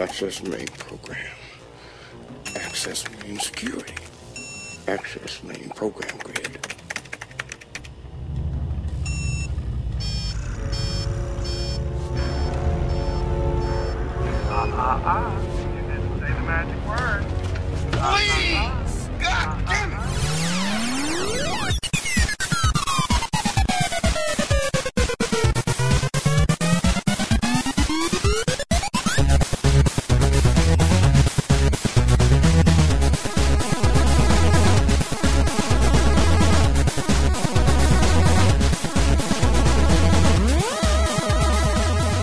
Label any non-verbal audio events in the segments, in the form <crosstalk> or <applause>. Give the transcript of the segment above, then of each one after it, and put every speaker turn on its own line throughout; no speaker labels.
Access main program. Access main security. Access main program grid.
Uh-uh. You didn't say the magic word. Uh,
Please! God damn it!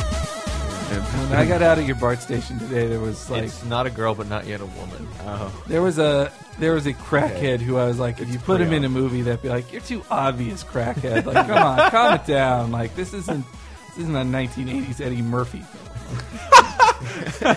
When I got out of your BART station today, there was like
It's not a girl, but not yet a woman.
there was a there was a crackhead who I was like, if you put him in a movie, that'd be like, you're too obvious, crackhead. Like,
<laughs>
come on, calm it down. Like, this isn't this isn't a 1980s Eddie Murphy. film.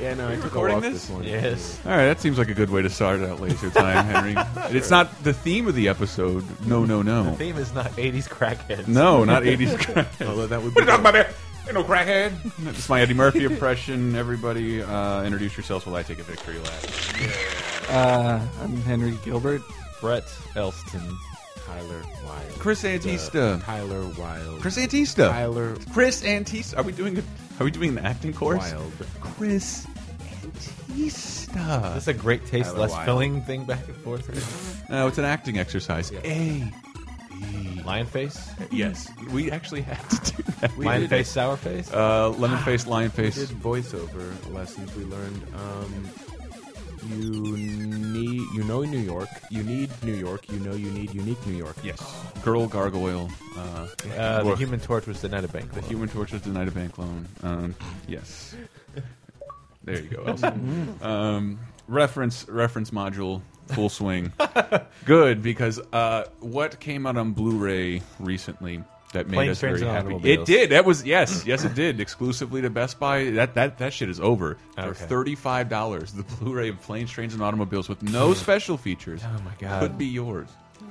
Yeah, no, I took
recording
a walk
this?
this, morning.
Yes.
All right, that seems like a good way to start out laser time, <laughs> Henry. And It's not the theme of the episode. No, no, no.
Theme is not 80s crackheads.
<laughs> No, not 80s crackhead.
Although that would
What are you
be
talking about there? Ain't no crackhead. It's my Eddie Murphy impression. Everybody, uh, introduce yourselves while I take a victory lap.
Uh, I'm Henry Gilbert.
Brett Elston.
Tyler Wilde.
Chris Antista.
Tyler Wilde.
Chris Antista.
Tyler
Chris Antista. Are we doing a, Are we doing an acting course?
Wilde.
Chris Antista.
That's a great taste,
Tyler
less
Wilde.
filling thing back and forth.
No, it's an acting exercise. A.
Lion face?
Yes, we actually had to do that.
Lion face, sour face?
Uh, lemon face, lion
We
face.
did voiceover lessons. We learned um, you need you know New York. You need New York. You know you need unique New York.
Yes. Girl Gargoyle. Uh,
uh, the
Well,
human torch was denied a bank.
the
loan.
Human Torch was denied a bank loan. Um, yes. There you
<laughs>
go. Elsa. um, reference reference module full swing. Good because uh, what came out on Blu-ray recently that made
Planes,
us
Trains,
very
and
happy. It
Automobiles.
did. That was yes, yes it did. Exclusively to Best Buy. That that that shit is over for
Okay.
thirty-five dollars. The Blu-ray of Planes, Trains, and Automobiles with no special features.
Hmm. Oh my God.
could be yours.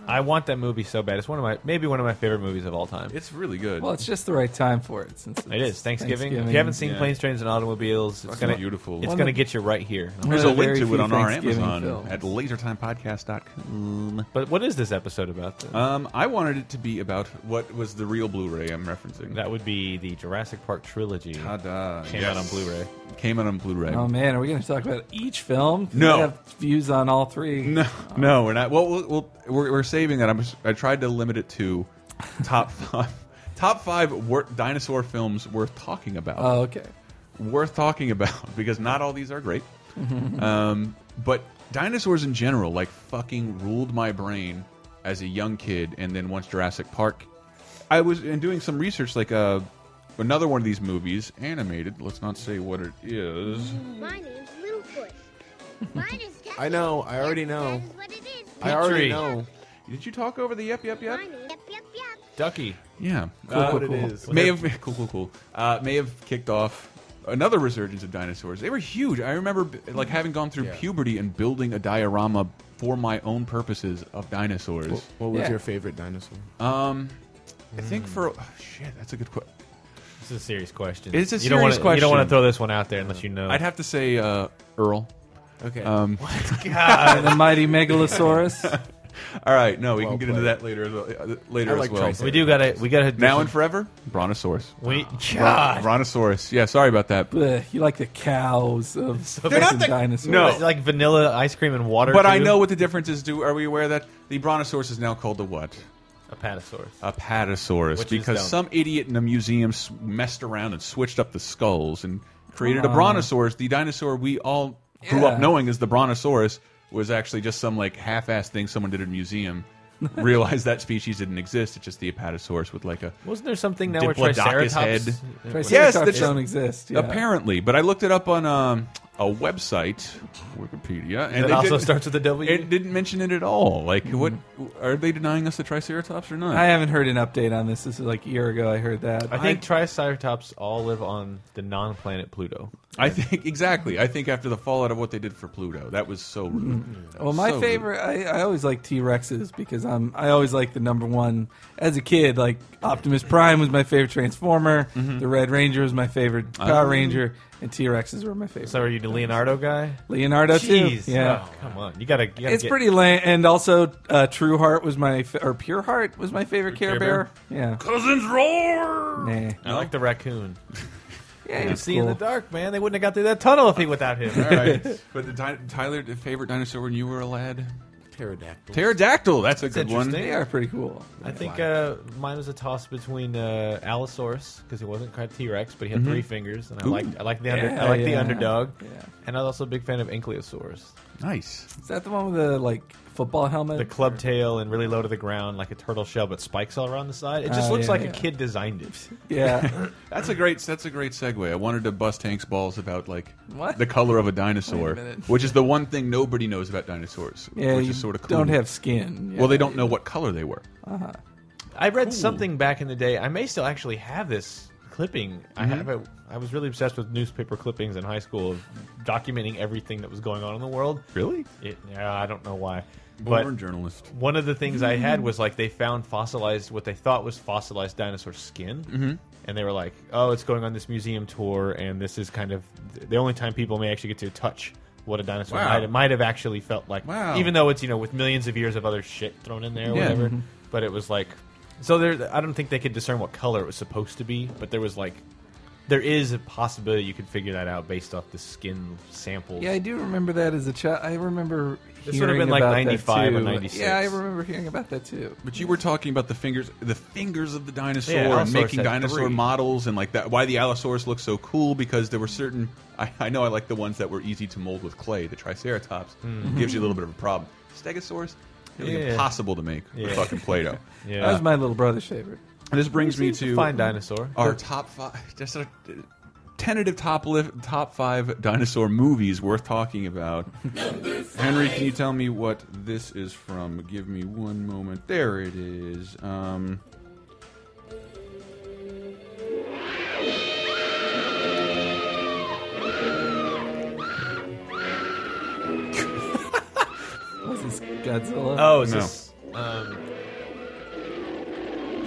I want that movie so bad. It's one of my, maybe one of my favorite movies of all time.
It's really good.
Well, it's just the right time for it since it's
It is Thanksgiving. If you haven't seen
Yeah.
Planes, Trains, and Automobiles, it's
Fucking
gonna
beautiful.
It's
One
gonna
of-
get you right here.
One
There's a
of the
link
Uh, very
to it
few
on our
Thanksgiving
Amazon
films.
at lasertimepodcast.com.
But what is this episode about? Then?
Um, I wanted it to be about what was the real Blu-ray I'm referencing.
that would be the Jurassic Park trilogy.
Ta-da.
Came out on Blu-ray.
Came out on Blu-ray.
Oh man, are we going to talk about each film? 'Cause
No.
I have views on all three.
<laughs> no, no, we're not. Well, we'll, we'll we're, we're saving that. I'm, just- I tried to limit it to top <laughs> five, top five wor dinosaur films worth talking about.
Oh, okay.
worth talking about <laughs> because not all these are great. um, but dinosaurs in general, like fucking ruled my brain as a young kid, and then once Jurassic Park, I was and doing some research, like uh, another one of these movies, animated. Let's not say what it is.
My name's Littlefoot. Mine
<laughs>
is Kevin.
I know. I already know.
That is what it is.
I already know
Did you talk over the yep yep yep?
Mine is yep, yep, yep.
Ducky.
Yeah,
what
Uh,
it is.
may have <laughs> cool, cool, cool. Uh, may have kicked off another resurgence of dinosaurs. They were huge. I remember like having gone through
Yeah.
puberty and building a diorama for my own purposes of dinosaurs.
What was
Yeah.
your favorite dinosaur?
um, I think for oh, shit, that's a good question.
This is a serious question.
It's a
you don't wanna,
serious
You don't want
question.
to throw this one out there unless you know.
I'd have to say uh, Earl.
Okay.
Um,
And the mighty megalosaurus.
<laughs>
all right, no, we
Well
can get into
played.
that later. As well, uh, later
I like
as well.
Triceratops.
we do gotta. We gotta.
Now and forever, Brontosaurus.
we, God.
Brontosaurus. Yeah, sorry about that.
Bleh, you like the cows of
They're not
fucking
the-
dinosaurs.
No.
Like vanilla ice cream and water.
But I
too?
know what the difference is. Do are we aware that the Brontosaurus is now called the what?
Apatosaurus.
Apatosaurus
Which is
because
dumb.
some idiot in a museum s- messed around and switched up the skulls and created a brontosaurus. The dinosaur we all grew
Yeah.
up knowing as the brontosaurus was actually just some like half-assed thing someone did at a museum. realized that species didn't exist. It's just the apatosaurus with like a
Wasn't there something now where
Diplodocus
Triceratops?
head.
Triceratops
Yes, that's-
don't exist. yeah.
apparently. But I looked it up on um, a website, Wikipedia, and
It
they
also
didn't-
starts with a W.
It didn't mention it at all. Like, what are they denying us the Triceratops or not?
I haven't heard an update on this. This is like a year ago. I heard that.
I think Triceratops all live on the non-planet Pluto.
I think <laughs> exactly. I think after the fallout of what they did for Pluto, that was so rude.
Mm-hmm. Well, my
So rude.
favorite, I, I always like T Rexes because I'm, I always like the number one. As a kid, like Optimus Prime was my favorite Transformer,
Mm-hmm.
the Red Ranger was my favorite Power
Oh.
Ranger, and T Rexes were my favorite.
So are you the Leonardo guy?
Leonardo
Jeez,
too. Yeah.
oh, come on, you gotta. You gotta
It's
get-
pretty lame, and also uh, True Heart was my fa- or Pure Heart was my favorite Care
Care
Bear.
Bear?
Yeah,
Cousins roar.
nah.
I like the raccoon.
yeah,
You
it's
see in the
cool.
dark, man. They wouldn't have got through that tunnel if he without
<laughs>
him.
All right, but the di Tyler, the favorite dinosaur when you were a lad,
Pterodactyl.
pterodactyl. That's a good one.
interesting.
They are pretty cool.
I think uh, mine was a toss between uh, Allosaurus because he wasn't quite T Rex, but he had three fingers, and I liked I liked the under,
Mm-hmm. Yeah,
I liked the
yeah.
underdog,
Yeah.
and I was also a big fan of Ankylosaurus,
Nice.
Is that the one with the like football helmet?
the club tail and really low to the ground like a turtle shell, but spikes all around the side. It just
Oh,
looks
yeah,
like
yeah.
a kid designed it.
<laughs>
Yeah,
That's a great. That's a great segue. I wanted to bust Hank's balls about like
What?
the color of a dinosaur, which is the one thing nobody knows about dinosaurs,
yeah.
which
you
is sort of cool.
don't have skin.
Well, they
Yeah.
don't know what color they were.
I read something back in the day. I may still actually have this clipping. I
Mm-hmm.
have it. I was really obsessed with newspaper clippings in high school, of documenting everything that was going on in the world.
Really?
It, yeah, I don't know why. But
Born journalist.
one of the things I had
Mm.
was like they found fossilized what they thought was fossilized dinosaur skin, mm-hmm. and they were like, "Oh, it's going on this museum tour, and this is kind of the only time people may actually get to touch what a dinosaur
Wow.
might, might have actually felt like."
Wow.
Even though it's you know with millions of years of other shit thrown in there, or
Yeah. Mm-hmm.
whatever. But it was like, so there. I don't think they could discern what color it was supposed to be, but there was like. There is a possibility you could figure that out based off the skin samples.
Yeah, I do remember that as a child. I remember
This
hearing
would've been like
about that
95 or
too.
96.
Yeah, I remember hearing about that too.
But you were talking about the fingers, the fingers of the dinosaur,
Yeah,
and
Allosaurus
making
had
dinosaur
three.
models, and like that. Why the Allosaurus looked so cool because there were certain. I, I know I like the ones that were easy to mold with clay. The Triceratops gives you a little bit of a problem. Stegosaurus, it was
Mm-hmm. Yeah.
impossible to make with
Yeah.
fucking Play-Doh.
<laughs> yeah.
That was my little brother's favorite.
And this brings me
It's a
to
fine dinosaur.
our top five, just our tentative top li top five dinosaur movies worth
<laughs>
talking about. Henry, can you tell me what this is from? Give me one moment. There it is. Um,
Was this Godzilla?
Oh, is
No.
this um,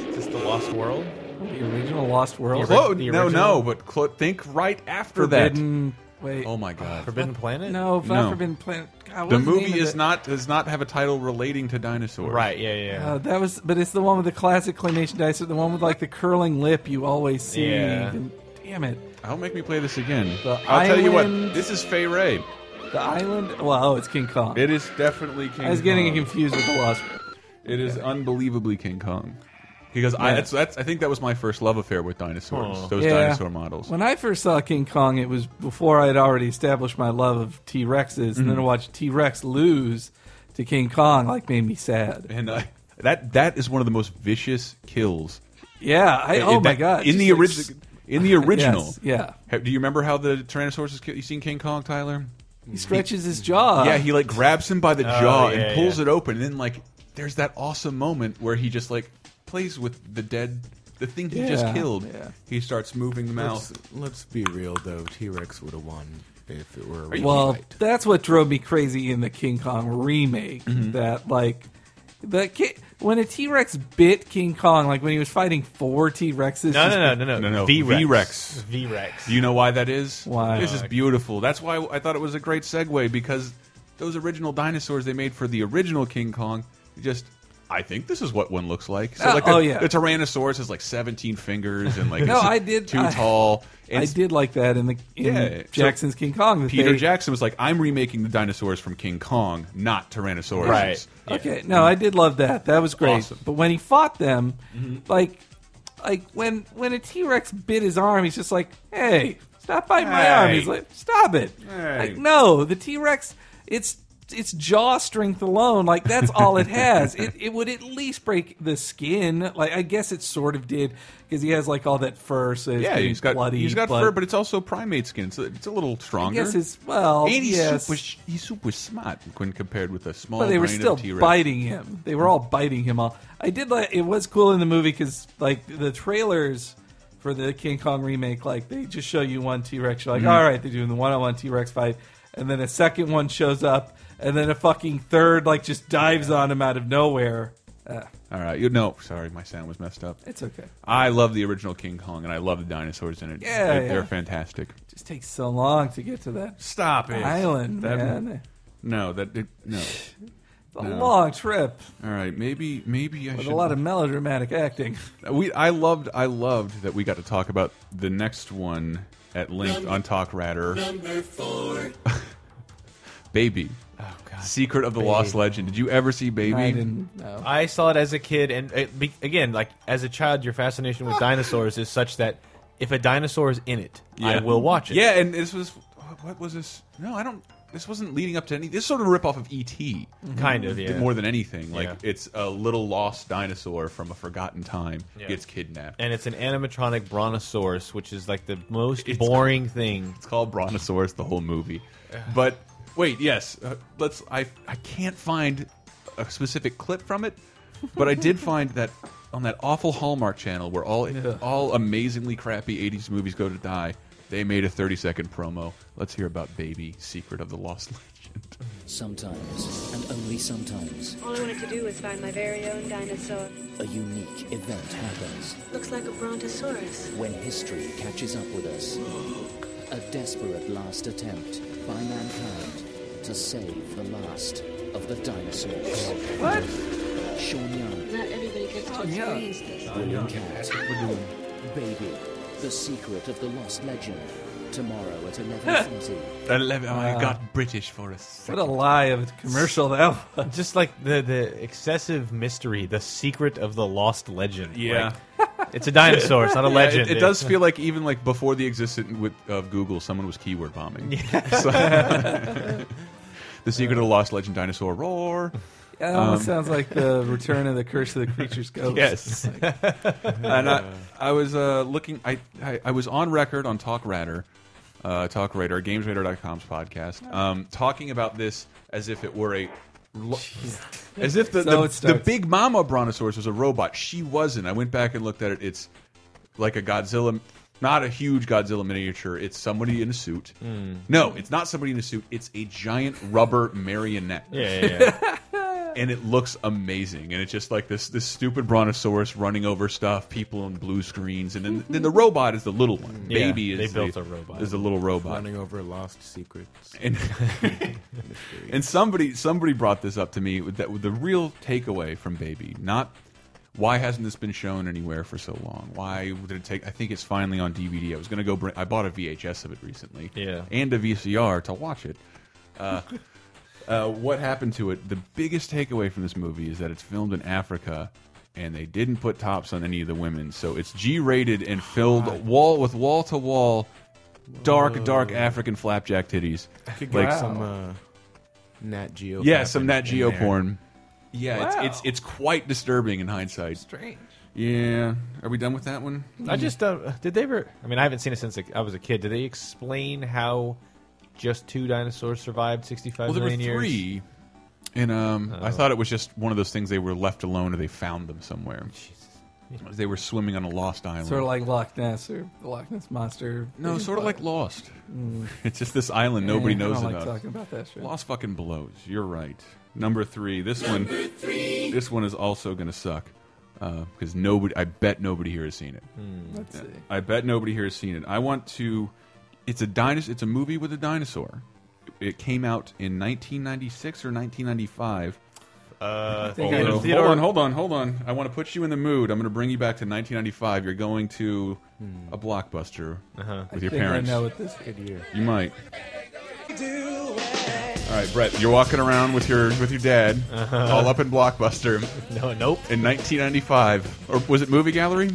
is this the Lost World?
the original Lost World.
Clo-
Clo
the
no,
original?
no, but clo think right after
Forbidden. Wait.
that. Oh my god.
Forbidden Planet?
no, not
No.
Forbidden Planet. God, what
The
was name
movie
of
is
it?
not does not have a title relating to dinosaurs.
Right, yeah, yeah.
Oh,
Uh, that was, but it's the one with the classic claymation dice, the one with like the curling lip you always see.
Yeah.
And, damn it,
Don't make me play this again.
The
I'll tell you
island-
what. This is Fay Ray.
the island. Well, oh, it's King Kong.
It is definitely King.
I was getting
Kong.
confused with the Lost.
It is unbelievably King Kong. Because I,
Yeah. Oh.
that's, that's, I think that was my first love affair with dinosaurs.
Aw.
Those
Yeah.
dinosaur models.
When I first saw King Kong, it was before I had already established my love of T Rexes, and
Mhm.
then to watch T Rex lose to King Kong like made me sad.
and I, that that is one of the most vicious kills.
Yeah, I, oh
That-
my god!
In
just
the
like
original, in the original.
<laughs> Yes, yeah.
Ha- Do you remember how the Tyrannosaurus is killed? You seen King Kong, Tyler?
s- he stretches his jaw.
yeah, he like grabs him by the
Oh,
jaw
yeah,
and pulls
yeah.
it open. And then like, there's that awesome moment where he just like plays with the dead, the thing he just
Yeah,
killed.
yeah.
He starts moving the mouth.
Let's, let's be real though. T Rex would have won if it were a real
Well,
fight.
that's what drove me crazy in the King Kong remake.
Mm-hmm.
That like the ki- when a T Rex bit King Kong, like when he was fighting four T Rexes.
No, no, no, no, no,
No, no,
V-Rex.
V-Rex.
V-Rex.
Do you know why that is?
Why?
This is beautiful. That's why I thought it was a great segue because those original dinosaurs they made for the original King Kong just. I think this is what one looks like. So
Uh,
like the,
oh, yeah.
the Tyrannosaurus has like 17 fingers and like
<laughs> No,
it's
I did-
too
I-
tall.
<laughs> I
And
did like that in the in
Yeah, so
Jackson's King Kong. that
Peter
they-
Jackson was like, "I'm remaking the dinosaurs from King Kong, not Tyrannosaurus."
Right.
Okay, no, I did love that. That was great.
Awesome. Mm-hmm.
But when he fought them, like, like when when a T Rex bit his arm, he's just like, "Hey, stop biting my arm."
Hey.
He's like, "Stop it!"
Hey.
Like, no, the T Rex, it's its jaw strength alone, like that's all it
<laughs>
has. it it would at least break the skin. Like I guess it sort of did because he has like all that fur, so it's
yeah,
getting
he's got
bloody.
he's got
but
fur, but it's also primate skin, so it's a little
I
stronger.
guess it's well,
and he's
yes,
super he's super smart when compared with a small.
but they were
brain of
still
T-Rex.
biting him. They were all biting him. All I did like it was cool in the movie because like the trailers for the King Kong remake, like they just show you one T Rex.
Mm-hmm.
You're like, all right, they're doing the one on one T Rex fight, and then a second one shows up, and then a fucking third like just dives on him out of nowhere. Uh,
All right, you know, sorry, my sound was messed up.
it's okay.
I love the original King Kong, and I love the dinosaurs in it.
Yeah,
they're,
yeah.
they're fantastic.
It just takes so long to get to that
Stop it,
island,
That-
man.
No, that it, no.
It's a
no.
long trip
All right, maybe maybe I
with
should.
a lot of melodramatic acting.
we I loved I loved that we got to talk about the next one at length on Talk Ratter. Number four, <laughs> Baby,
Oh god.
Secret of the Lost Legend. Did you ever see Baby?
I didn't know.
I saw it as a kid, and it, be- again, like as a child, your fascination
Ah.
with dinosaurs is such that if a dinosaur is in it, I
Yeah.
will watch it.
Yeah, and this was what was this? No, I don't. This wasn't leading up to any. This sort of rip off of ET
kind of. Yeah,
Mm-hmm. more than anything. Like
Mm-hmm. Yeah.
it's a little lost dinosaur from a forgotten time
Yeah.
gets kidnapped.
and it's an animatronic brontosaurus, which is like the most
It's-
boring thing.
It's called Brontosaurus the whole movie. But wait, yes, uh, let's. I I can't find a specific clip from it, but I did find that on that awful Hallmark channel where all all amazingly crappy '80s movies go to die. They made a 30 second promo. Let's hear about Baby Secret of the Lost Legend.
Sometimes, and only sometimes,
All I wanted to do was find my very own dinosaur.
a unique event happens
Looks like a brontosaurus.
when history catches up with us. A desperate last attempt by mankind to save the last of the dinosaurs.
What?
Sean Young,
Not everybody gets to experience this.
William Cat, Baby, The Secret of the Lost Legend. Tomorrow at 11.30.
I, love- Oh, I got British for a second.
What a lie of a commercial that was.
Just like the the excessive mystery, the secret of the lost legend.
Yeah.
Like, it's a dinosaur. It's not a
Yeah,
legend.
It, it does feel like even like before the existence with, of Google, someone was keyword
<laughs>
bombing. <laughs> So- the secret of the lost legend dinosaur roar.
Yeah, that almost sounds like the
<laughs>
return of the curse of the creature's ghost.
Um, Yes. <laughs> and I, I was uh, looking. I, I I was on record on Talk Ratter, uh, Talk Radar, GamesRadar.com's podcast, um, talking about this as if it were a.
<laughs>
lo- As if the,
So it
the, the
starts.
big mama brontosaurus was a robot. She wasn't. I went back and looked at it. It's like a Godzilla, not a huge Godzilla miniature. It's somebody in a suit.
Hmm.
No, it's not somebody in a suit. It's a giant rubber marionette
Yeah,
<laughs>
yeah, yeah.
and it looks amazing. And it's just like this this stupid brontosaurus running over stuff, people on blue screens, and then
<laughs>
then the robot is the little one.
Yeah,
Baby is
they built
the,
a robot.
is the little robot.
Running over lost secrets.
And <laughs> and somebody somebody brought this up to me with that with the real takeaway from Baby, not. Why hasn't this been shown anywhere for so long? Why did it take? I think it's finally on DVD. I was gonna go. Bring, I bought a VHS of it recently,
Yeah.
and a VCR to watch it uh, what happened to it? The biggest takeaway from this movie is that it's filmed in Africa, and they didn't put tops on any of the women, so it's G-rated and filled wall with wall to wall, dark, dark African flapjack <laughs> titties.
Could
Like-
get some uh, Nat Geo.
Yeah,
crap
some
in-
Nat
in
Geo
there.
porn. Yeah,
Wow.
it's, it's it's quite disturbing in hindsight.
Strange.
Yeah, are we done with that one?
I just uh, did they ever? I mean, I haven't seen it since I was a kid. Did they explain how just two dinosaurs survived sixty-five
Well, there
million
were
years?
three, and um, I thought it was just one of those things they were left alone or they found them somewhere. They were swimming on a lost island.
Sort of like Loch Ness or the Loch Ness monster.
No, sort of like Lost. <laughs> It's just this island nobody
Eh,
knows
I don't
about.
Mm. Like talking about that shit.
Lost fucking blows. You're right. Number three. This one. This one is also gonna suck because nobody. I bet nobody here has seen it.
Hmm. Let's see.
I bet nobody here has seen it. I want to. It's a dinosaur. It's a movie with a dinosaur. It came out in 1996 or 1995.
Uh,
think
Theodore-
I know.
Hold on, hold on, hold on. I want to put you in the mood. I'm going to bring you back to 1995. You're going to a blockbuster with your
Hmm. Uh-huh. I think
parents.
I know what this
Good year.
You might. All right, Brett, you're walking around with your with your dad,
Uh-huh.
all up in Blockbuster
No, nope.
in 1995, or was it Movie Gallery?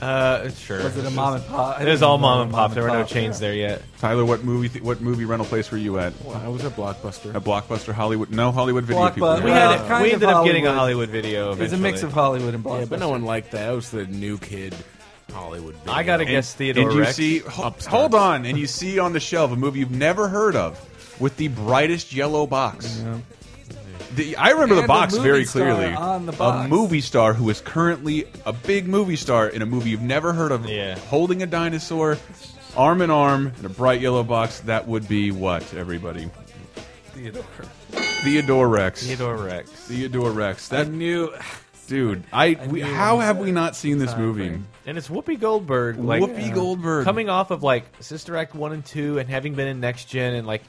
Uh, sure.
Was it a mom and pop? I
It
don't
was all
know,
mom and pop. There were no
pop.
chains there yet.
Tyler, what movie? Th what movie rental place were you at?
I was at Blockbuster.
At Blockbuster Hollywood? No, Hollywood Video
Blockbuster.
People.
We
Well,
had it. Uh,
kind
We
of
ended up getting a
Hollywood.
Hollywood video.
It's a
eventually.
mix of Hollywood and Blockbuster.
Yeah, but no one liked that. That was the new kid Hollywood. Video.
I gotta guess Theodore
and you
Rex.
see, ho- hold on, and you see on the shelf a movie you've never heard of with the brightest yellow box. The, I remember
And
the
a
box
movie
very
star
clearly.
on the box.
A movie star who is currently a big movie star in a movie you've never heard of,
Yeah.
holding a dinosaur, arm in arm, in a bright yellow box. That would be what everybody.
Theodore.
Theodore Rex.
Theodore Rex.
Theodore Rex.
I
That
knew.
dude. I, we,
knew it
how
was
have we not seen this movie?
And it's Whoopi Goldberg. Like uh,
Whoopi Goldberg.
coming off of like Sister Act one and two, and having been in Next Gen, and like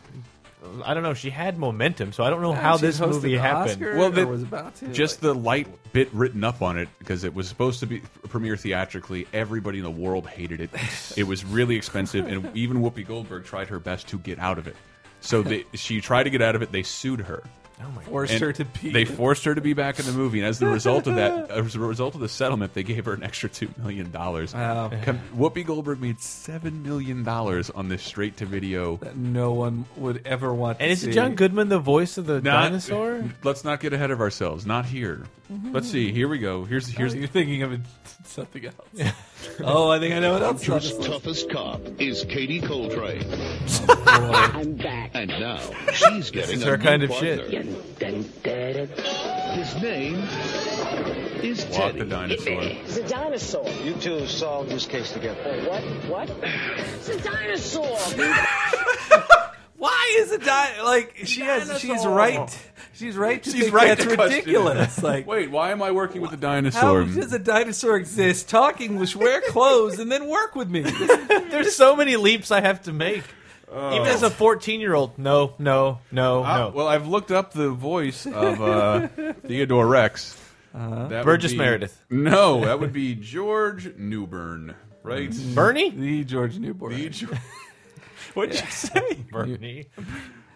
I don't know, she had momentum. So I don't know how
She
this
hosted
movie
the
happened.
Oscar
Well,
or
the-
was about to.
just the light bit written up on it because it was supposed to be premiere theatrically. Everybody in the world hated it. It was really expensive, and even Whoopi Goldberg tried her best to get out of it. So they, she tried to get out of it. They sued her.
Oh
forced
And
her to pee.
They forced her to be back in the movie, and as the result of that, <laughs> as a result of the settlement, they gave her an extra two million dollars.
Wow.
Whoopi Goldberg made seven million dollars on this straight-to-video.
no one would ever want.
And
to
is
see.
it John Goodman the voice of the
Not-
dinosaur?
Let's not get ahead of ourselves. Not here.
Mm-hmm.
Let's see. Here we go. Here's
Here's
here's
you're thinking of it, <laughs> something else.
<laughs>
oh, I think I know what <laughs> else. Not just-
toughest cop is Katie Coltrane.
Boy.
<laughs> I'm back. And now she's getting
It's
a
her
new
kind of
partner.
shit.
His name is
Walk
Teddy.
the dinosaur.
It's a dinosaur.
You two solved this case together.
What? What? It's a dinosaur.
<laughs> Why is it di- like she has? She's
Dinosaur.
right. She's right. To
She's
think
right.
That's
to question
ridiculous.
it.
Like
wait, why am I working with a
How
dinosaur?
does a dinosaur exist? Talk English,
<laughs>
wear clothes, and then work with
<laughs>
me.
There's so many leaps I have to make. Even as a 14 year old, no, no, no,
Oh. Ah,
no.
Well, I've looked up the voice of <laughs> uh, Theodore Rex. That would
Burgess
be-
Meredith.
<laughs> No, that would be George Newbern, right?
Bernie?
the George Newborn.
The Ge-
What'd you
<laughs>
<laughs>
<laughs>
say? Bernie.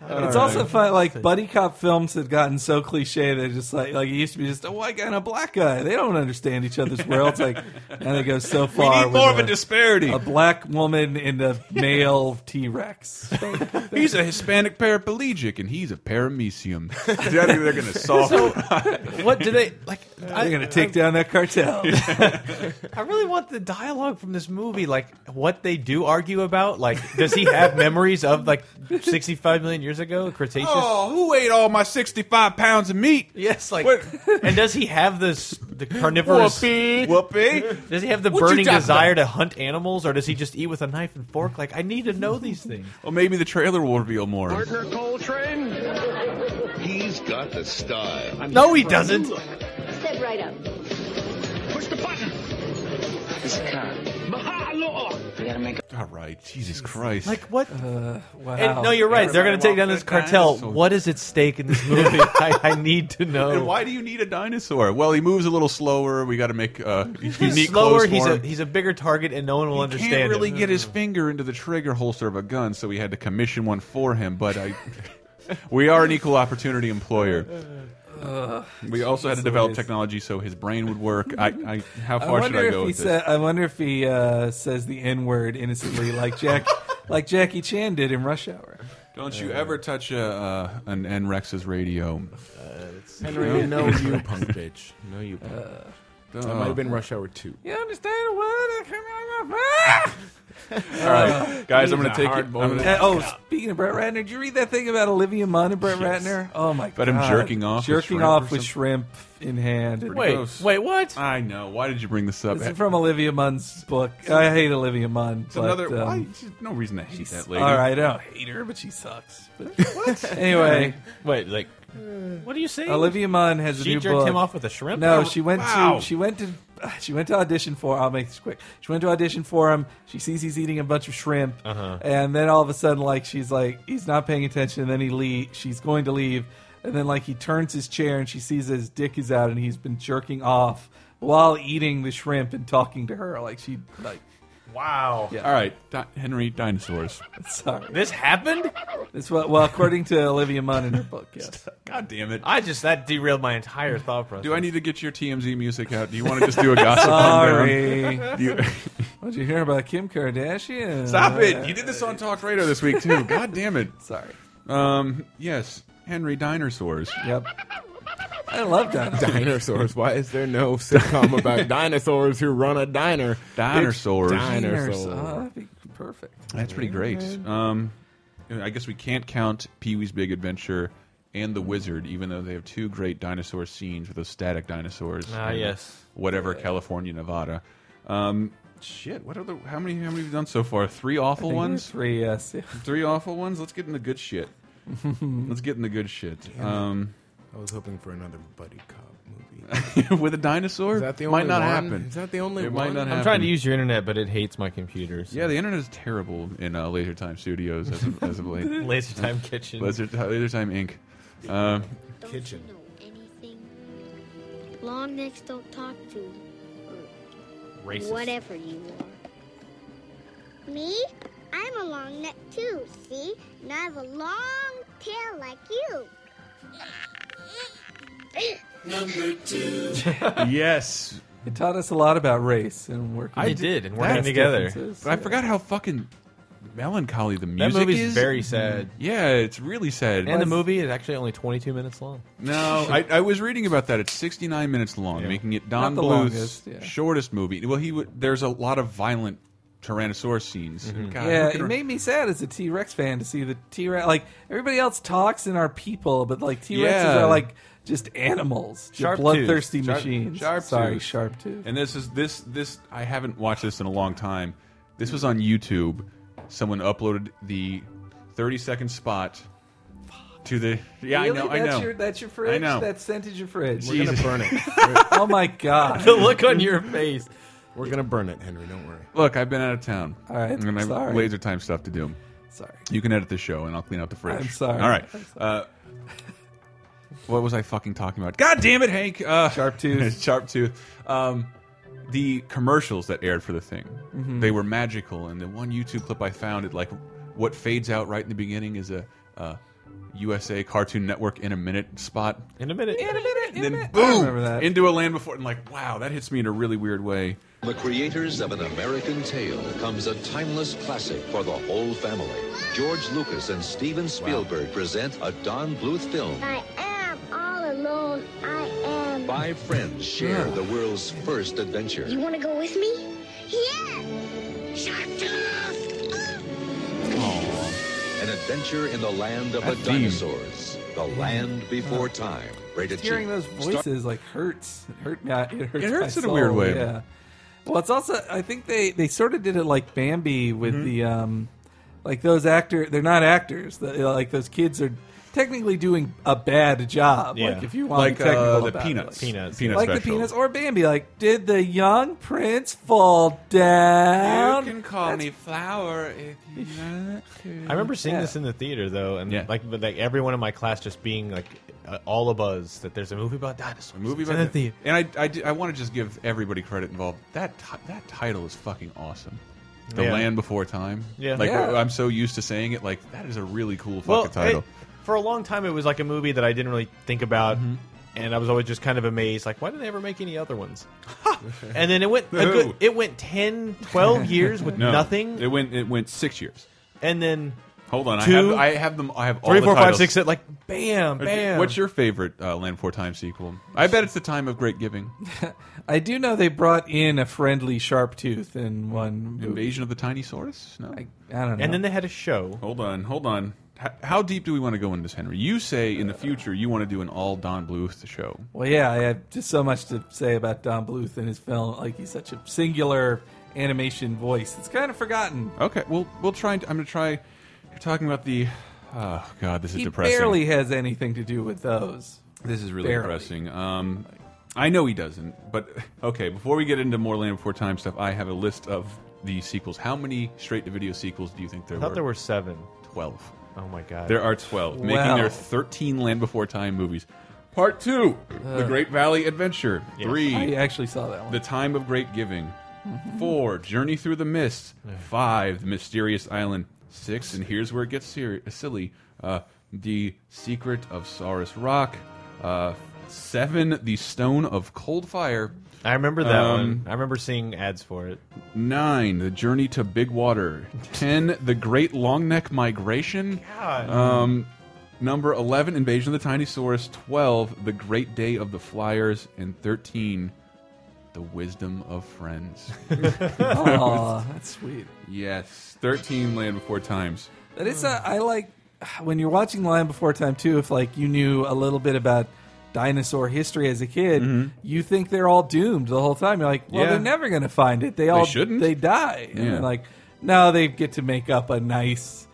it's also fun. Like buddy cop films had gotten so cliche. They're just like like it used to be just a white guy and a black guy. They don't understand each other's worlds.
<laughs>
Like and they go so
we
far.
need more of
with
a disparity.
a black woman and a male T Rex.
<laughs> he's a Hispanic paraplegic, and he's a <laughs> paramecium. they're going to solve.
What do they like? I,
<laughs> They're
<laughs>
gonna take down that cartel.
I really want the dialogue from this movie, like what they do argue about. Like, does he have memories of like 65 million years ago, Cretaceous?
oh, who ate all my sixty-five pounds of meat?
Yes, like,
What-
and does he have this the carnivorous?
Whoopee.
Does he have the
What you
burning
talking
desire to hunt animals, or does he just eat with a knife and fork? Like, I need to know these things.
Well, maybe the trailer will reveal more.
Partner Coltrane. He's got the style.
No, he doesn't.
Step right up.
Push the button.
It's a car.
Mahalo.
We gotta make
All right, Jesus Christ.
Like, what?
Uh, wow.
And, no, you're right. They're going to
Everybody
take down this
wants that
cartel.
dinosaur.
What is at stake in this movie? I, <laughs> I need to know.
And why do you need a dinosaur? Well, he moves a little slower. We got to make <laughs> uh,
He's
unique
slower.
clothes
He's
for
a
him.
he's a bigger target, and no one will
He
understand.
can't really
him.
get his finger into the trigger holster of a gun, so we had to commission one for him. But I, <laughs> we are an equal opportunity employer. we also had to develop
Louise.
technology so his brain would work. I, I how
I
far should
wonder
I
if
go
he
with this?
sa- I wonder if he uh, says the N word innocently, like
<laughs>
Jack, like Jackie Chan did in Rush Hour.
Don't you ever touch a, uh, an N Rex's radio?
Henry, no, you punk bitch. No, you. Punk. that might have been Rush Hour Two.
You understand what? I come out of my-
All right, guys, I'm going
a
to take it.
hard
I'm
boy.
gonna-
Uh, oh, speaking of Brett Ratner, did you read that thing about Olivia Munn and Brett Ratner? Oh my god!
About him jerking off with
jerking
shrimp or
off with
something?
shrimp in hand.
Wait,
gross.
wait, what?
I know. Why did you bring this up?
This is from Olivia Munn's book. I hate Olivia Munn.
It's
but,
another.
um,
why? There's no reason to hate that lady.
All right, I
<laughs>
don't hate her, but she sucks. But anyway,
Wait, like, what are you saying?
Olivia Munn has a
she
new
jerked
book.
him off with a shrimp.
No, she went
Wow.
to she went to <sighs> she went to audition for. I'll make this quick. She went to audition for him. She sees he's eating a bunch of shrimp,
Uh-huh.
and then all of a sudden, like she's like he's not paying attention. And then he leave. She's going to leave, and then like he turns his chair, and she sees his dick is out, and he's been jerking off while eating the shrimp and talking to her. Like she like
Wow.
All right, Di Henry, dinosaurs.
Sorry.
This happened?
It's well, well according to Olivia Munn in her book,
<laughs>
yes.
God damn it.
I just that derailed my entire thought process.
Do I need to get your TMZ music out? Do you want to just do a
<laughs>
gossip?
Sorry.
rundown? Do you- <laughs>
What'd you hear about Kim Kardashian?
Stop it! You did this on Talk Radio this week too. God damn it.
Sorry.
Um. Yes, Henry dinosaurs.
Yep. I love
<laughs>
dinosaurs.
Dinosaurs. Why is there no sitcom <laughs> about dinosaurs who run a diner?
Dinosaurs.
Dinosaurs.
Oh, that'd be perfect.
That's pretty great. Um, I guess we can't count Pee Wee's Big Adventure and The Wizard, even though they have two great dinosaur scenes with those static dinosaurs.
Ah,
in
yes.
Whatever, California, Nevada. Um, shit. What are the? How many? How many have we done so far? Three awful ones.
Three, yes. Yeah.
Three awful ones. Let's get in the good shit. Let's get in the good shit. Um,
I was hoping for another buddy cop movie.
<laughs> with a dinosaur,
Is that the
might
only
not
one?
happen.
Is that the only
It might
one?
not
I'm
happen.
I'm trying to use your internet, but it hates my computer. so-
Yeah, the internet is terrible in uh, Laser Time Studios as of, as of late.
<laughs> <laughs> Laser Time Kitchen.
Laser, uh, Laser Time Inc. Um,
Don't
Kitchen.
you know anything? Long necks don't talk to you, or
Racist.
whatever you are.
Me? I'm a long neck too, see? And I have a long tail like
<laughs>
you.
yes,
It taught us a lot about race and working.
I did, and working together.
differences.
but I forgot how fucking melancholy the
That
music
movie's
is.
very sad.
yeah, it's really sad.
And the movie is actually only 22 minutes long.
no, I, I was reading about that. It's 69 minutes long, making it Don
the
Bluth's
longest, yeah.
shortest movie. Well, he would. There's a lot of violent Tyrannosaurus scenes. And God,
Yeah,
look at
it
her-
made me sad as a T Rex fan to see the T Rex. Like everybody else talks and are people, but like T Rexes
Yeah.
are like just animals, just
Sharp
bloodthirsty
Sharp-
machines.
sharp
Sorry,
tooth.
sharp tooth.
And this is this this I haven't watched this in a long time. This was on YouTube. Someone uploaded the 30 second spot to the Yeah,
really?
I know, I
that's
know.
Your, that's your fridge.
I know.
That's sent in your fridge.
We're gonna Jesus.
burn
<laughs>
it.
oh
<laughs>
my god.
The look on your face.
We're gonna burn it, Henry. Don't worry.
Look, I've been out of town.
All right,
And I have
sorry.
laser time stuff to do.
Sorry.
You can edit the show and I'll clean out the fridge.
I'm sorry.
All right.
I'm
Uh what was I fucking talking about? God damn it, Hank! Uh,
Sharp tooth.
<laughs> sharp tooth. Um, the commercials that aired for the thing,
Mm-hmm.
they were magical. And the one YouTube clip I found, it like what fades out right in the beginning is a uh, USA Cartoon Network in a minute spot,
In a minute.
In a minute, in
and
a
then
minute. I remember
boom
that.
into a land before. And like, wow, that hits me in a really weird way.
<laughs> The creators of An American Tale comes a timeless classic for the whole family. George Lucas and Steven Spielberg present a Don Bluth film.
I am all alone. I am.
Five friends share the world's first adventure.
You want to go with me? Yeah. Sharp tooth.
An adventure in the land of the
That theme.
dinosaurs. The land before time. Rated
hearing
G.
those
Star-
voices like hurts. It hurt me. It hurts,
It hurts
my
in a weird
soul,
way.
Yeah. Well, it's also I think they they sort of did it like Bambi with
Mm-hmm.
the um like those actor they're not actors. The, like those kids are technically doing a bad job.
Yeah.
Like if you want
Like
to be technical
uh, the
about it,
peanuts,
like,
Peanuts.
peanuts
like the
special.
peanuts or Bambi, like did the young prince fall down?
You can call me flower if you want to.
I remember seeing
Yeah.
this in the theater though, and
Yeah.
like, but, like everyone in my class just being like uh, all a buzz that there's a movie about dinosaurs.
A movie
It's in
about
the
that.
theater.
And I, I, do- I want to just give everybody credit involved. That ti that title is fucking awesome. The
Yeah.
Land Before Time.
Yeah.
Like
Yeah.
I'm so used to saying it. Like that is a really cool fucking
Well,
title.
it- for a long time, it was like a movie that I didn't really think about,
Mm-hmm.
and I was always just kind of amazed, like why didn't they ever make any other
<laughs>
ones? and then it went a
No.
good, it went 10,
<laughs>
12 years with
No.
nothing,
It went it went six years.
and then
Hold on. I
Two,
have I have them. I have all
three,
the
four, five,
titles.
six, seven, like bam, bam.
What's your favorite uh, Land Before Time sequel? I bet it's the time of Great <laughs> Giving.
I do know they brought in a friendly sharp tooth in one movie.
Invasion of the Tiny Saurus. No.
I, I don't know.
and then they had a show.
Hold on, hold on. H- How deep do we want to go in this, Henry? You say in the future you want to do an all Don Bluth show.
Well, yeah, I have just so much to say about Don Bluth and his film. Like he's such a singular animation voice. It's kind of forgotten.
Okay, we'll we'll try. I'm gonna try. You're talking about the. Oh God, this is
He
depressing.
barely has anything to do with those.
this is really
barely.
depressing. Um, I know he doesn't, but okay. Before we get into more Land Before Time stuff, I have a list of the sequels. How many straight to video sequels do you think there
I
were?
thought there were seven.
twelve.
Oh my god.
There are twelve, making
Wow.
there thirteen Land Before Time movies. Part two: The Great Valley Adventure.
Yes.
Three:
Uh.
<laughs>
I actually saw that one.
The Time of Great Giving. Four, Journey Through the Mist. Five, The Mysterious Island. Six, and here's where it gets seri- silly uh, The Secret of Saurus Rock. Uh, seven, The Stone of Cold Fire.
I remember that
um,
one. I remember seeing ads for it.
Nine, The Journey to Big Water. Ten, The Great Longneck Migration.
God.
Um, number 11, Invasion of the Tinosaurus. 12, The Great Day of the Flyers. And 13, The Wisdom of Friends.
Aw, that's sweet.
Yes, 13 Land Before Times.
That is, a, I like when you're watching Lion Before Time too. If like you knew a little bit about dinosaur history as a kid, you think they're all doomed the whole time. You're like, well,
Mm-hmm. Yeah.
they're never going to find it. They all
shouldn't.
They die, and
Yeah.
like now they get to make up a nice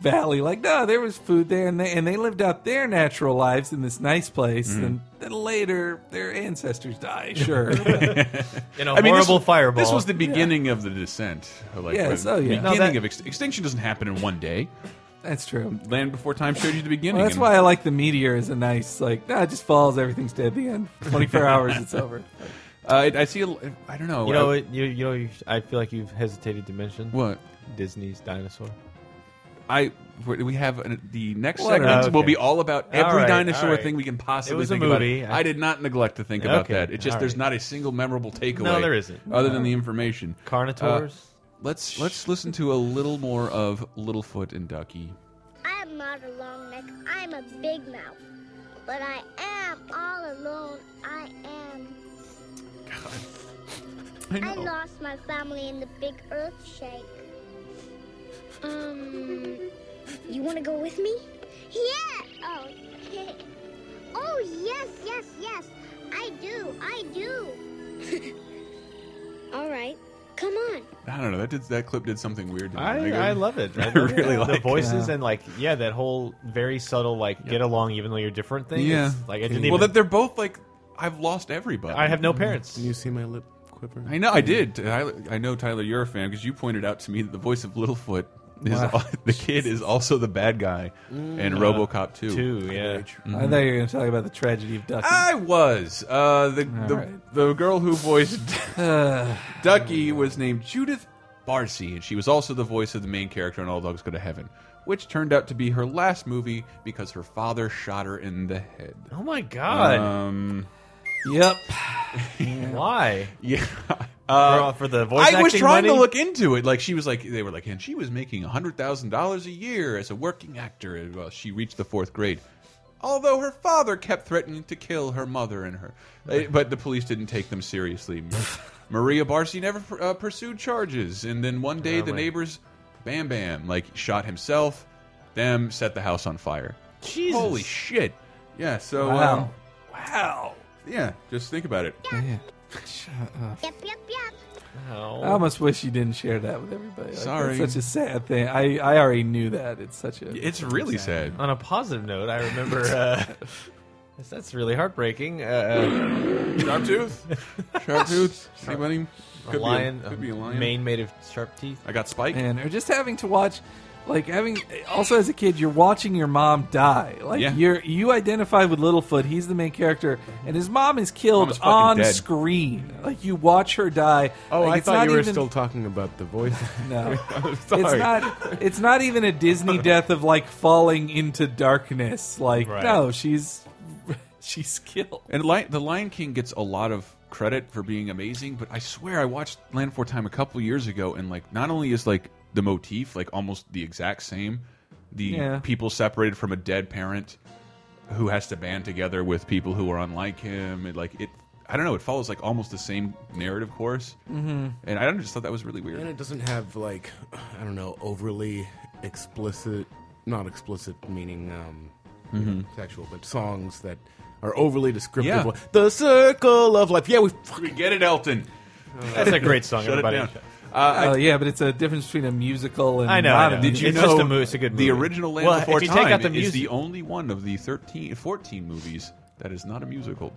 valley. Like no, there was food there, and they and they lived out their natural lives in this nice place,
Mm-hmm.
and then later their ancestors
<laughs>
die. Sure,
In a horrible
this,
fireball.
This was the beginning of the descent. Like,
Yes,
the
oh, yeah.
beginning
No, that-
of ext extinction doesn't happen in one day.
that's true.
Land Before Time showed you the beginning.
Well, that's
and-
why I like the meteor as a nice like. Nah, it just falls. Everything's dead. The end. Twenty
<laughs>
four hours. It's over.
Uh, I, I see. A, I don't know.
You know,
I-
it- you, you know, you, I feel like you've hesitated to mention
What?
Disney's dinosaur.
I we have an, the next
What
segment
a- Ah,
will
okay.
be all about every
All right,
dinosaur
all right.
thing we can possibly
It was a
think
movie.
about. I did not neglect to think about
Okay,
that. It just
all
there's
right.
not a single memorable takeaway.
No, there isn't.
Other than the information. Uh,
Carnotaurs?
let's let's listen to a little more of Littlefoot and Ducky.
I'm not a long neck. I'm a big mouth. But I am all alone. I am.
I
I
know.
lost my family in the big earth shake. Um, you want to go with me? Yeah! Oh, <laughs> oh, yes, yes, yes. I do, <laughs> I do. All right, come on.
I don't know. That did, that clip did something weird. To me.
I,
Like,
I love
<laughs>
it.
I
love
really
the
like it.
voices and like yeah, that whole very subtle like get along even though you're different thing.
Yeah.
It's, like I didn't
well,
even.
that they're both like I've lost everybody.
I have no parents.
Can you see my lip quiver?
I know. I did. Tyler, I know Tyler. You're a fan because you pointed out to me that the voice of Littlefoot is
Wow.
the kid is also the bad guy in
Uh,
RoboCop 2.
Two, yeah.
I thought you were going to talk about the tragedy of Ducky.
I was uh, the the,
right.
the girl
<sighs>
who voiced Ducky was named Judith Barcy, and she was also the voice of the main character in All Dogs Go to Heaven, which turned out to be her last movie because her father shot her in the head.
Oh my god!
Um,
yep.
Why? <laughs>
yeah.
For- for the voice
Uh, I was
acting
trying to
money?
look into it. Like she was like they were like, and she was making hundred thousand dollars a year as a working actor. and, Well, she reached the fourth grade, although her father kept threatening to kill her mother and her. Uh, But the police didn't take them
<laughs>
seriously. Maria Barcy never uh, pursued charges, and then one day
Oh,
the
my-
neighbors, Bam Bam, like shot himself. Them set the house on fire.
Jesus.
Holy shit! Yeah. So
Wow.
um,
Wow.
yeah, just think about it.
Yep, yep, yep.
I
Um,
almost wish you didn't share that with everybody. Like,
Sorry.
That's such a sad thing. I, I already knew that. It's such a.
It's really sad.
On a positive note, I remember.
<laughs>
Uh, <laughs> that's- that's really heartbreaking. Uh,
Sharp tooth? Sharp tooth? Anybody?
a lion,
Be a, could be a lion.
mane made of sharp teeth.
I got Spike.
man. Or just having to watch. Like having, also as a kid, you're watching your mom die. Like
Yeah.
you're, you identify with Littlefoot. He's the main character, and his mom is killed
Mom is fucking
on
dead.
screen. Like you watch her die.
Oh,
Like,
I
it's
thought
not
you were
even-
still talking about the voice.
<laughs>
No, it's
sorry.
not. It's not even a Disney death of like falling into darkness. Like
Right.
no, she's <laughs> she's killed.
And Li the Lion King gets a lot of credit for being amazing, but I swear I watched Land Before Time a couple years ago, and like not only is like the motif like almost the exact same, the
Yeah.
people separated from a dead parent who has to band together with people who are unlike him, and like it. I don't know. It follows like almost the same narrative course, mm-hmm. and I don't know, just thought that was really weird.
<laughs> And it doesn't have like I don't know overly explicit, not explicit meaning um, you know, sexual, but songs that are overly descriptive.
Yeah.
Like, The circle of life. Yeah, we fucking
We get it, Elton.
That's a great song.
<laughs> Shut it
everybody,
down.
Oh yeah, but it's a difference between a musical and
I know,
Not
I know.
a
Did
Did you
It's
know
just a mo- it's a good
the
movie.
original Land
Well,
Before
if you
Time
take out the
is the
music-
only one of the 13, 14 movies that is not a musical.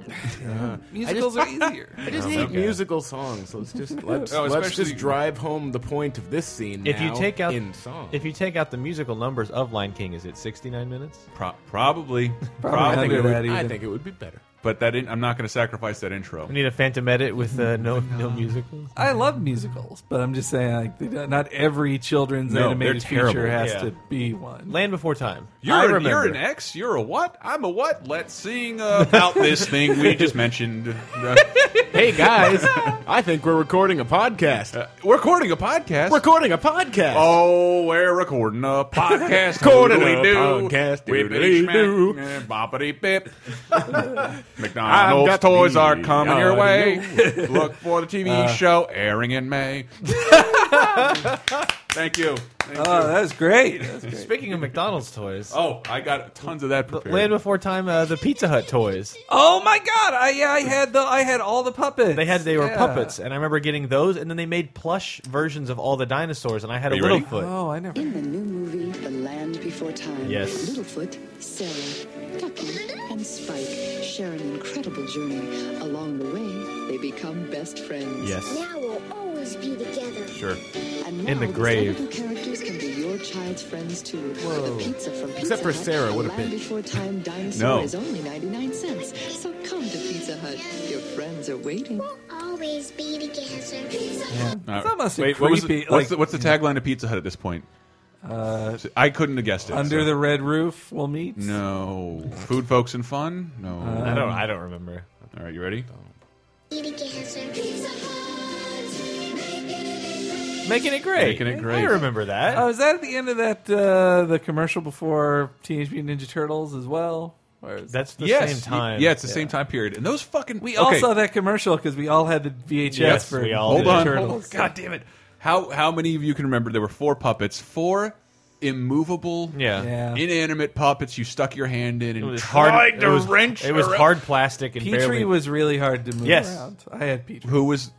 musicals are easier.
<laughs> I just hate musical songs. So
<laughs>
let's just let's,
Oh,
let's
especially-
just drive home the point of this scene.
if you
now
take out
in song,
if you take out the musical numbers of Lion King, is it 69 minutes?
Pro- probably.
<laughs>
Probably
I think it
under
would-
that
I
even.
think it would be better.
But that in, I'm not going to sacrifice that intro.
We need a phantom edit with uh,
<laughs>
no no music.
I love musicals, but I'm just saying, like, they don't- not every children's
No,
animated
they're terrible.
feature has
Yeah.
to be one.
Land Before Time.
You're,
I
an,
remember.
you're an X. You're a what? I'm a what? Let's sing about this thing we just mentioned.
<laughs>
hey guys, <laughs> I think we're recording a podcast.
Uh,
we're recording a podcast.
Recording a podcast.
Oh, we're recording
<laughs>
a podcast.
Recording
Doodly
a
do.
podcast.
Whippity
Doodly
smack. Boppity
<laughs>
bip.
I've
McDonald's
got
toys
the
are coming your way.
<laughs> audio.
Look for the TV
Uh,
show airing in
<laughs>
May. Thank you.
Oh, that's great.
Speaking of McDonald's toys,
Oh, I got tons of that prepared.
Land Before Time, uh, the Pizza Hut toys.
Oh my god! I yeah, I had the I had all the puppets.
They had they were
Yeah.
puppets, and I remember getting those. And then they made plush versions of all the dinosaurs, and I had
Are
a
you
little
ready?
foot.
Oh, I never.
In the new movie, The Land Before Time,
Yes.
Littlefoot, Sarah, Ducky, and Spike share an incredible journey. Along the way, they become best
Oh.
friends.
Yes.
Now we'll always be together.
Sure.
And
In the
these
grave.
lovable characters can be your child's friends too.
Whoa.
The pizza from Pizza
Except for
Hut,
Sarah, what a
Land
bitch.
Before Time dinosaur
No.
is only 99 cents. So come to Pizza Hut. Your friends are waiting.
Always be together.
Uh,
It's almost a
wait, what was the-
creepy,
what's,
like-
the, what's the tagline of Pizza Hut at this point?
Uh,
I couldn't have guessed it.
Under
so-
the red roof, we'll meet.
no food, folks, and fun. No,
Um, I don't- I
don't remember.
All right, you ready?
Be together. Pizza
Making it great.
Making it great.
I remember that.
Oh, is that at the end of that uh, the commercial before Teenage Mutant Ninja Turtles as well? Or is
That's the
yes,
same time.
y- Yeah, it's the same time period. And those fucking
We
okay.
all saw that commercial because we all had the VHS
Yes,
for
we all
<laughs> Ninja
hold on.
Turtles.
Hold on. God damn it! How how many of you can remember there were four puppets? Four immovable,
Yeah. Yeah.
inanimate puppets. You stuck your hand in and
was
tried
hard-
to
it was-
wrench.
it was
around.
hard plastic and
Petrie
barely-
was really hard to move
Yes.
around. I had Petrie.
Who was?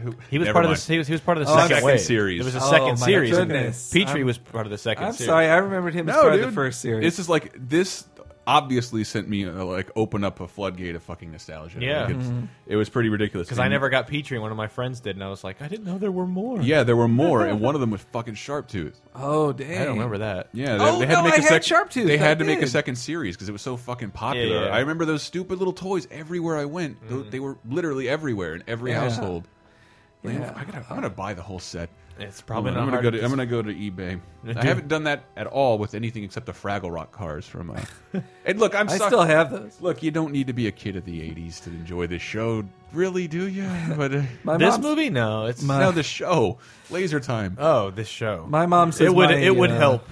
Who,
He was
Never
part of
mind.
the. He was, he was part of the
Oh, I'm
second
sorry.
wave.
series.
There was a
Oh,
second
my
series.
goodness.
Petrie
I'm-
was part of the second.
I'm
series.
sorry, I remembered him as part of the first series.
This is like this obviously sent me uh, like open up a floodgate of fucking nostalgia.
Yeah.
Like, it's-
Mhm.
it was pretty ridiculous
Because I
And-
never got Petrie, and one of my friends did, and I was like, I didn't know there were more.
Yeah, there were more,
<laughs>
and one of them was fucking sharp tooth.
Oh dang!
I don't remember that.
Yeah, they,
Oh,
they had to
no,
make
I
a
had
sec-
Sharptooth,
They
I
had to make a
did.
second series because it was so fucking popular.
Yeah, yeah.
I remember those stupid little toys everywhere I went. Tho- They were literally everywhere in every
Yeah.
household. Like,
Yeah.
I gotta, I'm gonna buy the whole set.
It's probably
I'm
not
gonna
hard
go
to
to. I'm gonna go to eBay.
Do
I haven't done that at all with anything except the Fraggle Rock cars from. Uh, and look, I'm
I
suck-
still have those.
Look, you don't need to be a kid of the '80s to enjoy this show, really, do you? But uh,
My
This
mom's-
movie? No, it's
My-
no, the show, Laser Time.
Oh, this show.
My mom says
it would.
my,
it would
uh,
help.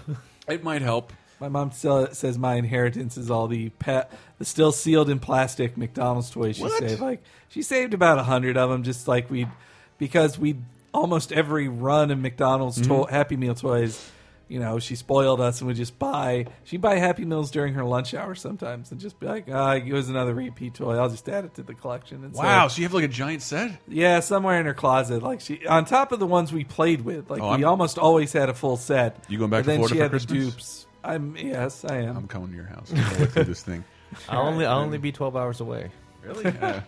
It might help.
My mom still says my inheritance is all the pet, the still sealed in plastic McDonald's toys she
What?
saved. Like she saved about a hundred of them, just like we, because we almost every run of McDonald's
Mm-hmm.
to- Happy Meal toys. You know, she spoiled us, and we just buy. She would buy Happy Meals during her lunch hour sometimes, and just be like, "Ah, it was another repeat toy. I'll just add it to the collection." And so-
Wow, so you have like a giant set.
yeah, somewhere in her closet. Like she, on top of the ones we played with. Like
Oh,
we
I'm-
almost always had a full set.
You going back
And
to
then
Florida
she
for
had the
Christmas?
dupes. I'm yes, I am.
I'm coming to your house. I'll look through this thing.
I'll only. I'll
Mm.
only be twelve hours away.
<laughs> Really? Uh,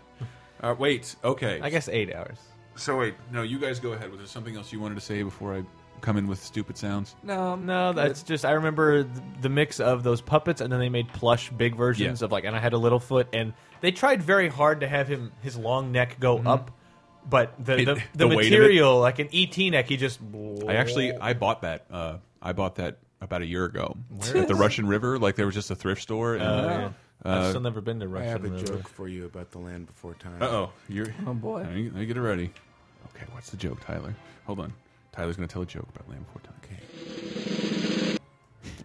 uh, wait. Okay.
I guess eight hours.
So wait. No, you guys go ahead. Was there something else you wanted to say before I come in with stupid sounds?
No,
no, that's just I remember th- the mix of those puppets, and then they made plush big versions
Yeah.
of like, and I had a little foot, and they tried very hard to have him his long neck go up, but the
Mm-hmm. It- <laughs>
the,
the
the,
weight of it.
material like an ET neck, he just
I actually I bought that. Uh, I bought that about a year ago at the Russian River. Like there was just a thrift store. And,
Oh, yeah. I've
uh,
still never been to
I
Russia.
have a
really.
joke for you about the land before time.
Uh-oh. You're,
Oh, boy.
Now you, now you get it ready. Okay, what's the joke, Tyler? Hold on. Tyler's going to tell a joke about Land Before Time.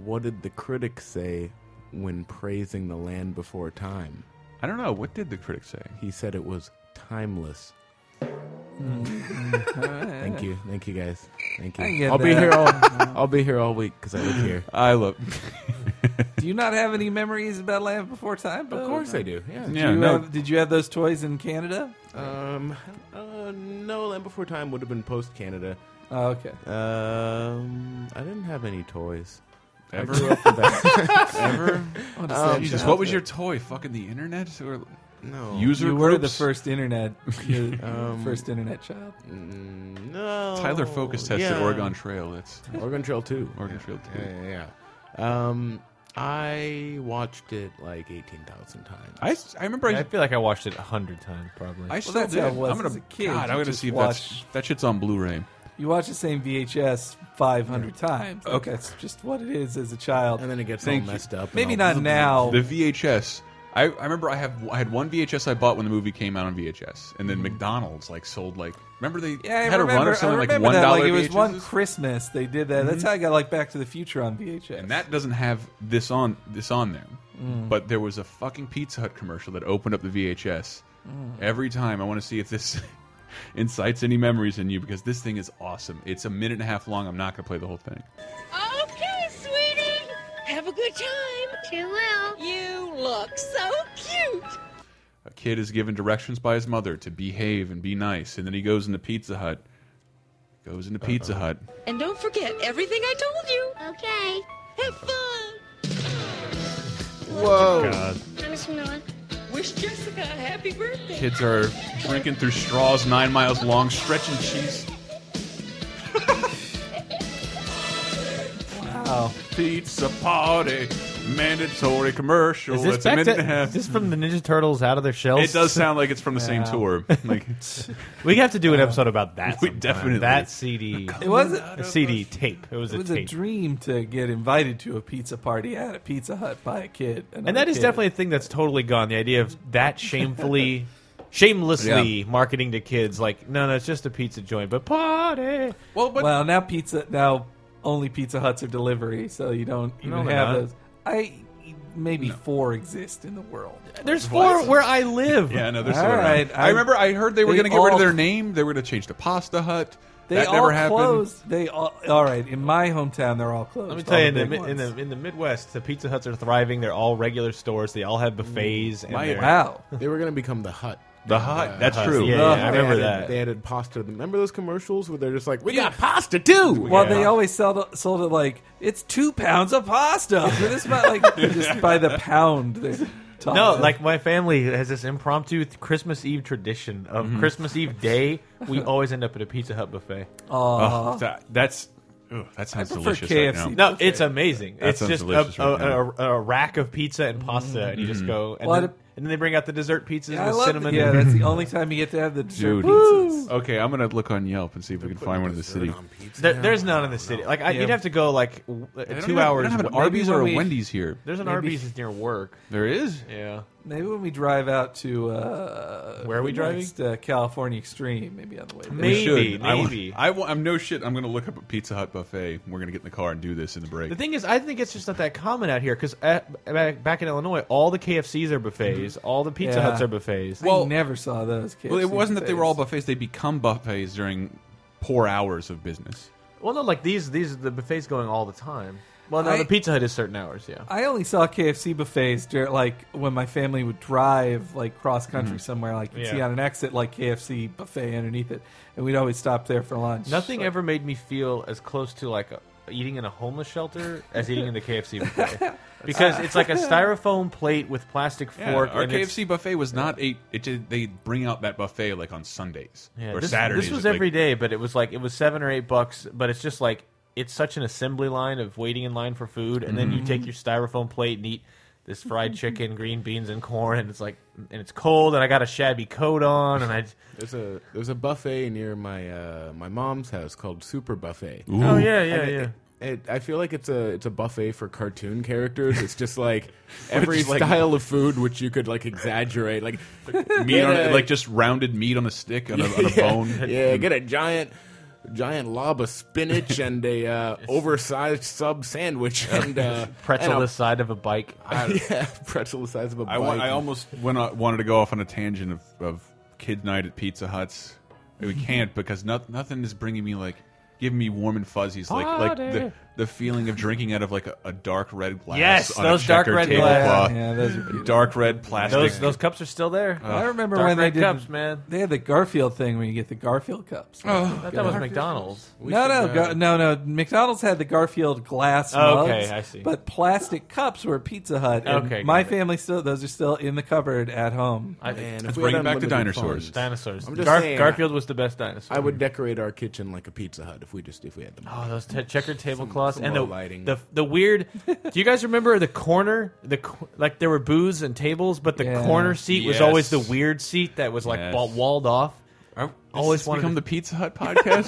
What did the critics say when praising the land before time?
I don't know. What did the critics say?
He said it was timeless. <laughs> Thank you, thank you guys, thank
Mm-hmm. I
you.
get
I'll be
that.
here all.
<laughs>
I'll be here all week because I live here.
I love. <laughs>
Do you not have any memories about Land Before Time?
Of course I do. Yeah.
Did,
Yeah,
you
no.
have, did you have those toys in Canada?
Um, uh, no, Land Before Time would have been post Canada.
Oh, okay.
Um, I didn't have any toys. I
Ever?
grew up with that.
Ever?
<laughs> What a
Um,
sad
Jesus, what was your toy? Fucking the internet or
No.
user
You were the
groups?
first
<laughs>
internet, you
Um,
first internet child.
Mm, no.
Tyler Focus tested
Yeah.
Oregon Trail. That's
Oregon Trail 2.
Oregon Trail 2.
Yeah, yeah, yeah. Um, I watched it like eighteen thousand times.
I, I remember.
I feel like I watched it a hundred times probably.
I still did. I'm gonna. God, I'm gonna see if that's, that shit's on Blu-ray.
You watch the same VHS 500 times. Like, That's just what it is as a child. And
then it gets all messed up. and
Maybe
all-
not now.
The VHS. I, I remember I have I had one VHS I bought when the movie came out on VHS, and then McDonald's like sold like remember they
Mm-hmm. Yeah, I
had
remember,
a run
I
of something like
remember
one
that.
dollar
Like it was
VHS,
one Christmas they did that. That's
Mm-hmm.
Mhm.
how I got like Back to the Future on VHS.
and that doesn't have this on this on there.
Mm.
But there was a fucking Pizza Hut commercial that opened up the VHS
Mm.
every time. I want to see if this <laughs> incites any memories in you because this thing is awesome. It's a minute and a half long. I'm not going to play the whole thing.
Okay, sweetie. Have a good time. You will. You look so cute.
A kid is given directions by his mother to behave and be nice, and then he goes into Pizza Hut. Goes into
Uh-huh.
Pizza Hut.
And don't forget everything I told you. Okay. Have fun.
Whoa. God.
Promise, Noah. Wish Jessica a happy birthday.
Kids are drinking through straws nine miles long, stretching cheese.
wow.
Pizza party, mandatory commercial.
Is this
It's a
back
minute
to-
and a half.
is this from the Ninja Turtles out of their shells?
It does sound like it's from the same
Yeah.
tour. Like
we have to do an episode about that.
We
sometime.
definitely-
that CD.
It wasn't-
a CD tape. It was
It
a
was a
tape.
dream to get invited to a pizza party at a Pizza Hut by a kid,
and that is definitely a thing that's totally gone. The idea of that shamefully, <laughs> shamelessly
Yeah.
marketing to kids, like no, no, it's just a pizza joint, but party.
Well,
but well, now pizza now only Pizza Huts are delivery, so you don't even
No, they're
have
not.
those. I maybe four exist in the world.
There's four where I live.
Yeah, no, they're
All
still around.
right,
I,
I-
remember I heard they were
they
going to get rid
all-
of their name. They were going to change to Pasta Hut.
They
that
all
never happened.
closed. They all, all right in my hometown. They're all closed.
Let me
all
tell you, in the,
big
mi- in
ones.
the in the Midwest, the Pizza Huts are thriving. They're all regular stores. They all have buffets. And
My-
they're-
They were going to become the hut.
The Hut,
Uh,
that's
Hut.
true.
Oh,
Yeah, yeah, I
They
remember
added-
that.
They added pasta. Remember those commercials where they're just like, "We got pasta too."
Well, they always sold sold it like it's two pounds of pasta for this much,
<laughs>
like just by the pound. they're talking.
Oh,
No, like my family has this impromptu th- Christmas Eve tradition of
Mm-hmm.
Mhm.
Christmas Eve day.
<laughs>
We always end up at a Pizza Hut buffet.
Aw. Oh,
that- that's ugh, that sounds
I prefer
delicious.
KFC
Right now.
No, it's amazing.
That
it's
sounds
just a,
delicious right
a,
now.
a, a rack of pizza and pasta, and you just
Mhm.
go. And,
Well,
then,
I-
and then they bring out the dessert pizzas
Yeah, I
with
love
cinnamon.
it. Yeah,
and- <laughs>
that's the only time you get to have the dessert
Dude.
pizzas.
Okay, I'm going to look on Yelp and see if we can find one in the city.
There, there's none in the city. Like I,
Yeah.
you'd have to go like w- uh,
don't
two
even- they
hours.
don't have an
w- maybe
Arby's
when
or a
we-
Wendy's here.
There's an
Maybe-
Arby's that's near work.
There is.
Yeah.
Maybe when we drive out to uh,
Where are we
the
driving?
next, uh, California Extreme, maybe on the way. there.
We should. I wa- I wa- I'm no shit. I'm going to look up a Pizza Hut buffet. We're going to get in the car and do this in the break.
The thing is, I think it's just not that common out here because back in Illinois, all the KFCs are buffets, all the Pizza
Yeah.
Huts are buffets.
I never saw those. KFC
well, it wasn't that they were
buffets.
all buffets. They become buffets during poor hours of business.
well, no, like these, these the buffets going all the time. Well, no,
I-
the Pizza Hut is certain hours. Yeah,
I only saw KFC buffets dur like when my family would drive like cross country
Mm-hmm.
Mhm.
somewhere, like you'd see
Yeah.
on an exit like KFC buffet underneath it, and we'd always stop there for lunch.
nothing ever made me feel as close to like a, eating in a homeless shelter as eating in the KFC buffet because it's like a styrofoam plate with plastic fork.
our
and it's-
KFC buffet was not a. It did, they bring out that buffet like on Sundays
Yeah,
or
this,
Saturdays.
This was
like,
every day, but it was like it was seven or eight bucks. But it's just like it's such an assembly line of waiting in line for food, and then you
Mhm.
take your styrofoam plate and eat this fried chicken, green beans, and corn, and it's like and it's cold, and I got a shabby coat on, and I
There's a there's a buffet near my uh, my mom's house called Super Buffet.
Ooh. Oh, yeah, yeah,
And it- it- I feel like it's a it's a buffet for cartoon characters. It's just like every
Which, like-
style of food which you could like exaggerate, like
meat on
get
a,
a-
like just rounded meat on a stick on a,
<laughs>
on a
<laughs> yeah,
bone.
Yeah, get a giant giant lob of spinach and a uh, oversized sub sandwich and uh,
<laughs> pretzel the
and
side of a
<laughs>
bike.
a, <laughs> yeah, pretzel the size of a
I,
bike.
wa- I almost went on, wanted to go off on a tangent of, of kid night at Pizza Huts.
<laughs>
We can't because no, nothing is bringing me like giving me warm and fuzzies like like the,
Party.
the feeling of drinking out of like a, a dark red glass.
Yes,
on a
those dark
checkered
red
tablecloth.
glass. Yeah, those are beautiful.
dark red plastic.
Those those cups are still there.
I remember
Dark
when they
red
did
cups, man.
They had the Garfield thing where you get the Garfield cups.
Oh, I thought that was
Yeah.
McDonald's. We
No,
should,
no,
uh,
Gar- no, no. McDonald's had the Garfield glass
Okay,
mugs,
I see.
But plastic cups were Pizza Hut. and
Okay,
my
got it.
family still those are still in the cupboard at home.
I- Man, if Let's we
bring had it back to unlimited dinosaurs. funds.
Dinosaurs.
I'm just
Gar-
saying,
Garfield was the best dinosaur.
I would decorate our kitchen like a Pizza Hut if we just if we had the money.
Oh, those te- checkered loss and the,
Low lighting.
the the weird. do you guys remember the corner? The co- like there were booths and tables, but the
Yeah.
corner seat was
Yes.
always the weird seat that was like
Yes.
wa- walled off.
I
always
this
wanted
become
to-
the Pizza
<laughs>
Hut podcast.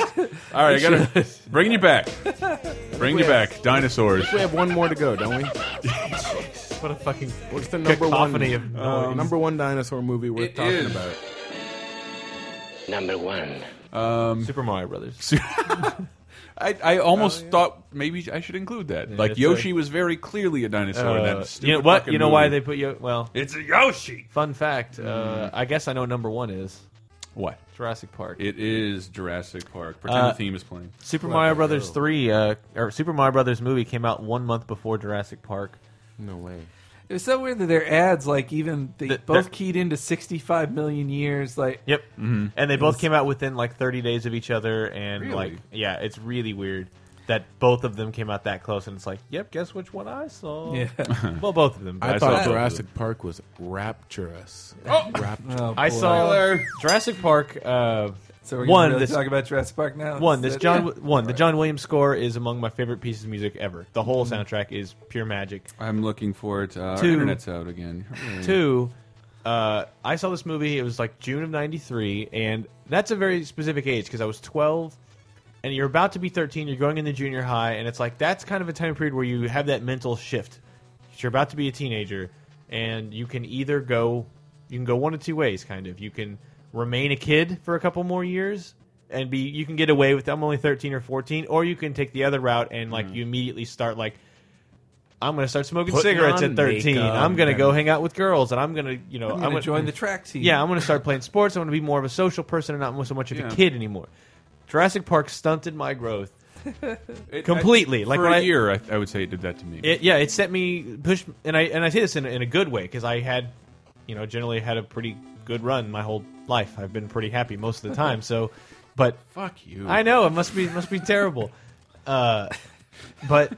All right, I gotta bringing you back, bringing you back. Dinosaurs.
We have one more to go, don't we?
what a fucking
what's the number one
cacophony of
uh,
noise.
number one dinosaur movie we're
It
talking
is.
about?
Number one. Um,
Super Mario Brothers.
I, I almost thought maybe I should include that.
Oh, Yeah,
like
it's
Yoshi was very clearly a dinosaur. in
Uh,
that E stupid
you know what?
fucking
You know why
movie. Mm.
they put you? Well,
it's a Yoshi.
Fun fact. Uh, I guess I know what number one is
what
Jurassic Park.
It is Jurassic Park. Pretend
Uh,
the theme is playing.
Super
Let
Mario
it
Brothers
go.
three uh, or Super Mario Brothers movie came out one month before Jurassic Park.
No way.
It was so weird that their ads, like even they
The-
both
the-
keyed into sixty-five million years. Like,
Yep.
Mhm.
And they
It
both
was-
came out within like 30 days of each other, and
Really?
like yeah, it's really weird that both of them came out that close, and it's like yep, guess which one I saw.
Yeah.
<laughs> well, both of them. saw
I,
both
thought
of them.
Jurassic Park was rapturous.
Oh!
Rapturous.
Oh,
I
boy.
saw Jurassic Park. Uh,
So we're gonna
one.
really
this,
talk about Jurassic Park now?
One.
Is
This
that-
John.
Yeah.
One. The John Williams score is among my favorite pieces of music ever. The whole
Mm-hmm.
Mhm.
soundtrack is pure magic.
I'm looking forward to uh, our
Two.
internet's out again. Hooray.
Two, uh, I saw this movie. It was like June of '93, and that's a very specific age because I was 12, and you're about to be 13. You're going into junior high, and it's like that's kind of a time period where you have that mental shift. You're about to be a teenager, and you can either go, you can go one of two ways. Kind of, you can remain a kid for a couple more years. And be you can get away with I'm only 13 or 14, or you can take the other route and like you immediately start like I'm going to start smoking
Putting
cigarettes
on
at 13.
makeup
I'm going to go
and-
hang out with girls, and I'm going to, you know,
I'm
<laughs>
gonna join the track team.
Yeah, I'm going to start playing sports. I'm going to be more of a social person and not so much of
Yeah.
a kid anymore. Jurassic Park stunted my growth
It- I-
completely. like
for
when
a
I-
year, I, I would say it did that to me.
it, yeah, it set me push, and I and I say this in, a- in a good way because I had, you know, generally had a pretty good run my whole life. I've been pretty happy most of the
<laughs>
time. So, but
Fuck you.
I know it must be it must be terrible, uh, but.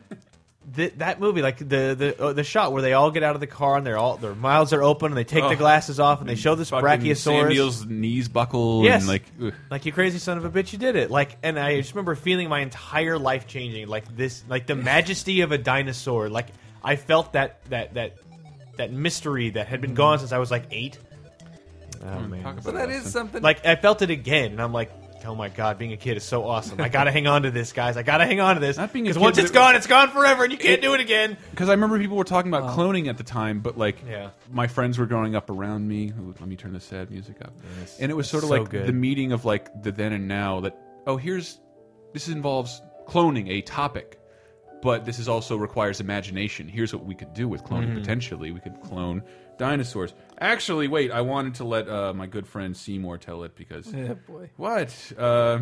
Th- that movie, like the the oh, the shot where they all get out of the car and they're all their mouths are open and they take
Oh.
the glasses off and they show this
Fucking
brachiosaurus.
Samuel's knees buckle.
Yes.
And like, ugh.
Like you crazy son of a bitch, you did it. Like, and I just remember feeling my entire life changing. Like this, like the majesty of a dinosaur. Like I felt that that that that mystery that had been
Mm.
gone since I was like eight. Oh man,
talk about Well, that it, is Austin. something-
Like I felt it again, and I'm like. Oh my god, being a kid is so awesome. I gotta hang on to this, guys. I gotta hang on to this. Not
a
because
kid,
once
but
it's
it-
gone, it's gone forever, and you can't do it again.
Because I remember people were talking about
Oh.
cloning at the time, but like
Yeah.
my friends were growing up around me. Ooh, Let me turn the sad music up.
Yes.
And it was sort of
So
like
good.
the meeting of like the then and now that, oh, here's this involves cloning a topic, but this is also requires imagination. Here's what we could do with cloning
Mhm.
potentially. We could clone dinosaurs. Actually, wait, I wanted to let uh, my good friend Seymour tell it because.
Yeah, boy.
What? Uh,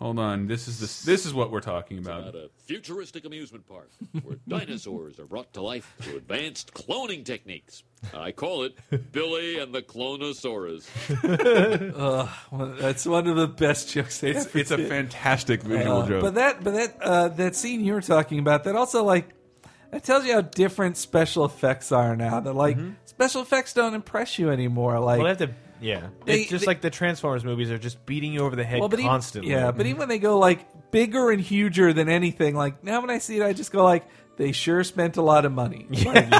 hold on. This is this. This is what we're talking about.
At a futuristic amusement park where dinosaurs are brought to life through advanced cloning techniques. I call it Billy and the Clonosaurus.
Ugh, well, <laughs> that's one of the best jokes. I
It's-
ever
it's a
did.
fantastic visual
Uh,
joke.
But that, but that, uh, that scene you were talking about, that also like that tells you how different special effects are now. That like special effects don't impress you anymore. Like
Mm-hmm. well, they have to, yeah.
They-
it's just
they-
like the Transformers movies are just beating you over the head
Well, but even-
constantly.
yeah, but even when they go like bigger and huger than anything, like now when I see it, I just go like, they sure spent a lot of money. Like,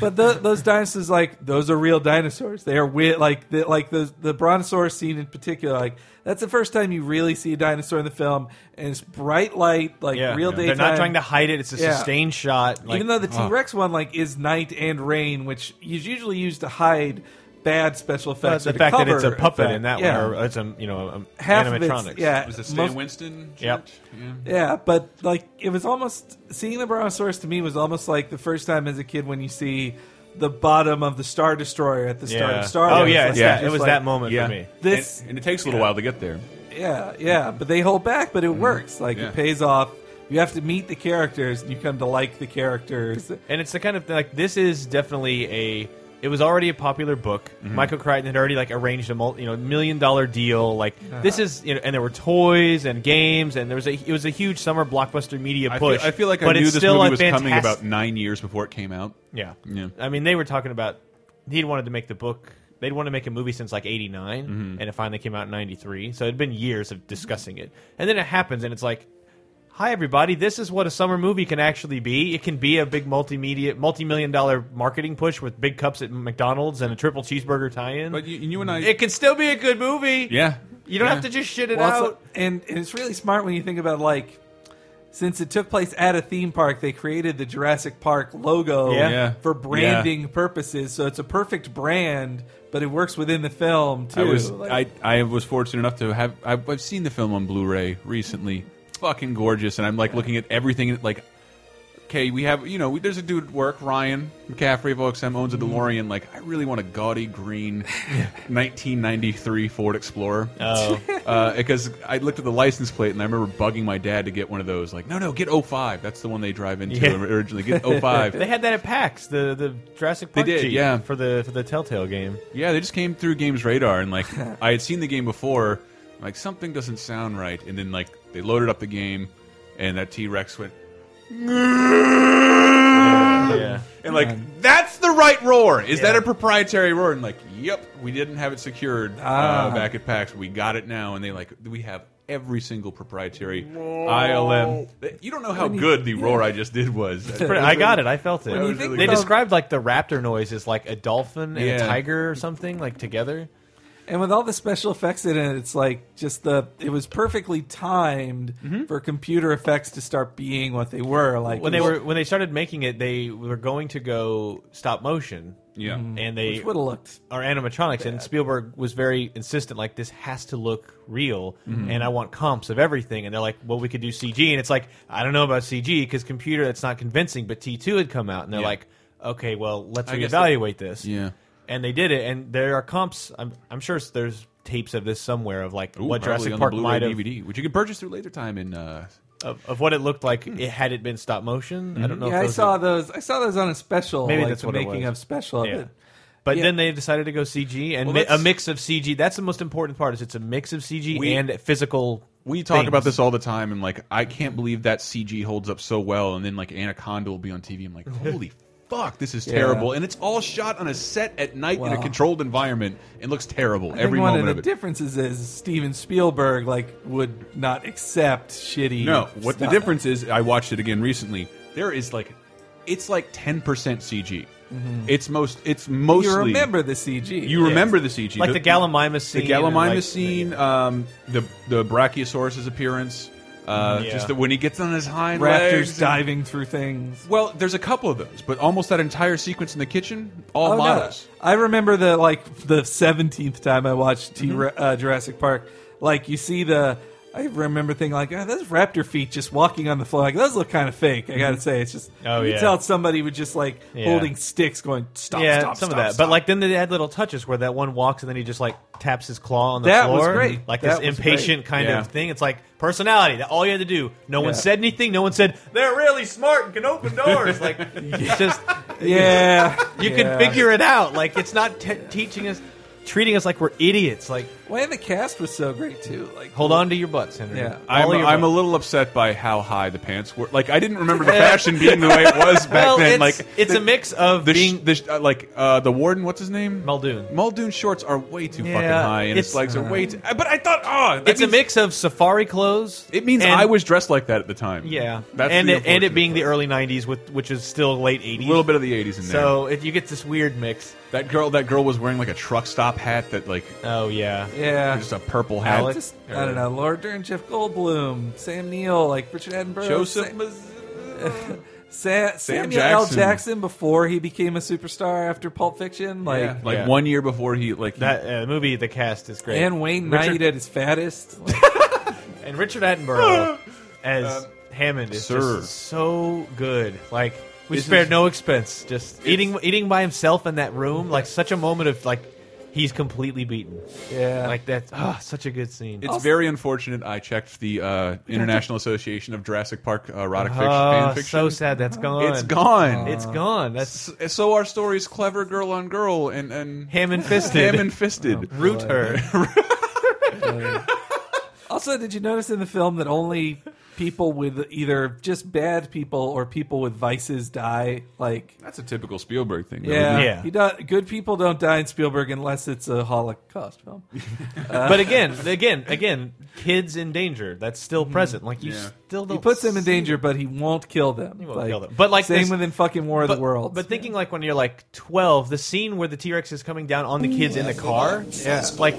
but tho- those dinosaurs, like those are real dinosaurs. They are wi- like the, like the the brontosaurus scene in particular. Like that's the first time you really see a dinosaur in the film, and it's bright light, like
Yeah.
real
Yeah. They're
daytime.
not trying to hide it. It's a sustained shot, like- uh-huh.
Even though the
Ugh.
T Rex one like is night and rain, which is usually used to hide. Bad special
Well,
effects.
the
or to
fact that it's a
cover
puppet
effect.
in that
Yeah.
one, or it's a you know um,
Half of it's-
animatronics.
yeah,
Was it Stan
most-
Winston?
Yep.
Yeah, but like it was almost seeing the Brontosaurus to me was almost like the first time as a kid when you see the bottom of the Star Destroyer at the start
Yeah.
of Star
Oh,
Wars.
yeah,
It's
yeah,
just
it was
like-
that moment for Yeah. me.
This,
and, and it takes a little while to get there.
yeah, yeah, but they hold back, but it
Mm-hmm.
works. Like
Yeah.
it pays off. You have to meet the characters, and you come to like the characters.
And it's the kind of like this is definitely a. It was already a popular book.
Mm-hmm.
Michael Crichton had already like arranged a multi, you know million dollar deal. Like
Uh-huh.
this is you know, and there were toys and games and there was a it was a huge summer blockbuster media
I feel,
push.
I feel like I
but
knew
it's
this
still
movie
a
was coming
fantastic-
about nine years before it came out.
Yeah.
Yeah.
I mean, they were talking about he'd wanted to make the book. They'd wanted to make a movie since like '89,
Mm-hmm.
and it finally came out in '93. So it'd been years of discussing it, and then it happens, and it's like, Hi everybody! This is what a summer movie can actually be. It can be a big multimedia, multi-million dollar marketing push with big cups at McDonald's and a triple cheeseburger tie-in. But
you, you and
Mm-hmm.
I,
it can still be a good movie.
Yeah,
you don't have to just shit it
Well,
out.
it's- and, and it's really smart when you think about like since it took place at a theme park, they created the Jurassic Park logo
Yeah. Yeah.
for branding purposes. So it's a perfect brand, but it works within the film too.
I was
Like,
I, I was fortunate enough to have I've, I've seen the film on Blu-ray recently. Fucking gorgeous, and I'm like looking at everything and, like. Okay, we have you know we, there's a dude at work Ryan McCaffrey of OXM owns a DeLorean. Like I really want a gaudy green 1993 Ford Explorer.
Oh.
<laughs> uh, because I looked at the license plate and I remember bugging my dad to get one of those. Like no no get 05. That's the one they drive into
Yeah.
originally. Get
<laughs>
05.
they had that at PAX, the the Jurassic
They
Park.
did,
Jeep
yeah.
for the for the Telltale game.
Yeah, they just came through Games Radar,
<laughs>
and like I had seen the game before, like something doesn't sound right, and then like they loaded up the game, and that T Rex went,
yeah,
and like that's the right roar. Is that a proprietary roar? And like, yep, we didn't have it secured
Ah.
uh, back at PAX. We got it now, and they like we have every single proprietary ILM. You don't know how
When you-
good the roar I just did
<laughs>
was.
It's pretty- I got it. I felt it.
That was really
they
good.
described like the raptor noise as like a dolphin and a
Yeah.
tiger or something like together.
and with all the special effects in it, it's like just the it was perfectly timed for computer effects to start being what they were. Like
Mm-hmm. when they were when they started making it, they were going to go stop motion.
Yeah. Mhm.
and they
Which would've looked
are animatronics. And Spielberg was very insistent, like this has to look real,
Mm-hmm.
Mhm.
and I want comps of everything. And they're like, well, we could do CG, and it's like I don't know about CG because computer that's not convincing. But T two had come out, and they're
Yeah.
like, okay, well, let's
I guess
reevaluate
that-
this.
Yeah.
and they did it, and there are comps. I'm I'm sure there's tapes of this somewhere of like
Ooh,
what
probably
Jurassic
on the
Park
Blu-ray
might have
DVD, which you can purchase through later time in. Uh,
of, of what it looked like it, had it been stop motion.
Mm-hmm.
I don't know.
Yeah,
if
I
those
saw those. I saw those on a special.
Maybe
like,
that's
the
what it
making
was.
of special. of
Yeah.
it.
But
Yeah.
then they decided to go CG and
Well,
mi- a
that's-
mix of CG. That's the most important part. Is it's a mix of CG
We-
and physical.
We talk
things.
about this all the time, and like, I can't believe that CG holds up so well. And then like Anaconda will be on TV.
<laughs>
I'm like, holy fuck, this is
Yeah.
terrible. And it's all shot on a set at night in a
Wow.
controlled environment. It looks terrible
I think
every
one
moment
of
of
the
it.
differences is Steven Spielberg like would not accept shitty.
No, what the
stuff.
difference is, I watched it again recently. There is like, it's like 10% CG.
Mhm.
It's most, it's mostly.
you remember the CG?
You remember the CG,
Like the Gallimimus
The
scene and,
Gallimimus
like,
scene, um, the the Brachiosaurus's appearance, uh,
Yeah.
just the, when he gets on his hind
Raptors
legs and-
diving through things.
Well, there's a couple of those, but almost that entire sequence in the kitchen, all
Oh, no.
models.
I remember the like the seventeenth time I watched T uh, Jurassic Park. Like you see the. I remember thinking like, oh, those raptor feet just walking on the floor. Like those look kind of fake. I gotta say, it's just
Oh,
you
yeah.
could tell somebody would just like
Yeah.
holding sticks, going stop,
yeah,
stop,
some
stop,
of that.
stop.
But like then they had little touches where that one walks and then he just like taps his claw on the
That was
floor.
great.
Like
That
this
was
impatient
great.
kind
Yeah.
of thing. It's like personality. That all you had to do. No one
Yeah.
said anything. No one said they're really smart and can open doors.
<laughs>
like it's just
Yeah.
you
Yeah.
can figure it out. Like it's not te teaching us, treating us like we're idiots. Like
why the cast was so great too. Like
hold on to your butts, Henry.
Yeah.
I'm,
All your
I'm a
butts.
little upset by how high the pants were. Like I
<laughs>
didn't remember the fashion being the way it was back
Well,
then.
it's-
like
it's
the-
a mix of
the sh-
being-
the sh- uh, like uh, the warden. What's his name?
Muldoon.
Muldoon shorts are way too fucking
Yeah,
high, and his
it's-
legs are way too. But I thought, oh, that
it's a
means-
mix of safari clothes.
It means
and-
I was dressed like that at the time.
Yeah,
that's
and
the
it, and it
unfortunate
being
part.
the early '90s, with which is still late '80s.
A little bit of the 80s in there.
So it, you get this weird mix.
That girl, that girl was wearing like a truck stop hat that like.
Oh yeah,
Yeah.
just a purple hat.
Alex?
Just, I don't know. Laura Dern, Jeff Goldblum, Sam Neill, like Richard Attenborough,
Joseph
Sam, Sa- Samuel L.
Jackson.
Jackson before he became a superstar after Pulp Fiction, like
Yeah, like
Yeah.
one year before he like he-
That uh, movie, the cast is great.
and Wayne
Richard,
Knight at his fattest.
and Richard
<laughs>
Attenborough as
Um,
Hammond is
sir.
just so good. Like we
This
spared
is-
no expense, just eating eating by himself in that room. Like such a moment of like he's completely beaten.
Yeah.
like that's ah, such a good scene.
It's very unfortunate. I checked the uh, International Association of Jurassic Park erotic fiction,
Ah,
fan fiction.
so sad that's gone.
It's gone.
It's gone. That's
S- so our story is clever girl on girl and and
Hammond fisted.
Hammond fisted.
<laughs> Oh, root
<laughs>
her.
also, did you notice in the film that only people with either just bad people or people with vices die? Like
That's a typical Spielberg thing. though,
yeah,
isn't it?
He do- good people don't die in Spielberg unless it's a Holocaust film. Uh,
Mm-hmm.
but again, again, again, kids in danger. That's still present. Like you
Yeah.
still
He
don't
puts them in danger, but he won't kill them.
He won't kill them. But like
same
this-
with in fucking War of
but,
the Worlds.
But thinking like when you're like 12, the scene where the T Rex is coming down on the kids in the car.
Yeah.
Like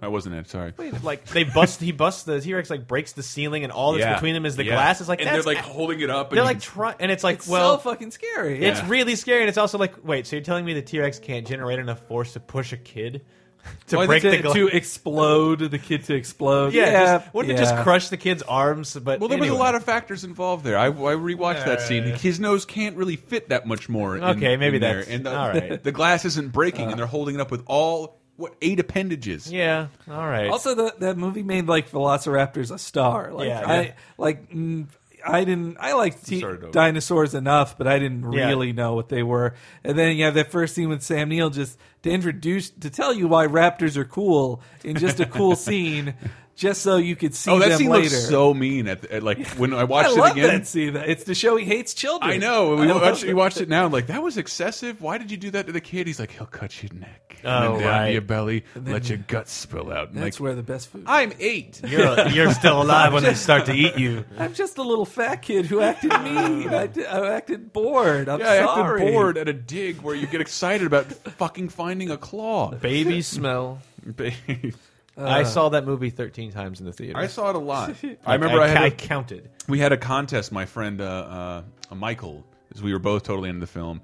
That wasn't it. Sorry.
like they bust he busts the T Rex like breaks the ceiling and all that's
Yeah.
between them is the
Yeah.
glass. It's like
And
that's-
they're, like, holding it up and
They're
you
like
can-
trying, and it's like
It's so
well,
fucking scary.
It's
Yeah.
really scary, and it's also like wait, so you're telling me the T Rex can't generate enough force to push a kid <laughs> to
Well, I
break
think
the
to,
glass?
to explode the kid to explode.
yeah,
yeah
just- wouldn't it
yeah.
just crush the kid's arms? But
Well, there was
anyway.
a lot of factors involved there. I, I rewatched that
Yeah,
scene.
yeah, yeah.
His nose can't really fit that much more. in-
Okay, maybe
in there.
that's-
And the,
all right.
<laughs>
Uh.
the glass isn't breaking, and they're holding it up with all what eight appendages.
Yeah. All right.
Also, the, that movie made like Velociraptors a star. Like
Yeah, yeah.
I like mm, I didn't. I liked t-
Started over.
dinosaurs enough, but I didn't
Yeah.
really know what they were. And then you have that first scene with Sam Neill just to introduce to tell you why raptors are cool in just
<laughs>
a cool scene, just so you could see
oh, that
them
scene
later.
looks so mean. At, the, at like when I watched
I
it
love
again.
that scene. It's to show he hates children.
I know. We
I love
watched, we
it.
watched it now. Like that was excessive. Why did you do that to the kid? He's like, he'll cut your neck,
Oh,
and then down
right.
to your belly,
And then-
let your guts spill out. And
That's
like,
where the best food.
I'm eight.
<laughs> You're, you're
<laughs>
still alive when they start to eat you.
I'm just a little fat kid who
<laughs>
acted mean. I, did, I acted bored. I'm
yeah, I
sorry.
acted bored at a dig where you get excited about fucking finding
<laughs>
a claw. <laughs>
Baby smell.
Baby.
Uh,
I saw that movie 13 times in the theater.
I saw it
<laughs>
a lot.
Like,
I remember I,
I
had a-
counted.
We had a contest. My friend uh, uh, Michael, as we were both totally into the film,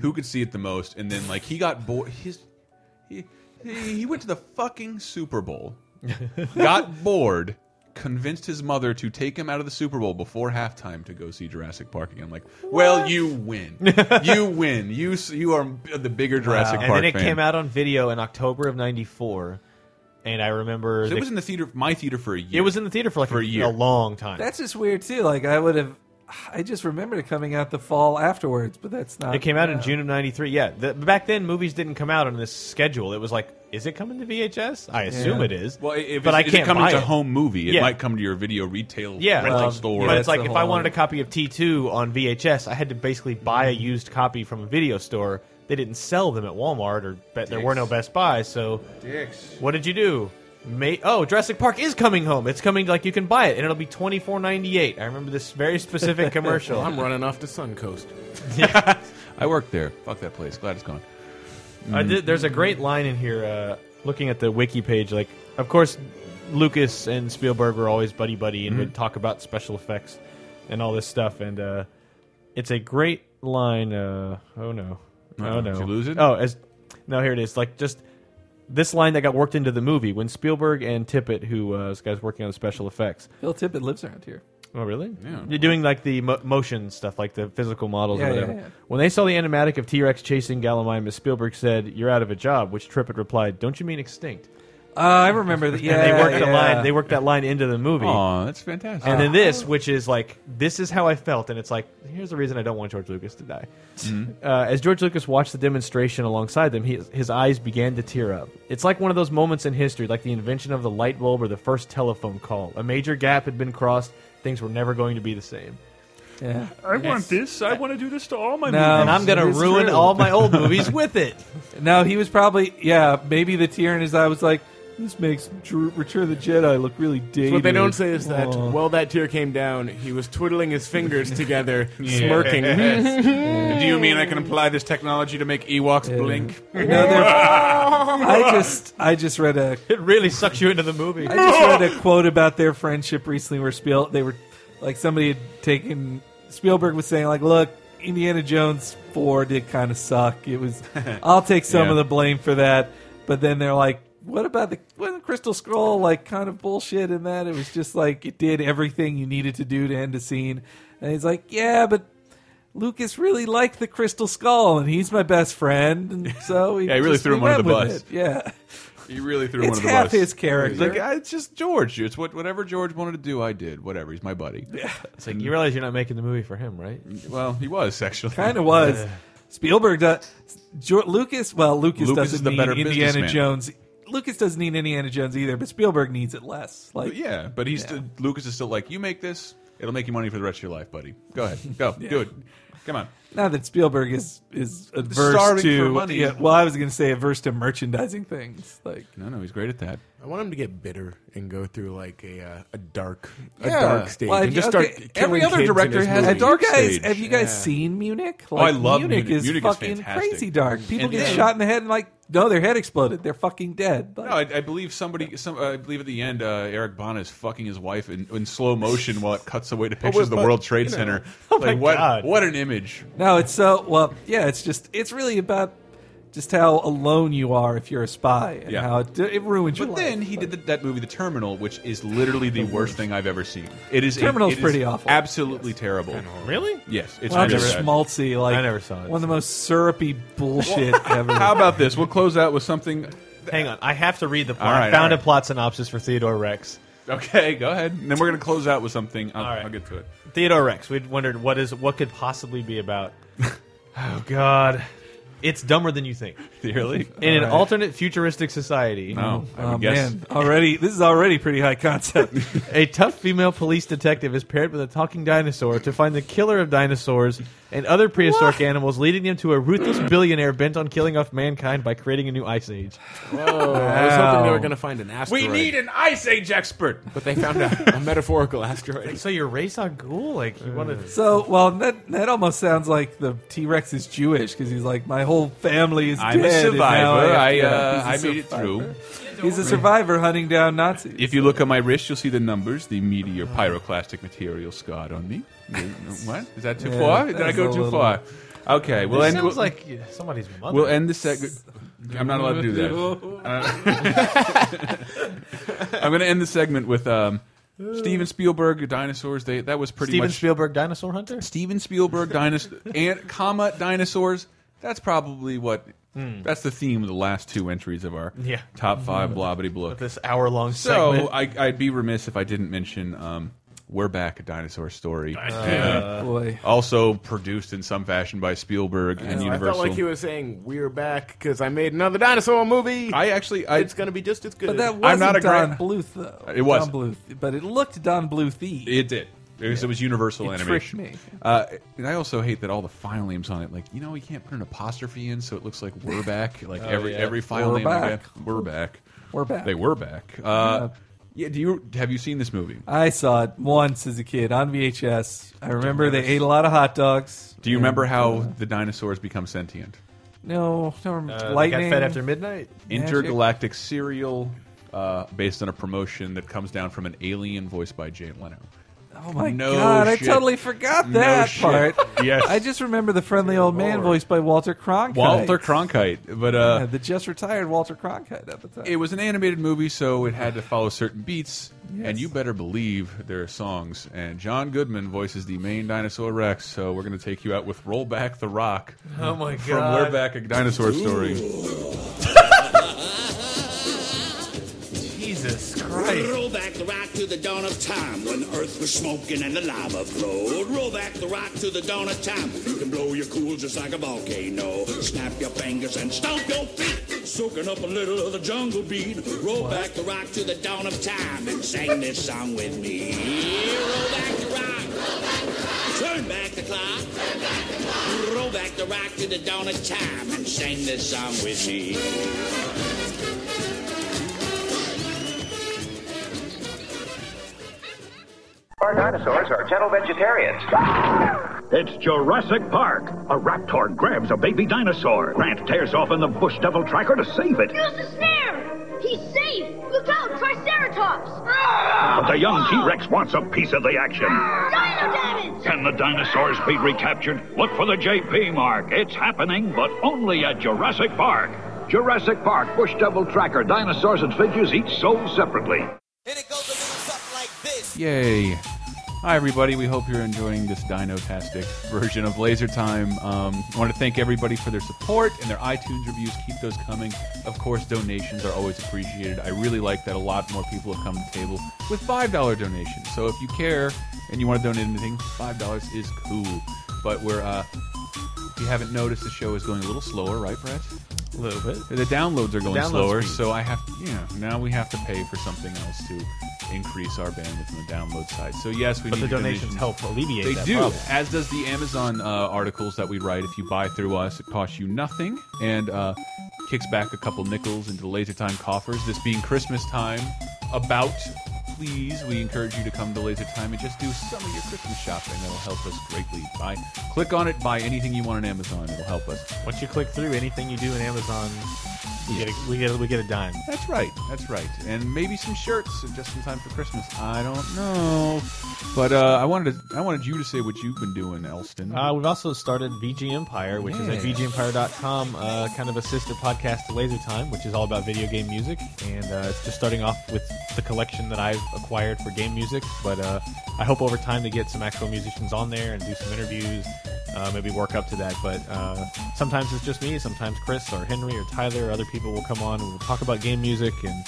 who could see it the most, and then like he got bored. His he, he he went to the fucking Super Bowl,
<laughs>
got bored. Convinced his mother to take him out of the Super Bowl before halftime to go see Jurassic Park again. I'm like, well, you win, you win, you s- you are the bigger Jurassic
and
Park.
then it
fan.
came out on video in October of 94. And I remember
So
the-
it was in the theater, my theater for a year.
It was in the theater for like
For a year.
a long time.
That's just weird too. Like I would have, I just remembered it coming out the fall afterwards, but that's not.
It came out
yeah.
in June of '93. Yeah, the, back then movies didn't come out on this schedule. It was like, is it coming to VHS? I assume
Yeah.
it is.
Well, if
but
it's,
I
if
can't
it coming
buy
to
it.
home movie, it
Yeah.
might come to your video retail
Yeah,
rental
um,
store.
But it's like
that's
if
a
I
whole-
wanted a copy of T2 on VHS, I had to basically buy a used copy from a video store. They didn't sell them at Walmart, or bet there were no Best Buys. So,
Dicks.
what did you do? Ma- oh, Jurassic Park is coming home. It's coming like you can buy it, and it'll be twenty four ninety eight. I remember this very
<laughs>
specific commercial.
I'm running off to Suncoast.
I worked there. Fuck that place. Glad it's gone.
I did, there's a great line in here. Uh, looking at the wiki page, like of course, Lucas and Spielberg were always buddy buddy and
Mhm.
would talk about special effects and all this stuff. And uh, it's a great line. Uh, oh no,
Uh-oh,
oh no,
Uh, did you lose it?
Oh, as no, here it is. Like just this line that got worked into the movie when Spielberg and Tippett, who uh, this guy's working on the special effects.
Bill Tippett lives around
<laughs>
here.
Oh really?
Yeah.
You're doing like the mo- motion stuff, like the physical models
Yeah,
or
yeah,
whatever.
yeah.
When they saw the animatic of T Rex chasing Gallimimus, Spielberg said, "You're out of a job." Which Trippett replied, "Don't you mean extinct?"
Uh, I remember that. Yeah,
<laughs> and they worked
yeah.
the line. They worked that line into the movie.
Aw, that's fantastic.
And then this, which is like, this is how I felt, and it's like, here's the reason I don't want George Lucas to die.
Mm-hmm.
Uh, as George Lucas watched the demonstration alongside them, he, his eyes began to tear up. It's like one of those moments in history, like the invention of the light bulb or the first telephone call. A major gap had been crossed. Things were never going to be the same.
Yeah.
I want this. I want to do this to all my
No.
movies.
and I'm going to
it is
ruin
true.
all my old
<laughs>
movies with it.
No, he was probably yeah. Maybe the tear in his eye was like, this makes Dr- Return of the Jedi look really dated.
So what they don't say is that
Aw.
while that tear came down, he was twiddling his <laughs> fingers together,
Yes.
<laughs> smirking.
Do you mean I can apply this technology to make Ewoks blink?
No, they're- I just I just read a
It really sucks you into the movie.
I just read a quote about their friendship recently where Spiel they were like somebody had taken Spielberg was saying like look Indiana Jones 4 did kind of suck it
<laughs>
was I'll take some
Yeah.
of the blame for that but then they're like what about the wasn't Crystal Scroll like kind of bullshit in that it was just like it did everything you needed to do to end a scene and he's like yeah but Lucas really liked the Crystal Skull, and he's my best friend, and so he
<laughs> Yeah, he really
just-
threw
we
him under
went
the
with
bus.
it. Yeah,
You really threw
It's
one of the
half
bus.
his character.
Like, I- it's just George. It's what whatever George wanted to do, I did. Whatever. He's my buddy. Yeah.
It's like, you realize you're not making the movie for him, right?
Well, he was actually
Kind of was. Spielberg does. Jo- Lucas, well, Lucas,
Lucas
doesn't
is the
need
better
Indiana
businessman.
Jones. Lucas doesn't need Indiana Jones either, but Spielberg needs it less. Like,
yeah, but he's
Yeah. <laughs>
still- Lucas is still like, you make this, it'll make you money for the rest of your life, buddy. Go ahead, go do it. Come on.
Not that Spielberg is is adverse
Starving
to
for money.
Yeah, well, I was going to say adverse to merchandising things. Like
no, no, he's great at that.
I want him to get bitter and go through like a uh, a dark a
Yeah.
dark stage
Well,
and
if
just
you-
start
okay, every
killing
other
kids in
director
his
has a
movies.
dark stage. Have you guys seen Munich?
Oh, I love Munich.
is
Munich is
fucking
fantastic.
crazy dark. People
And
get
then-
shot in the head and like no, their head exploded. They're fucking dead. Like,
No, I, I believe somebody. Some, I believe at the end, uh, Eric Bana is fucking his wife in, in slow motion while it cuts away to pictures of the
but,
World Trade
you know. <laughs>
Center.
Oh
like
my
what?
God.
What an image!
No, it's so well. Yeah, it's just it's really about just how alone you are if you're a spy and
Yeah.
how it, it ruins your
But then he did th- that movie, The Terminal, which is literally the worst thing I've ever seen. It is a-
Terminal's
it is
pretty awful.
absolutely terrible.
Really?
Yes,
It's
it's
well,
really
just <laughs>
bad.
schmaltzy, like
I never saw it,
One of the most syrupy bullshit ever.
How about this? We'll close out with something.
Hang on, I have to read the plot.
All right,
I found
all right.
a plot synopsis for Theodore Rex.
Okay, go ahead. And then we're gonna close out with something. I'll, I'll get to it. <laughs>
Theodore Rex. We'd wondered what is what could possibly be
<laughs>
about. oh God, it's dumber than you think.
Really?
In an
All right.
alternate futuristic society,
No, I would
Oh, man, already this is already pretty high
<laughs>
concept.
a tough female police detective is paired with a talking dinosaur to find the killer of dinosaurs and other prehistoric animals, leading them to a ruthless billionaire bent on killing off mankind by creating a new ice age.
Whoa, I was hoping they
Wow.
were going to find an asteroid.
We need an ice age expert.
but they found a, a metaphorical <laughs> asteroid.
So your race on ghoul, like you want to?
so, well, that that almost sounds like the T Rex is Jewish because he's like, my whole family is
I'm a
dead. and now
survivor. I,
yeah,
uh, I
he's a
made it through.
survivor. He's a survivor hunting down Nazis.
If you look at my wrist, you'll see the numbers, the
Oh.
meteor pyroclastic material scarred on me.
<laughs>
what is that too
Yeah,
far? Did
that
I
was
go
a
too
little-
far? Okay, we'll
This
end.
sounds
we'll-
like yeah, somebody's mother.
We'll end the segment. I'm not allowed to do that. Uh, <laughs> I'm going to end the segment with um, Steven Spielberg dinosaurs. They that was pretty
Steven
much
Spielberg, dinosaur hunter.
Steven Spielberg dinosaurs and comma dinosaurs. That's probably what.
Hmm.
That's the theme of the last two entries of our
Yeah.
top five
Mm-hmm.
blobbity blook.
This hour-long
So
segment.
I, I'd be remiss if I didn't mention um, we're back a dinosaur story.
Uh, boy.
Also produced in some fashion by Spielberg and
I
Universal.
felt like he was saying, "We're back because I made another dinosaur movie."
I actually, I,
it's going to be just as good.
But that wasn't
I'm not a
Don
gra-
Bluth though.
It was.
Don Bluth, but it looked Don Bluthy.
It did. It was, it was Universal
It
Animation.
tricked me.
Uh, and I also hate that all the file names on it. Like you know, we can't put an apostrophe in, so it looks like
<laughs>
we're back. Like
Oh,
every
yeah.
every file
We're
name, we
back.
got, we're back.
We're back.
They were back. Uh, yeah. Do you have you seen this movie?
I saw it once as a kid on VHS. I remember they ate a lot of hot dogs.
Do you remember how the dinosaurs become sentient?
No, no. remember.
Uh, they got
lightning.
fed after midnight?
Magic.
Intergalactic serial. Uh, based on a promotion that comes down from an alien voiced by Jay Leno.
Oh my
No
god!
shit.
I totally forgot
No
that
shit.
part.
<laughs> Yes.
I just remember the friendly old man voiced by Walter Cronkite.
Walter Cronkite, but uh,
yeah, the just retired Walter Cronkite at the time.
it was an animated movie, so it had to follow certain beats, and you better believe there are songs. And John Goodman voices the main dinosaur Rex, so we're going to take you out with "Roll Back the Rock."
Oh my
From
God.
"We're Back a Dinosaur Story."
Jesus Christ.
Roll back the rock to the dawn of time when earth was smoking and the lava flowed. Roll back the rock to the dawn of time. You can blow your cool just like a volcano. Snap your fingers and stomp your feet. Soaking up a little of the jungle beat. Roll back the rock to the dawn of time and sing this song with me. Roll back the rock. Turn back the clock. Roll back the rock to the dawn of time and sing this song with me.
uh.
Our dinosaurs are gentle vegetarians. <laughs>
It's Jurassic Park. A raptor grabs a baby dinosaur. Grant tears open the bush devil tracker to save it.
Use the snare! He's safe! Look out, Triceratops!
But the young T Rex wants a piece of the action.
Dino damage!
Can the dinosaurs be recaptured? Look for the JP mark. It's happening, but only at Jurassic Park. Jurassic Park Bush Devil Tracker. Dinosaurs and figures each sold separately.
Yay! Hi everybody. We hope you're enjoying this dinotastic version of Laser Time. Um, I want to thank everybody for their support and their iTunes reviews. Keep those coming. Of course, donations are always appreciated. I really like that a lot more people have come to the table with five dollar donations. So if you care and you want to donate anything, five dollars is cool. But we're uh, if you haven't noticed, the show is going a little slower, right, Brett?
A little bit.
The downloads are going
download
slower,
speed.
so I have, you know, now we have to pay for something else to increase our bandwidth on the download side. So yes, we
But
need
the donations help alleviate
They
that
do,
problem.
as does the Amazon uh, articles that we write. If you buy through us, it costs you nothing and uh, kicks back a couple nickels into the Laser Time coffers. This being Christmas time, about please, we encourage you to come to Laser Time and just do some of your Christmas shopping. That'll help us greatly. Buy, click on it, buy anything you want on Amazon. It'll help us.
Once you click through anything you do in Amazon, you get a, we get a, we get a dime.
That's right. That's right. And maybe some shirts just in time for Christmas. I don't know. But uh, I wanted to, I wanted you to say what you've been doing, Elston.
Uh, we've also started VG Empire, which is at
Yeah.
VGEmpire.com, uh, kind of a sister podcast to Laser Time, which is all about video game music. And uh, it's just starting off with the collection that I've acquired for game music. But uh, I hope over time to get some actual musicians on there and do some interviews, uh, maybe work up to that. But uh, sometimes it's just me, sometimes Chris or Henry or Tyler or other people will come on and we'll talk about game music and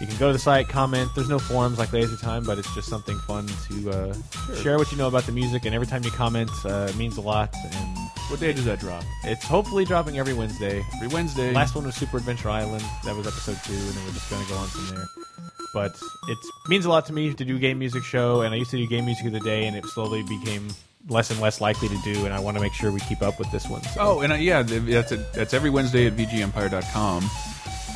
you can go to the site, comment. There's no forums like Laser Time, but it's just something fun to uh, share what you know about the music. And every time you comment, uh, it means a lot. And
what day does that drop?
It's hopefully dropping every Wednesday.
Every Wednesday.
Last one was Super Adventure Island. That was episode two, and then we're just going to go on from there. But it means a lot to me to do game music show, and I used to do game music of the day, and it slowly became less and less likely to do. And I want to make sure we keep up with this one. So
Oh, and uh, yeah, th- that's it that's every Wednesday at VGEmpire.com.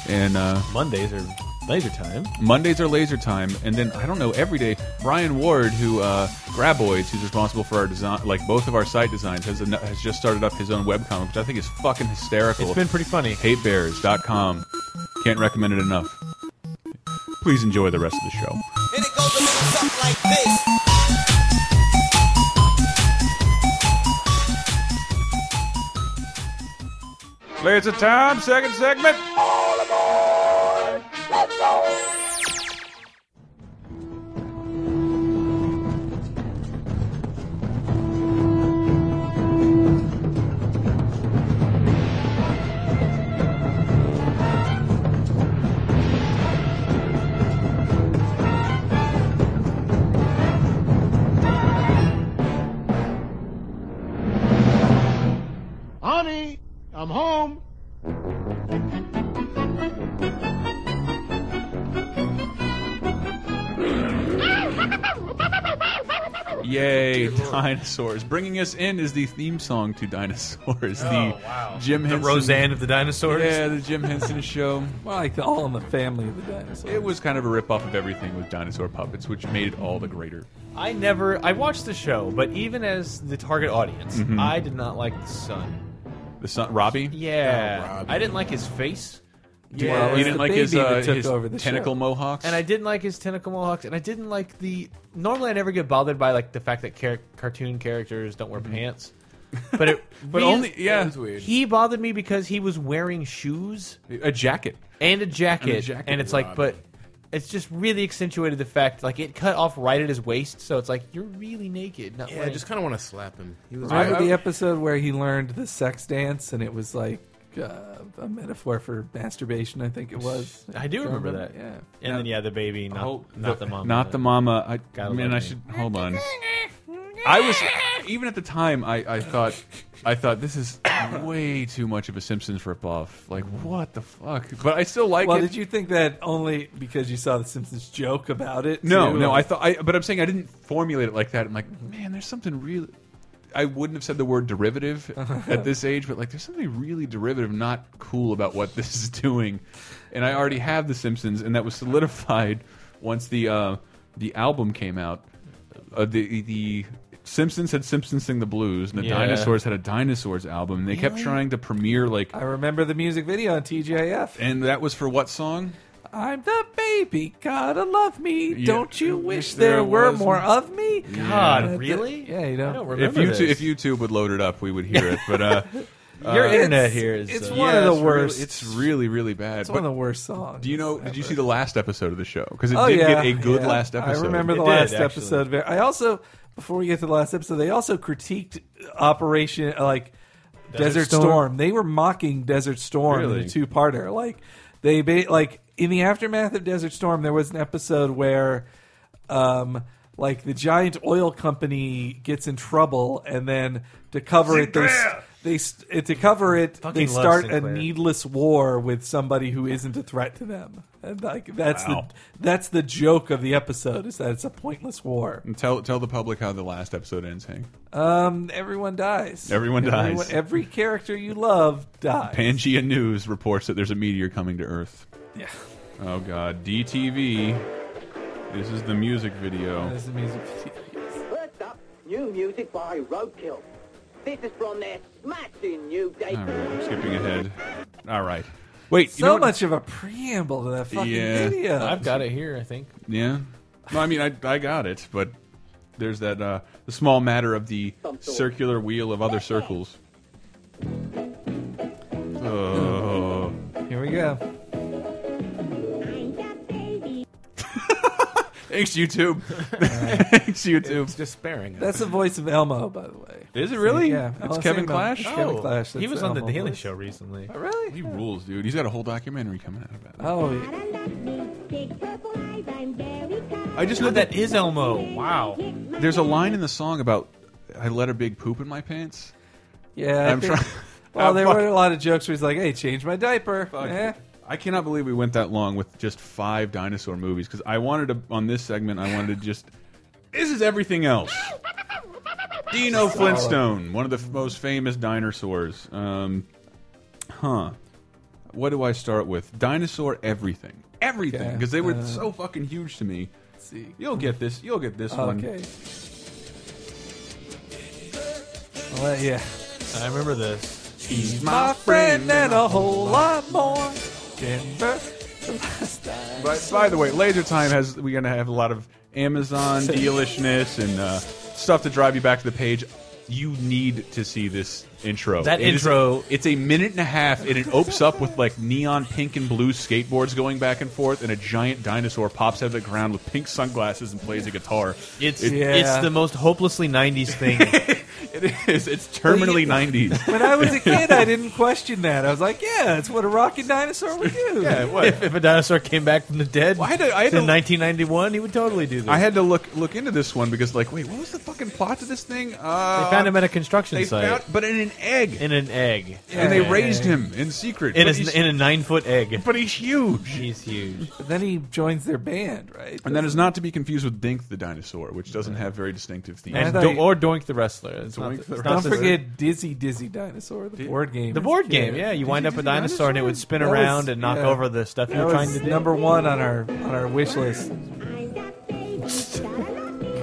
And uh,
Mondays are laser time.
Mondays are laser time, and then I don't know every day. Brian Ward, who uh, Graboids, who's responsible for our design, like both of our site designs, has an, has just started up his own webcomic, which I think is fucking hysterical.
It's been pretty funny.
Hatebears.com. Can't recommend it enough. Please enjoy the rest of the show. Laser time, second segment.
Honey, I'm home.
Yay, dinosaurs. Bringing us in is the theme song to Dinosaurs. the Jim
The
Henson.
Roseanne of the dinosaurs?
Yeah, the Jim
<laughs>
Henson show.
Well, like the All in the Family of the Dinosaurs.
It was kind of a ripoff of everything with dinosaur puppets, which made it all the greater.
I never. I watched the show, but even as the target audience,
Mhm.
I did not like the son.
The son, Robbie?
Yeah,
Oh, Robbie.
I didn't like his face.
Dude, Well, you it's didn't the like his, baby that uh, took his over the tentacle show. mohawks?
and I didn't like his tentacle mohawks, and I didn't like the. Normally, I never get bothered by like the fact that char- cartoon characters don't wear
<laughs>
pants, but it,
But only- yeah. Mm-hmm. That was weird.
he bothered me because he was wearing shoes,
a jacket,
and a jacket,
And
and,
a jacket
it's
with
like,
Robbie.
but it's just really accentuated the fact like it cut off right at his waist, so it's like you're really naked. Not
Yeah, I
wearing-
just kind of want to slap him. He was
Remember the episode where he learned the sex dance, and it was like uh, a metaphor for masturbation. I think it was.
I do remember that.
Yeah.
And then yeah, the baby, not, not the, mom.
Not the mama. I,
Gotta
man,
love me.
I should hold on. I was even at the time. I, I thought, I thought this is way too much of a Simpsons ripoff. Like what the fuck? But I still like
well,
it.
did you think that only because you saw the Simpsons joke about it?
No,
too?
no. I thought. I, but I'm saying I didn't formulate it like that. I'm like, man, there's something really. I wouldn't have said the word derivative
<laughs>
at this age, but like, there's something really derivative, not cool about what this is doing. And I already have The Simpsons, and that was solidified once the uh, the album came out. Uh, the the Simpsons had Simpsons sing the blues, and the
Yeah.
Dinosaurs had a Dinosaurs album, and they kept
Really?
trying to premiere like,
I remember the music video on TGIF.
and that was for what song?
I'm the baby, gotta love me.
Yeah.
Don't you wish
There
there, were
was-
more of me?
God,
And I thi-
really?
yeah, you know.
If you if YouTube would load it up, we would hear it. But
<laughs>
uh,
Your
uh,
internet It's- here is,
it's uh, one of the
it's
worst.
really- it's really really bad.
It's one of
But
the worst songs.
Do you know? Did you see the last episode of the show? Because it
oh,
did
yeah,
get a good
yeah.
last episode.
I remember the last episode. very- I also, before we get to the last episode, they also critiqued Operation uh, like
Desert
Desert,
Storm?
Storm. They were mocking Desert Storm in
Really?
the two parter. Like they ba- like in the aftermath of Desert Storm, there was an episode where, um. Like the giant oil company gets in trouble, and then to cover it, they s- they st- to cover it,
Fucking
they
love
start
Sinclair.
a needless war with somebody who isn't a threat to them. And like that's
Wow.
the that's the joke of the episode is that it's a pointless war.
And tell tell the public how the last episode ends, Hank.
Um, everyone dies.
Everyone dies.
Every character you love dies.
Pangea News reports that there's a meteor coming to Earth.
Yeah.
Oh God, DTV. This is the music video.
That's the music video.
First up, new music by Roadkill. This is from their smashing new debut.
All right, I'm skipping ahead. All right. Wait, you
so
know what-
much of a preamble to that fucking
Yeah.
video.
I've
got it here, I think.
Yeah. No, I mean, I, I got it, but there's that uh, the small matter of the circular wheel of other circles. Oh.
Here we go.
Thanks,
<laughs>
YouTube. Thanks, YouTube. It's
despairing.
That's the voice of Elmo, by the way.
Is it really?
Yeah,
It's
Elmo Sandman.
Kevin Clash. Oh.
It's Kevin
Oh.
Clash.
He
That's
was on the
Elmo
Daily
voice.
Show recently.
Oh, really?
He rules, dude. He's got a whole documentary coming out about it.
Oh, yeah.
I just know that is Elmo. Wow. There's a line in the song about I let a big poop in my pants.
yeah. I
I'm
think-
trying.
<laughs> Well,
I'm
there
fuck-
were a lot of jokes where he's like, "Hey, change my diaper." Eh.
I cannot believe we went that long with just five dinosaur movies because I wanted to on this segment. I wanted to just this is everything else. Dino
Just all of-
Flintstone, one of the f- most famous dinosaurs. Um, huh. What do I start with? Dinosaur everything, everything,
Okay,
because they were
uh,
so fucking huge to me.
see.
You'll get this. You'll get this
Okay.
one.
Well, yeah.
I remember this.
He's
My friend and a whole lot more. Denver, the last time.
But by the way, Laser Time has we're gonna have a lot of
<laughs>
Amazon dealishness and uh, stuff to drive you back to the page. You need to see this intro.
That
It is-
intro-
it's a minute and a half, and it opens up with like neon pink and blue skateboards going back and forth, and a giant dinosaur pops out of the ground with pink sunglasses and plays a guitar.
It's
It-
it's the most hopelessly '90s thing.
<laughs> it is. It's terminally nineties.
When I was a kid, I didn't question that. I was like, "Yeah, it's what a rocking dinosaur would do."
Yeah, <laughs> what?
If, if a dinosaur came back from the dead
I had to- I had
in
to-
1991, he would totally do this.
I had to look look into this one because like, wait, what was the fucking plot to this thing? Uh,
they found him at a construction
they
site,
found- but in an egg.
in an egg,
and they raised him in secret.
in
but
a,
he's-
in a nine foot egg.
But he's huge.
He's huge.
But then he joins their band, right?
And that is not to be confused with Dink the dinosaur, which doesn't have very distinctive themes.
And
I thought
Do-
he-
or Doink the wrestler. It's not
Doink
the-
the
it's not
Don't
the-
forget Dizzy Dizzy Dinosaur, the board game.
The
as a
board
kid.
game, yeah. You wind up a dinosaur, and it would spin
That was-
around and knock
yeah.
over the stuff
That
you were
was
trying to do.
Number one on our on our wish list.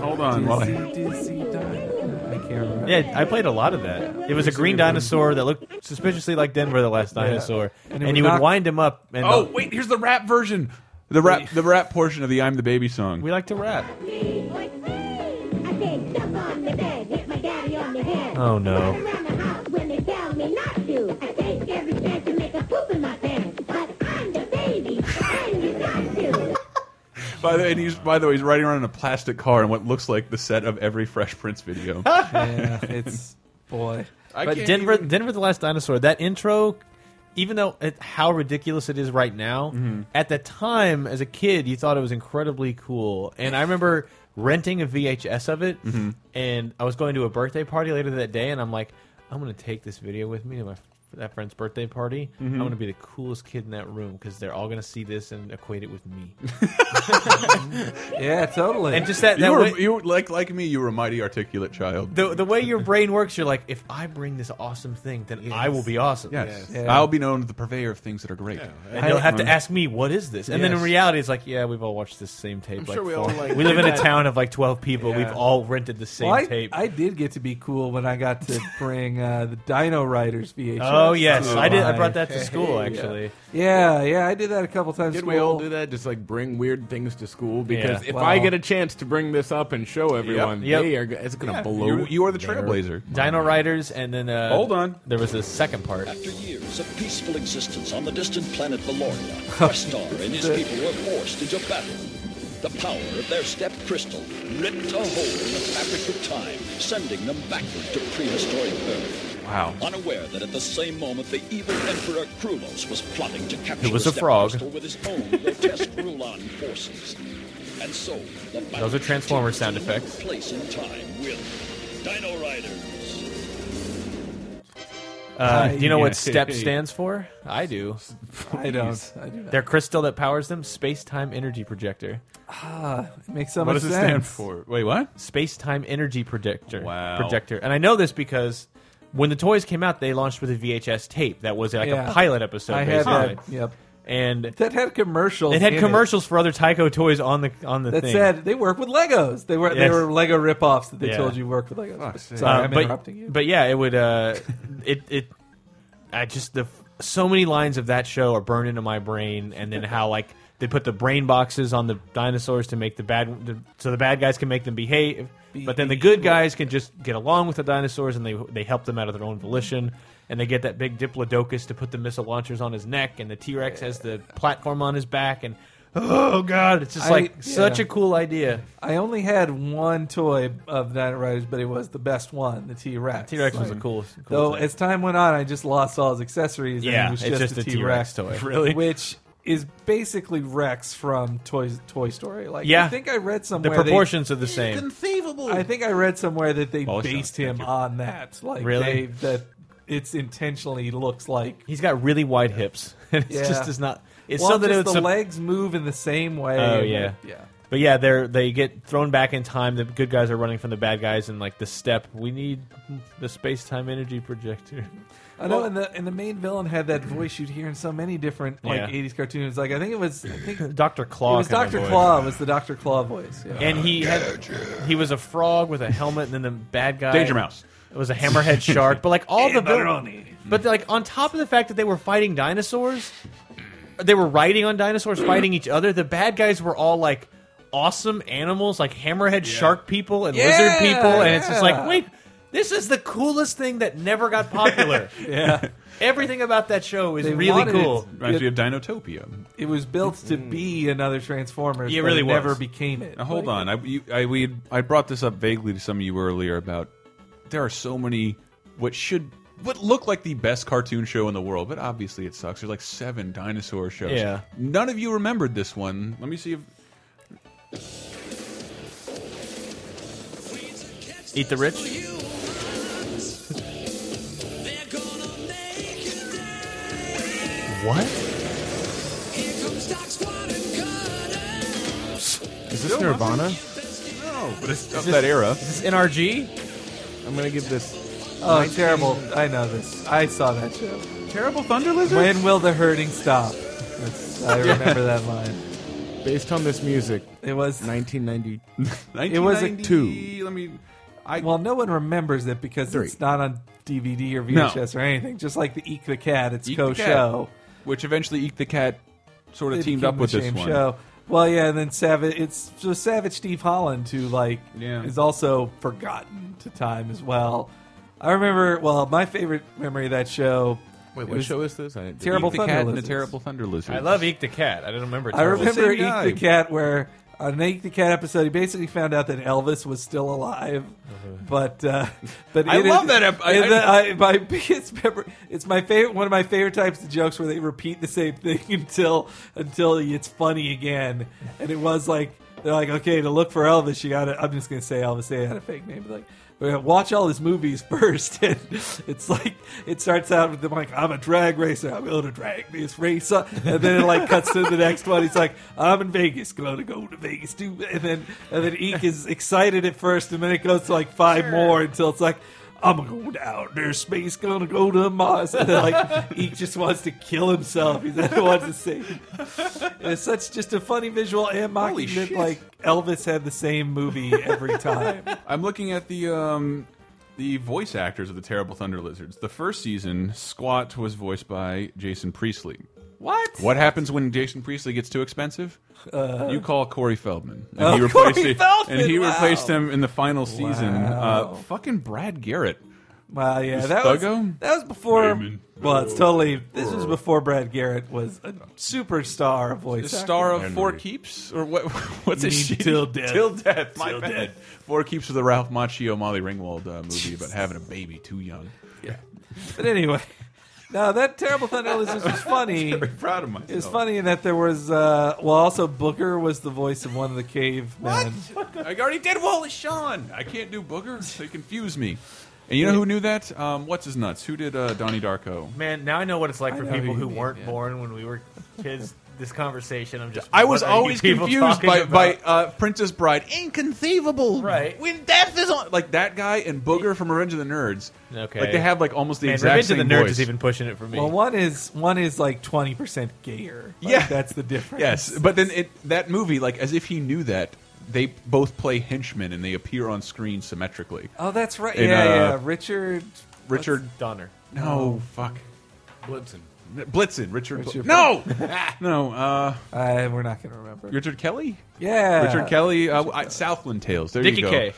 Hold on, while I-
Dizzy Dizzy Dino. I can't remember.
Yeah, I played a lot of that. It was a green dinosaur that looked suspiciously like Denver the last dinosaur,
Yeah.
and,
And it would
you would
knock-
wind him up. And
oh wait, here's the rap version. The rap, the rap portion of the "I'm the Baby" song.
we like to rap. Oh no!
By the way, and he's by the way, he's riding around in a plastic car in what looks like the set of every Fresh
<laughs>
Prince video.
yeah, it's boy.
I
but
can't
Denver,
even-
Denver the Last Dinosaur. That intro, even though it, how ridiculous it is right now,
Mm-hmm.
at the time as a kid, you thought it was incredibly cool. And I remember renting a VHS of it,
Mhm.
and I was going to a birthday party later that day, and I'm like, I'm going to take this video with me to my that friend's birthday party.
Mhm.
I'm going to be the coolest kid in that room because they're all going to see this and equate it with
<laughs>
me.
Yeah, totally.
and just that, that
you were,
way,
you were- like like me. You were a mighty articulate child.
the, the way your brain works, you're like, if I bring this awesome thing, then I will be awesome.
Yes,
Yeah.
I'll be known as the purveyor of things that are great.
And they'll have to
Um,
ask me, what is this? And then in
Yes.
reality, it's like, yeah, we've all watched this same tape.
sure we all,
four-
like,
we live in a
<laughs> did that.
town of like 12 people.
Yeah.
We've all rented the same
Well, I,
tape.
I did get to be cool when I got to bring uh, the Dino Riders VHS.
oh, yes.
to
I did. I
my-
brought that to school,
Hey,
actually.
Yeah, yeah, I did that a couple times.
Did
school.
we all do that? Just like bring weird things to school because
Yeah.
if
Wow.
I get a chance to bring this up and show everyone,
Yep.
they are go- it's gonna
Yeah,
blow.
you- you are the
their-
trailblazer.
Dino Riders, and then. Uh,
Hold on.
There was a second part.
After years of peaceful existence on the distant planet Valoria,
<laughs>
Questar and his people were forced into battle. The power of their step crystal ripped a hole in the fabric of time, sending them backward to prehistoric Earth.
Wow.
Unaware that at the same moment the evil Emperor Krulos was plotting to capture
was
the
a
step
frog.
crystal with his
<laughs>
own grotesque Rulon forces. And so, the battle
Those are Transformer
continues
sound
to take
effects.
Place in time with Dino Riders.
Uh, do you know
Yeah. <laughs>
what STEP stands for? I do.
I don't. I do not.
Their crystal that powers them, space time energy projector.
Ah, it makes so
what
much
does
sense.
it stand for? Wait, what? Space time energy projector.
Wow.
Projector. And I know this because when the toys came out, they launched with a VHS tape that was like
Yeah.
a pilot episode.
I had
basically.
that, yep.
And
that had commercials.
It had
in
commercials for other Tyco toys on the on the
That
thing.
said, they work with Legos. They were they
Yes.
were Lego ripoffs that they
Yeah.
told you worked with Legos.
Uh,
Sorry, I'm
but,
interrupting you.
But yeah, it would. Uh,
<laughs>
it it. I just the so many lines of that show are burned into my brain, and then how like they put the brain boxes on the dinosaurs to make the bad the, so the bad guys can make them behave, but then the good guys can just get along with the dinosaurs, and they they help them out of their own volition. And they get that big Diplodocus to put the missile launchers on his neck, and the T Rex has the platform on his back, and oh god, it's just
I-
like
yeah.
such a cool idea.
I only had one toy of Dino Riders, but it was the best one, the T Rex.
T-Rex was the coolest- coolest
Though
thing.
as time went on, I just lost all his accessories. and
Yeah,
it was
it's
just,
just
a
a
T
T-Rex
Rex
toy. <laughs> Really?
which is basically Rex from Toy Toy Story. Like,
Yeah.
I think I read
The
somewhere
proportions
they,
are the same.
Inconceivable. I think I read somewhere that they based him on that. Like,
Really?
they, that it's intentionally looks like
He's got really wide hips, <laughs> and it's
Yeah.
just is not. It's
well,
so that
just
it's a-
the legs move in the same way.
Oh
and
yeah,
it- yeah.
But yeah, they're they get thrown back in time. The good guys are running from the bad guys, and like the step, we need the space time energy projector. <laughs>
I know, and the and the main villain had that voice you'd hear in so many different like
Yeah.
'80s cartoons. Like I think it was I
<laughs>
think
Doctor Claw.
It was
kinda
Doctor
voice.
Claw. Was the Doctor Claw voice? yeah.
and he had he was a frog with a helmet, and then the bad guy
Danger Mouse.
It was a hammerhead shark, but like
<laughs>
all the vill-
Baroni.
but like on top of the fact that they were fighting dinosaurs, they were riding on dinosaurs, fighting each other. The bad guys were all like awesome animals, like hammerhead shark people and lizard
Yeah,
people, and it's just like
yeah.
wait, this is the coolest thing that never got
<laughs>
popular.
Yeah.
everything about that show is
They
really
wanted
cool.
Reminds me of Dinotopia.
It was built to be another Transformers.
Mm-hmm. Yeah, it
but
really
it
was.
never became it.
Now, hold
Like,
on, I, you, I we I brought this up vaguely to some of you earlier about there are so many what should what look like the best cartoon show in the world, but obviously it sucks. There's like seven dinosaur shows.
Yeah.
none of you remembered this one. Let me see if
Eat the rich. What?
Is this Nirvana?
No, but it's this-
of
that era.
Is this NRG?
I'm gonna give this.
Oh,
19
terrible! I know this. I saw that show.
terrible Thunder Lizard.
When will the hurting stop? That's, I
Yeah.
remember that line.
Based on this music,
it was
1990.
It was a
1990 Let me.
well, no one remembers it because
Three.
it's not on DVD or
No.
VHS or anything. Just like the Eek the Cat, it's
Eek
co
the Cat,
show.
which eventually Eek the Cat sort of
They
teamed
became
up with
the
this
same
one.
show. Well, yeah, and then Savage. It's so Savage Steve Holland, who like
Yeah.
is also forgotten to time as well. I remember. Well, my favorite memory of that show.
Wait,
it
what
was
show is this? I didn't-
Terrible
Eek the
Thunder
Cat and the
Lizards.
Terrible Thunder Lizard.
I love Eek the Cat. I don't remember.
I
Terrible
remember
Same
Eek
guy.
the Cat, where on an Eek the Cat episode, he basically found out that Elvis was still alive. But uh, <laughs> but
Uh-huh. I
it
love
is-
that ep- I-
and the-
I-
I- my <laughs> biggest memor- It's my favorite. One of my favorite types of jokes where they repeat the same thing <laughs> until until it's funny again. And it was like they're like, okay, to look for Elvis, you got to. I'm just gonna say Elvis. They had a fake name, but like. we gotta Watch all his movies <laughs> first, and it's like it starts out with them like I'm a drag racer, I'm going to drag this race up, and then it like cuts to the next one. He's like, I'm in Vegas, going to go to Vegas too, and then and then Eek is excited at first, and then it goes to like five more until it's like I'm going to outer space, gonna go to Mars. And then, like he just wants to kill himself. He doesn't want to see. And it's such just a funny visual and mocking that like Elvis had the same movie every time.
I'm looking at the um, the voice actors of the Terrible Thunder Lizards. The first season, Squat was voiced by Jason Priestley.
What?
What happens when Jason Priestley gets too expensive?
Uh.
you call Corey Feldman, and
Oh,
he replaced
Corey
it,
Feldman,
and he
wow.
replaced him in the final season.
Wow.
Uh, fucking Brad Garrett.
Wow, yeah,
This
that was
thuggo?
that was before.
Raymond.
Well, it's totally. This was before Brad Garrett was a superstar voice.
The star
actor.
of Four Keeps, or what? <laughs> What's
You
it?
mean Till Death.
Till death. My
Till
bad.
Death.
Four Keeps of the Ralph Macchio, Molly Ringwald uh, movie about having a baby
<laughs>
too young. Yeah.
But anyway, <laughs> no, that terrible Thunder Lizards was funny.
Very proud of myself.
It was funny in that there was. Uh, well, also Booker was the voice of one of the cavemen.
I already did Wallace Shawn. I can't do Booger. They confuse me. And you know who knew that? Um, what's his nuts? Who did uh, Donnie Darko?
Man, now I know what it's like
I
for
know
people
who you
who
mean,
weren't
yeah.
born when we were
<laughs>
kids. This conversation, I'm just.
I was
what are you
always
people
confused
talking
by,
about?
by uh, Princess Bride. Inconceivable.
Right.
When death is on. Like that guy and Booger from Revenge of the Nerds.
Okay.
Like they have like almost the
Man,
exact
Revenge
same
of the Nerds
voice.
is even pushing it for me.
Well, one is one is like twenty percent gayer. Like,
yeah,
that's the difference.
<laughs> Yes, but then it, that movie, like as if he knew that, they both play henchmen and they appear on screen symmetrically.
Oh, that's right.
In,
yeah,
uh,
yeah. Richard.
Richard
Donner. Oh.
No, fuck.
Blitzen.
Blitzen. Richard.
Richard-
no, no. <laughs> Uh,
we're not gonna remember.
Richard Kelly.
Yeah.
Richard Kelly. Uh, I- Southland Tales. There
Dicky
you go.
K.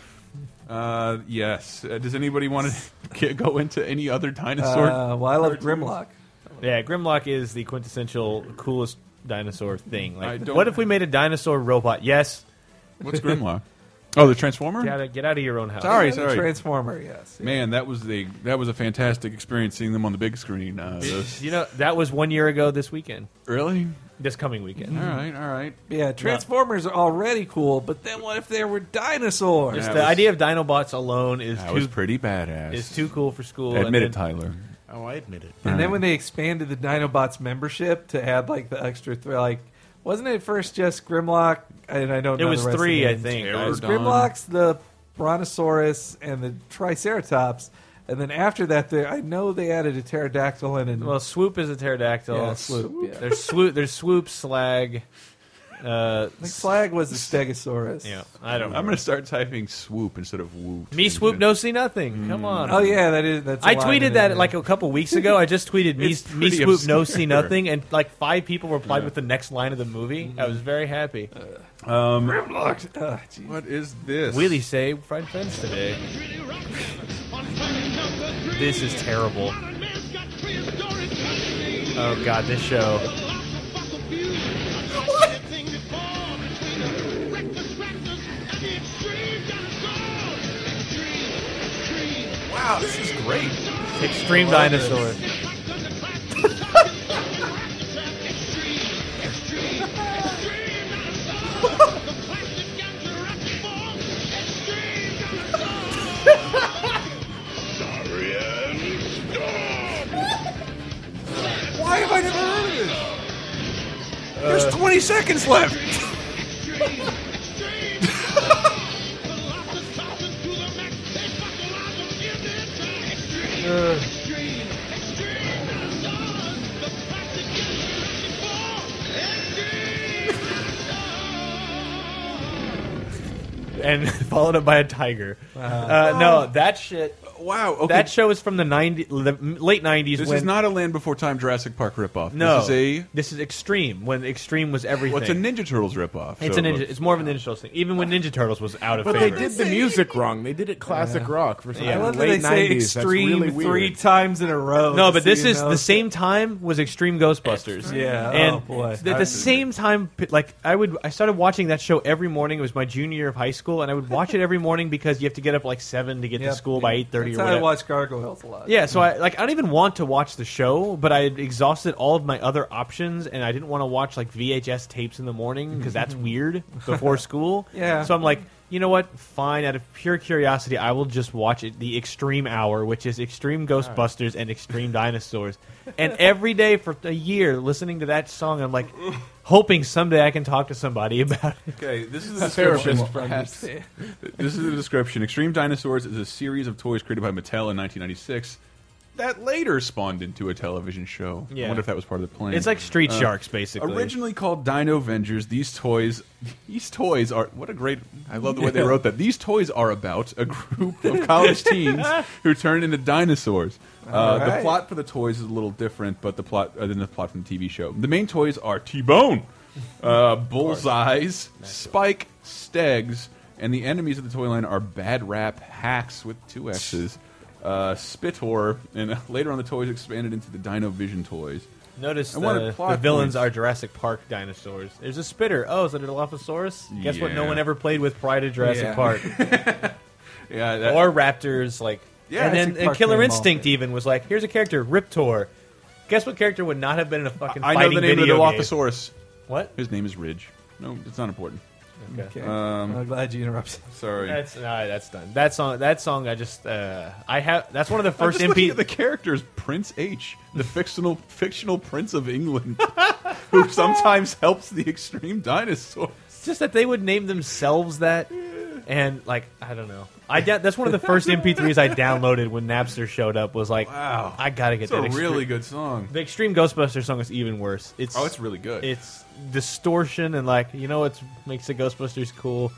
Uh, yes. Uh, does anybody <laughs> want to go into any other dinosaur?
Uh, well, I love Grimlock.
Yeah, Grimlock is the quintessential coolest dinosaur thing.
I
Like,
don't-
what if we made a dinosaur robot? Yes.
What's Grimlock? Oh, the Transformer.
Get out of, get out of your own house.
Sorry, sorry.
Transformer, yes.
Man, that was the that was a fantastic experience seeing them on the big
<laughs>
screen. Uh, those-
You know that was one year ago this weekend.
Really?
This coming weekend.
All right, all right.
Yeah, Transformers are already cool, but then what if there were dinosaurs?
Just the idea of Dinobots alone is
That
too
was pretty badass.
Is too cool for school.
Admit
and
it,
then-
Tyler.
Oh, I admit it.
And then when they expanded the Dinobots membership to add like the extra three, like wasn't it first just Grimlock? And I don't.
It
know
was
the rest of
three,
the
I
names.
think.
It
Pterodon.
was Grimlock's the Brontosaurus and the Triceratops, and then after that, there I know they added a pterodactyl and an,
Well, Swoop is a pterodactyl.
Yeah, Swoop, yeah.
There's Swoop. There's Swoop Slag. Uh,
I think Slag was the Stegosaurus.
Yeah, I don't.
I'm going to start typing swoop instead of whoop.
Me swoop no see nothing.
Mm.
Come on.
Oh, yeah, that is- that's a
I
line in
tweeted that
there.
like a couple weeks ago. I just
<laughs>
tweeted me,
It's
me
pretty
swoop no
obscure.
see nothing, and like five people replied
Yeah. Mm-hmm.
with the next line of the movie. I was very happy.
Um,
Grimlocked. Ah, jeez.
what is this?
Willie say fried friends today. This is terrible. Oh god, this show.
Wow, this is great.
<laughs> Extreme
Love
dinosaur. <laughs>
Why have I never heard of this? There's 20 seconds left.
and followed up by a tiger.
Wow.
Uh, no, that shit.
Wow. okay.
That show is from the 90, the late 90s.
This
when,
is not a Land Before Time Jurassic Park ripoff.
No.
This is a.
This is Extreme, when Extreme was everything.
Well, it's a Ninja Turtles ripoff.
It's
so
a ninja. It's more of a Ninja Turtles thing. Even when Ninja Turtles was out of
But they
favor,
did the music wrong. They did it classic rock for some
I love that
late
they say extreme
90s. That's really weird.
three times in a row.
No,
to
but
see
this
who
is the
knows.
same time was Extreme Ghostbusters.
Yeah,
and
oh, boy.
at the same time, p- like I would, I started watching that show every morning. It was my junior year of high school, and I would watch it every morning because you have to get up like seven to get
Yep.
to school by eight thirty
That's
or
how I
whatever.
watch Gargoyles a lot.
Yeah, so I like I don't even want to watch the show, but I had exhausted all of my other options, and I didn't want to watch like VHS tapes in the morning because that's weird before school.
Yeah.
So I'm like, you know what? Fine. Out of pure curiosity, I will just watch it, the Extreme Hour, which is Extreme Ghostbusters and Extreme Dinosaurs, and every day for a year, listening to that song, I'm like, hoping someday I can talk to somebody about it.
Okay, this is
A
the description. <laughs>
therapist, perhaps.
this is the description. Extreme Dinosaurs is a series of toys created by Mattel in 1996 that later spawned into a television show. I
Yeah.
wonder if that was part of the plan.
It's like Street Sharks, basically.
Originally called Dino Avengers, these toys, these toys are what a great. I love the way they
Yeah.
wrote that. These toys are about a group <laughs> of college teens who turn into dinosaurs. Uh,
All
The
right.
plot for the toys is a little different, but the plot uh, than the plot from the TV show. The main toys are <laughs> T-Bone, uh, Bullseyes, Spike, Stegs, and the enemies of the toy line are Bad Rap, Hacks with two X's, uh, Spitor, and <laughs> later on the toys expanded into the Dino Vision toys.
Notice
I
the,
wanted plot
the villains
points.
are Jurassic Park dinosaurs. There's a spitter. Oh, is it a Dilophosaurus? Guess what? No
Yeah.
one ever played with Pride of Jurassic
Yeah. <laughs>
Park.
yeah,
or Raptors. Like,
Yeah,
and then
Jurassic
and
Park
Killer
came
Instinct
off
even was like, here's a character, Riptor. Guess what character would not have been in a fucking
I know
fighting
the name of the
video game?
Dilophosaurus.
What?
His name is Ridge. No, it's not important.
Okay. Um, I'm glad you interrupted.
Sorry.
That's no, that's done. That song. That song. I just. Uh, I have. That's one of the
<laughs> I'm
first
just looking
MP.
at the characters Prince H, the fictional fictional prince of England, <laughs> who sometimes helps the extreme dinosaurs.
just that they would name themselves that, and like I don't know. I da- that's one of the first MP3s
<laughs>
I downloaded when Napster showed up. Was like,
Wow.
I gotta get
It's
that.
a
extreme-
really good song.
The Extreme Ghostbusters song is even worse. It's
Oh, it's really good.
It's distortion and like you know what makes the Ghostbusters cool.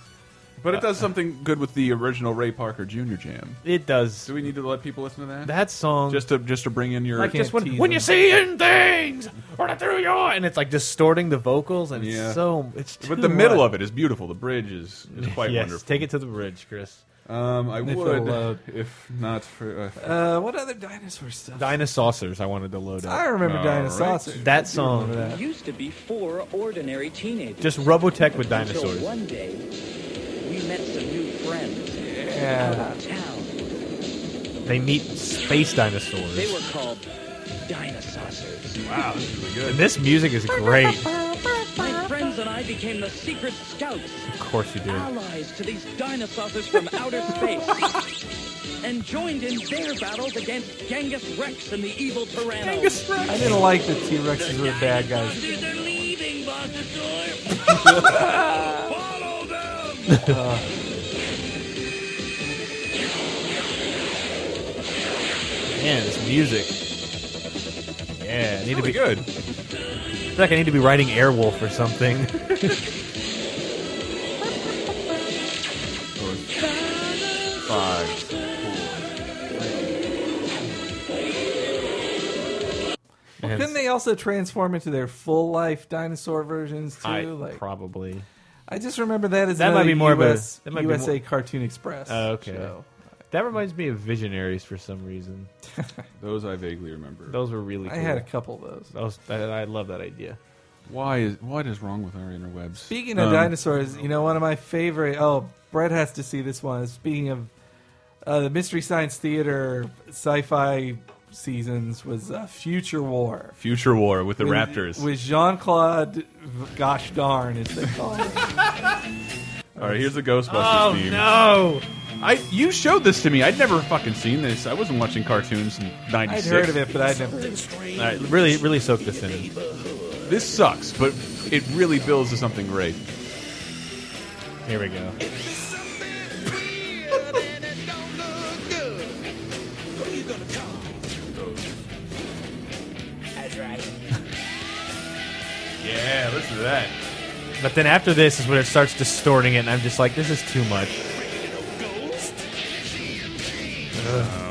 But
uh,
it does something good with the original Ray Parker Jr. jam.
It does.
Do we need to let people listen to that?
That song
just to just to bring in your
like just when, when you're seeing things or through your and it's like distorting the vocals and
Yeah.
it's so it's too
but the middle
much.
of it is beautiful. The bridge is, is quite
uh, yes,
wonderful.
Take it to the bridge, Chris.
Um, I
They feel
would
loud.
if not for uh,
Uh, what other dinosaur stuff?
Dinosaurs. I wanted to load up.
I remember
All
Dinosaurs.
right. That song.
There used to be four ordinary teenagers.
Just Robotech with
Until
dinosaurs.
one day, we met some new friends.
Yeah.
Out of town.
They meet space dinosaurs.
They were called dinosaurs.
Wow, this is really
And this music is great.
My friends and I became the secret scouts,
Of course you do.
allies to these dinosaurs from outer space, and joined in their battles against Genghis Rex and the evil Tyrannos. Genghis Rex.
I didn't like the T Rexes were bad guys.
They're leaving,
<laughs>
Bosasaur.
Uh,
Man, this music. Yeah, I need to be
good. I
feel like I need to be writing Airwolf or something.
four, five, four,
well,
And-
couldn't they also transform into their full life dinosaur versions too?
I
like
probably.
I just remember that as
That might be more
another
of a-
US,
that might be more-
USA Cartoon Express.
Oh, okay.
show.
That reminds me of Visionaries for some reason.
Those I vaguely remember.
Those were really.
I
Cool.
had a couple of those.
Those- that- I love that idea.
Why is what is wrong with our interwebs?
Speaking of
Um,
dinosaurs, you know one of my favorite. Oh, Brett has to see this one. Speaking of uh, the Mystery Science Theater sci-fi seasons was uh, Future War.
Future War with the
With-
Raptors.
With Jean Claude, gosh darn, as they call him.
All right, here's the Ghostbusters
Oh,
theme.
no.
I you showed this to me. I'd never fucking seen this. I wasn't watching cartoons in '96.
I'd heard of it, but I'd never.
All
right, really, really soak this in.
This sucks, but it really builds to something great.
Here we go.
That's right.
Yeah, listen to that.
But then after this is when it starts distorting it, and I'm just like, this is too much.
Oh.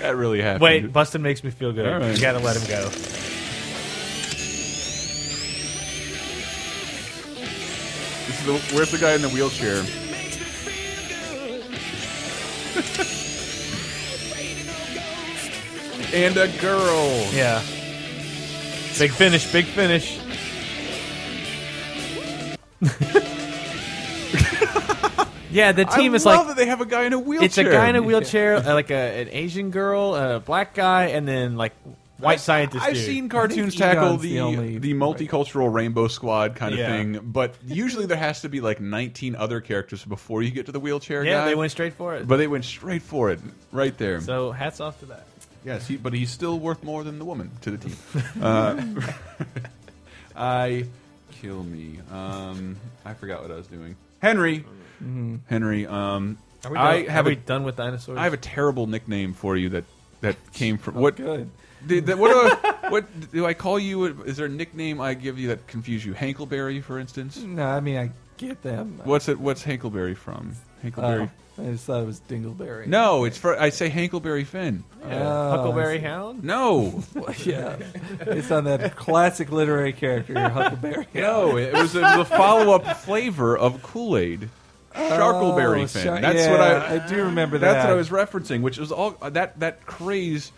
That really happened.
Mm-hmm.
Wait, Bustin makes me feel good.
All right.
You gotta let him go.
This is the, where's the guy in the wheelchair? <laughs> and a girl.
Yeah. Big finish, big
<laughs>
finish. yeah, the team
I
is
love
like
that they have a guy in a wheelchair.
it's a guy in a wheelchair, uh, like a, an Asian girl, a black guy, and then like white scientist.
I've
dude.
seen cartoons
I think
tackle
Egon's
the the,
the only-
multicultural rainbow squad kind of
Yeah.
thing, but usually there has to be like 19 other characters before you get to the wheelchair
Yeah,
guy.
they went straight for it.
But they went straight for it, right there.
so hats off to that.
Yes, he, but he's still worth more than the woman to
<laughs>
the team. Uh, <laughs> I kill me. Um, I forgot what I was doing. Henry,
Mhm.
Henry. Um,
Are we
I
done-
have
are
a-
we done with dinosaurs?
I have a terrible nickname for you that
<laughs>
that came from what?
good.
Did, that, what do I, what do I call you? Is there a nickname I give you that confuse you? Hankleberry, for instance.
No, I mean I get them.
What's it? What's Hankleberry from? Hankleberry.
Oh, I just thought it was Dingleberry.
no, it's for. I say Hankleberry Finn.
Oh,
Huckleberry
I see.
Hound?
No,
yeah, it's on that classic literary
<laughs>
character, Huckleberry.
<laughs> No, it was a, the follow-up flavor of Kool-Aid. Sharkleberry
Oh,
Finn.
shar-
that's what I,
yeah, I do remember
That's
that.
what I was referencing, which was all that that craze.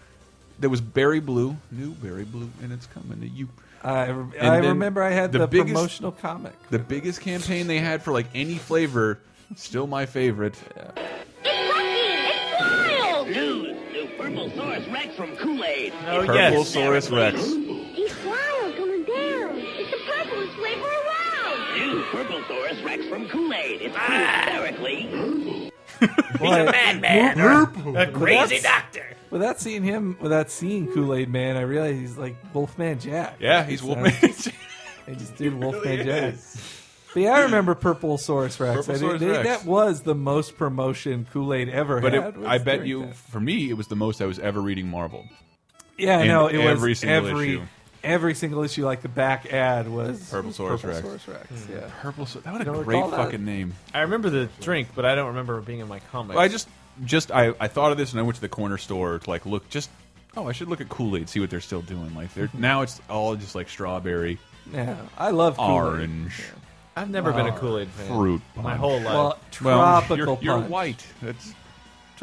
There was berry blue, new berry blue, and it's coming to you.
I, re-
And
I
then
remember I had the,
biggest-
promotional comic.
The biggest campaign they had for like any flavor, still my favorite.
Dude, the Purplesaurus Rex from Kool-Aid.
Purplesaurus Rex.
He's flying.
Purplesaurus Rex from Kool-Aid. It's hysterically. He's
Why-
a madman or a
But
crazy
that's-
doctor.
Without seeing him, without seeing Kool Aid Man, I realized he's like Wolfman Jack.
Yeah, he's
So
Wolfman
<laughs> I just, I just did Wolfman Jack. But yeah, I remember Purple Source Rex. I
Purple
did-
Saurus Rex.
That was the most promotion Kool Aid ever
<laughs> But
had.
it,
was
I bet
during
you,
that.
for me, it was the most I was ever reading Marvel.
Yeah,
And
no, it
every
was
single
every
issue.
every single issue. Like the back ad was
Purple Saurus
Purple
Rex.
Saurus Rex.
Mm.
Yeah,
Purple. That
would
a great fucking name.
I remember the drink, but I don't remember it being in my comic.
Well, I just just I, I thought of this and I went to the corner store to like look just oh I should look at Kool Aid see what they're still doing like they're now it's all just like strawberry
Yeah, I love Kool-Aid.
orange
I've never been a Kool Aid fan.
Oh, fruit
My
punch.
whole life.
Well,
Well,
tropical
you're- you're,
punch.
white that's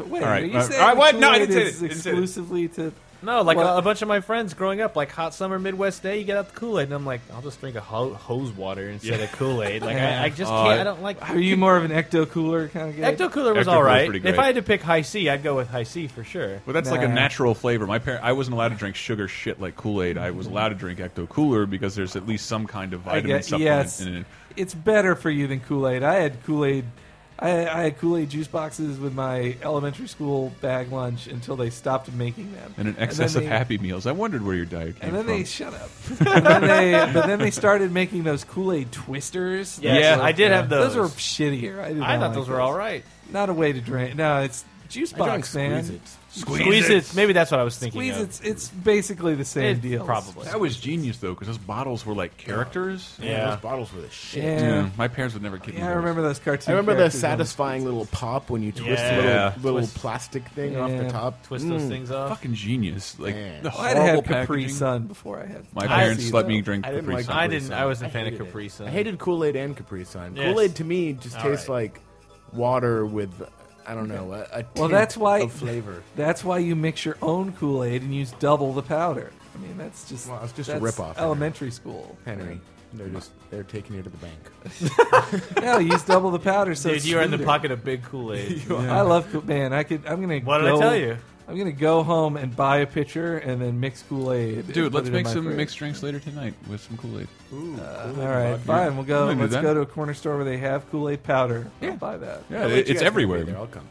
Wait,
all right
are you
all
saying
right, what no I
Kool-Aid
didn't say
is
that. Didn't say that.
exclusively to
No, like
Well-
a, a bunch of my friends growing up, like hot summer Midwest day, you get out the Kool Aid, and I'm like, I'll just drink a ho- hose water instead
Yeah.
of Kool Aid. Like
Yeah.
I, I just
Uh,
can't. I don't like.
Are you more of an ecto cooler kind of guy?
Ecto Cooler was all right. If I had to pick High C, I'd go with High C for sure.
Well, that's like a natural flavor. My parent, I wasn't allowed to drink sugar shit like Kool Aid. I was allowed to drink Ecto Cooler because there's at least some kind of
I
vitamin
get,
supplement
yes,
in it.
it's better for you than Kool Aid. I had Kool Aid, I, I had Kool Aid juice boxes with my elementary school bag lunch until they stopped making them.
And an
then
excess
they-
of Happy Meals. I wondered where your diet came
And then
from.
they shut up. <laughs> and then they, but then they started making those Kool Aid twisters.
Yes, Yeah. I did have
Those
those.
were shittier. I, did
I thought
not like
those were all right.
Not a way to drink. No, it's juice
I drank
box, man.
Squeeze-It. Squeeze-It. Maybe that's what I was thinking
Squeeze
of.
it's it's basically the same
It-
deal.
probably.
That was genius though, because those bottles were like characters.
Yeah, Yeah. those bottles were the shit.
Yeah.
my parents would never give me.
Yeah, I
those.
remember those cartoon.
I remember the
characters on the
satisfying little pop when you twist
Yeah.
the
Yeah.
little, little
Twist-
plastic thing off the
Yeah.
top.
Twist those things off.
Fucking genius! Like
Man.
the
Well, I'd
horrible
had Capri
packaging.
Sun before I had-
My
I
parents
see
let
that.
me drink
I didn't
Capri
like
Sun.
I didn't. I wasn't a
I
fan of
hated it.
Capri Sun.
I hated Kool Aid and Capri Sun.
Yes.
Kool Aid to me just
All
tastes like water with I don't know a, a
<laughs> Well,
tint <laughs>
that's why
of flavor.
That's why you mix your own Kool Aid and use double the powder. I mean, that's just
Well, it's just a
that's
ripoff.
Elementary school, <laughs>
Henry. They're just they're taking you to the bank.
no, use double the powder. So
Dude,
it's
you are in the
sweeter.
pocket of big Kool-Aid. <laughs> You
Yeah.
are.
I love Kool- man. I could. I'm gonna.
What did I
go,
tell you?
I'm gonna go home and buy a pitcher and then mix Kool Aid.
Dude, let's make some mixed drinks later tonight with some Kool Aid. Ooh,
Uh, all right, fine. We'll go. Let's go to a corner store where they have Kool Aid powder.
Yeah.
I'll buy that.
Yeah, it- it's everywhere.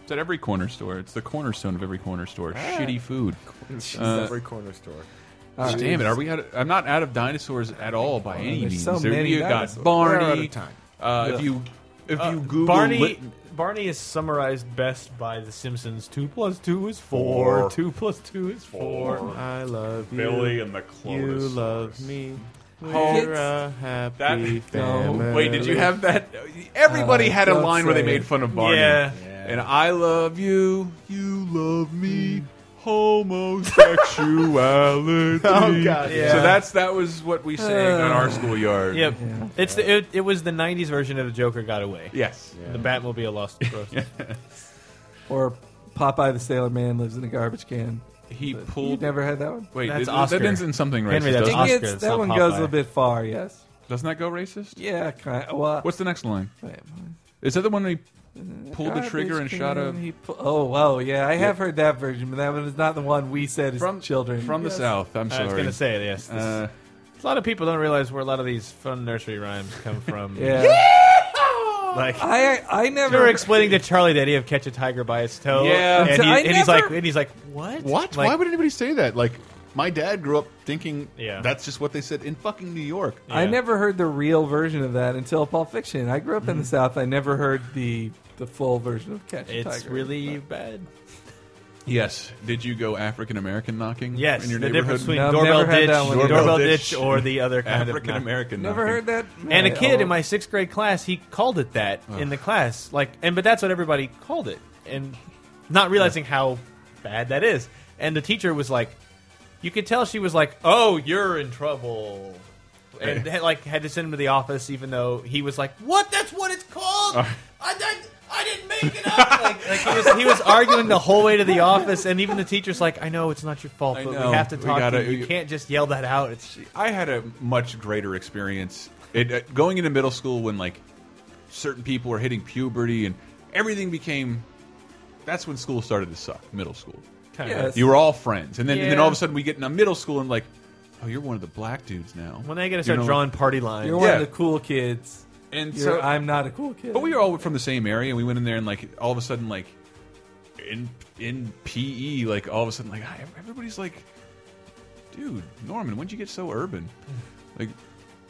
It's at every corner store. It's the cornerstone of every corner store. Shitty food.
It's
Uh,
every corner store.
gosh, damn it! Are we out? Of, I'm not out of dinosaurs at all by any
there's
means.
so
There-
many
you
dinosaurs.
got Barney.
We're out of time.
Uh,
Ugh.
if you if
Uh,
you Google
Barney,
lit-
Barney is summarized best by The Simpsons. Two plus two is four.
Four.
Two plus two is four.
I love you.
Billy and the
You
Clonosaurus.
love me.
Oh,
We're a happy
that-
family.
Wait, did you have that? Everybody
Uh,
had a
don't
line where they
say
made
it.
fun of Barney.
Yeah.
And I love you. You love me. Homosexuality.
Oh, God, yeah.
So that's that was what we sang on our
Uh,
schoolyard.
Yep, it's the, it, it was the '90s version of the Joker got away.
Yes.
the Batmobile lost <laughs> its roast.
Or Popeye the Sailor Man lives in a garbage can.
He
But
pulled-
You never had that one.
Wait, That's that- that Oscar. ends in something Henry, racist, that's doesn't it?
It
Oscar,
gets-
it's
that
not
one goes a
Popeye.
little bit far. Yes.
Doesn't that go racist?
Yeah, kind of. Well,
What's the next line?
Wait,
Is that the one where he pulled the
Garbage
trigger and shot
can,
a?
he pu- oh, wow, yeah, I have heard that version, but that one is not the one we said is
From-
children
from the Yes. South, I'm
I was
sorry.
going to say it. Yes, This-
Uh,
a lot of people don't realize where a lot of these fun nursery rhymes
<laughs>
come from.
Yeah.
Like
I I never-
They were explaining to Charlie the idea of catch a tiger by its toe.
Yeah.
and, he,
I
and he's
never-
like, and he's like, what?
What?
Like,
Why would anybody say that? Like, my dad grew up thinking
Yeah.
that's just what they said in fucking New York.
I never heard the real version of that until Pulp Fiction. I grew up
Mm-hmm.
in the South. I never heard the the full version of Catch a
It's
Tiger.
really bad.
Yes. Did you go African American knocking?
Yes,
In your
the
neighborhood?
difference between doorbell ditch, doorbell, ditch, or the other kind of
African American.
Never heard that.
And a
Yeah,
kid
oh.
in my sixth grade class, he called it that in the class. Like, and but that's what everybody called it, and not realizing how bad that is. And the teacher was like, you could tell she was like, "Oh, you're in trouble," and had, like had to send him to the office, even though he was like, "What? That's what it's called." I, did, I didn't make it up. <laughs> like, like he, was, he was arguing the whole way to the office, and even the teacher's like, "I know it's not your fault, but
know.
we have to
We
talk.
gotta-
to you. you can't just yell that out." It's
I had a much greater experience it, uh, going into middle school when like certain people were hitting puberty and everything became. That's when school started to suck. Middle school.
Kinda. Yes.
You were all friends, and then and then
Yeah.
all of a sudden we get into middle school and like, oh, you're one of the black dudes now.
When they gotta
You
start
know?
drawing party lines.
You're one
Yeah.
of the cool kids.
And
You're-
so
I'm not a cool kid.
But we were all from the same area, and we went in there, and like all of a sudden, like in in PE, like all of a sudden, like I- everybody's like, dude, Norman, when'd you get so urban? Like,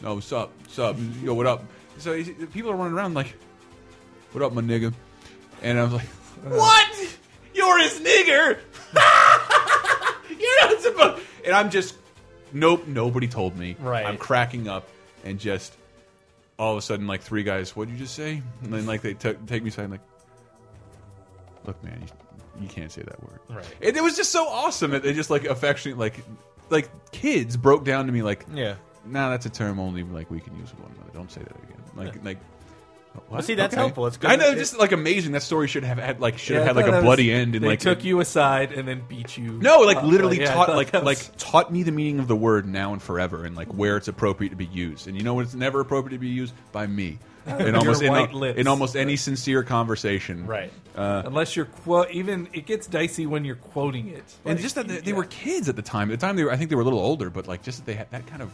no, what's up? What's up? Yo, what up? So he's- people are running around like, what up, my nigga? And I was like, what? You're his nigger. <laughs> You're not supposed. And I'm just, nope, nobody told me. Right. I'm cracking up and just all of a sudden, like three guys, what'd you just say? And then like they took take me aside, and, like, look, man, you, you can't say that word.
Right.
And it was just so awesome. that They just like affectionate, like, like kids broke down to me, like,
Yeah.
nah, that's a term only like we can use with one another. Don't say that again. Like, like. what?
see, that's helpful. It's good
I know,
that-
just like amazing. That story should have had like should
Yeah, I
have had
thought
like
<laughs>
a
that
bloody
was-
end and
they
like
took you aside and then beat you.
no, like
up.
literally
yeah, I
taught
thought
like
that was-
like taught me the meaning of the word now and forever, and like where it's appropriate to be used. And you know when it's never appropriate to be used
<laughs>
by me, in
Your
almost in,
white
al-
lips.
in almost any sincere conversation.
Right.
Uh,
unless you're quote even it gets dicey when you're quoting it.
and just that they, they were kids at the time. At the time they were, I think they were a little older, but like just that they had that kind of,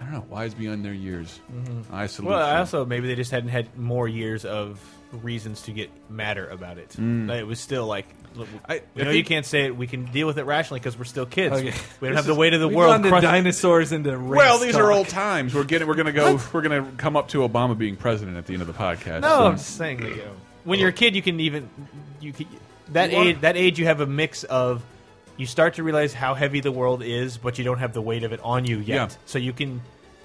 I don't know, wise beyond their years.
Mhm.
Mm-hmm.
I salute.
Well, I
you.
also maybe they just hadn't had more years of reasons to get madder about it.
Mm.
Like, It was still like, look,
I,
we know you
think-
can't say it. We can deal with it rationally because we're still kids.
<laughs> Okay.
<laughs> We don't
This
have the
is-
weight of the
we've
world.
gone to
crush-
dinosaurs into race
Well, these are
<laughs> talk.
old times. We're getting. We're gonna go. We're gonna come up to Obama being president at the end of the
<laughs>
podcast.
No,
So-
I'm just saying. That, you know, when you're a kid, you can even you can, that
You want-
age that age you have a mix of you start to realize how heavy the world is, but you don't have the weight of it on you yet.
Yeah.
So you can,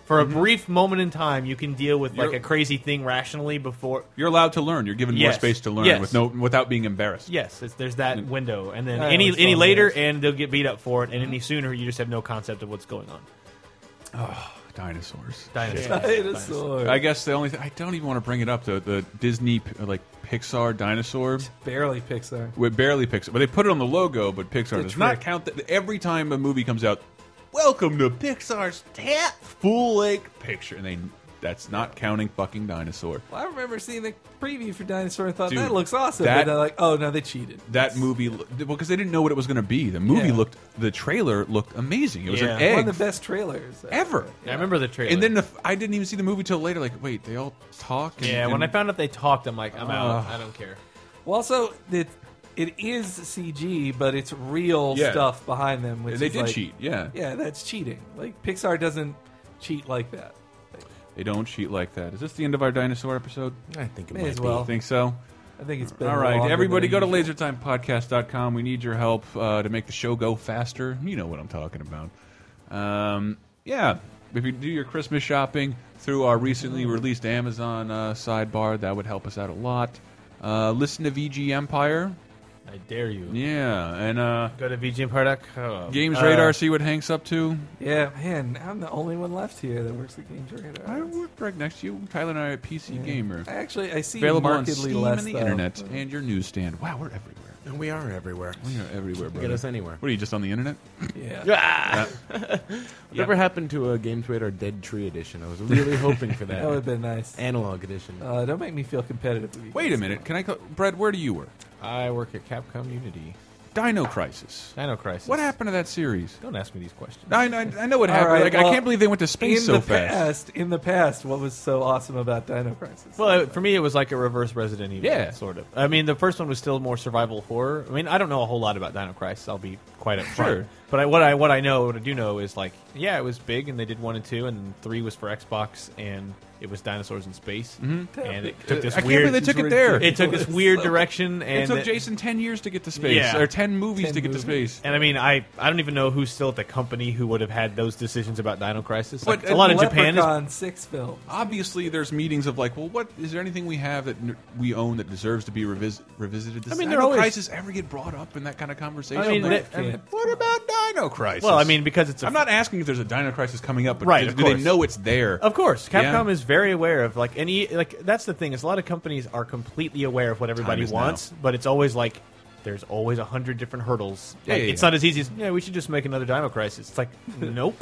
for a
Mhm.
brief moment in time, you can deal with like
You're-
a crazy thing rationally before.
You're allowed to learn. You're given more
Yes.
space to learn
Yes.
with no without being embarrassed.
Yes, it's, there's
Mm.
that window, and then
I
any
always
any
thought
later, and they'll get beat up for it, and any sooner, you just have no concept of what's going on.
Oh, dinosaurs.
Dinosaurs.
<laughs> Dinosaurs.
I guess the only thing I don't even want to bring it up the the Disney uh, like Pixar dinosaur.
barely Pixar.
With barely Pixar, but they put it on the logo. But Pixar
The
does not
trick.
count that. Every time a movie comes out, welcome to Pixar's tenth full length picture, and they that's not counting fucking dinosaur.
Well, I remember seeing the preview for Dinosaur and thought
Dude,
that looks awesome.
that-
and they're like, oh no, they cheated.
That movie, lo- well, because they didn't know what it was going to be. The movie
Yeah.
looked, the trailer looked amazing. It was
Yeah.
an
One
egg
of the best trailers
ever.
I remember the trailer.
And then the, I didn't even see the movie till later. Like, wait, they all talk. And,
yeah, when I
and-
found out they talked, I'm like, I'm out.
Ugh.
I don't care.
Well, also it it is CG, but it's real
Yeah.
stuff behind them. Which
They
is
did
like-
cheat, yeah.
yeah, that's cheating. Like Pixar doesn't cheat like that.
they don't cheat like that. Is this the end of our dinosaur episode?
I think it
May
might
as
be.
well.
Think so.
I think it's been
all right.
longer
Everybody, go
than
to
usual.
LaserTimePodcast.com. We need your help uh, to make the show go faster. You know what I'm talking about. Um, yeah, if you do your Christmas shopping through our recently released Amazon uh, sidebar, that would help us out a lot. Uh, listen to VG Empire.
I dare you.
Yeah, and uh,
Go to VGMPark.com.
Games
Uh,
Radar. See what Hank's up to.
Yeah, man, I'm the only one left here that works at Games Radar.
I work right next to you. Tyler and I are PC Gamer.
I actually- I see
Available
markedly
on Steam
less,
and the
though.
internet and your newsstand. Wow, we're everywhere.
And we are everywhere.
We are everywhere,
Get
brother. <laughs>
us anywhere.
What are you just on the internet?
Yeah.
Yeah.
Whatever happened to a Games Radar Dead Tree edition? I was really hoping for that.
That would've been nice.
Analog edition.
Uh, don't make me feel competitive. with you
Wait a
guys.
minute. Can I, call, Brad? Where do you work?
I work at Capcom Unity.
Dino Crisis.
Dino Crisis.
What happened to that series?
Don't ask me these questions.
I, I, I know what
All
happened.
right,
like, I
well,
can't believe they went to space
in
so
the
fast.
Past, in the past, what was so awesome about Dino Crisis?
Well, for me, it was like a reverse Resident Evil,
Yeah.
sort of. I mean, the first one was still more survival horror. I mean, I don't know a whole lot about Dino Crisis. I'll be quite upfront.
Sure.
But I, what I what I know, what I do know is like, yeah, it was big, and they did one and two, and three was for Xbox, and it was dinosaurs in space,
Mhm.
and it took this
I can't
weird.
believe they took it there.
It took this
<laughs>
weird direction, and
it took
it-
Jason ten years to get to space,
Yeah.
or ten movies to get to space.
And I mean, I, I don't even know who's still at the company who would have had those decisions about Dino Crisis. Like,
But
a lot of Japan is
Leprechaun six film.
Obviously, there's meetings of like, well, what is there anything we have that n- we own that deserves to be revis revisited? Does
I mean,
Dino
they're always-
Crisis ever get brought up in that kind of conversation?
I mean,
Like,
they- I mean-
what about Dino Crisis?
Well, I mean, because it's a-
I'm not asking if there's a Dino Crisis coming up, but
Right,
do,
of
do they
course.
know it's there?
Of course, Capcom
Yeah.
is very aware of like any like that's the thing is a lot of companies are completely aware of what everybody
is now.
wants, but it's always like there's always a hundred different hurdles.
Yeah,
Like,
yeah,
it's
yeah.
not as easy as yeah, we should just make another Dino Crisis.
<laughs>
It's like nope.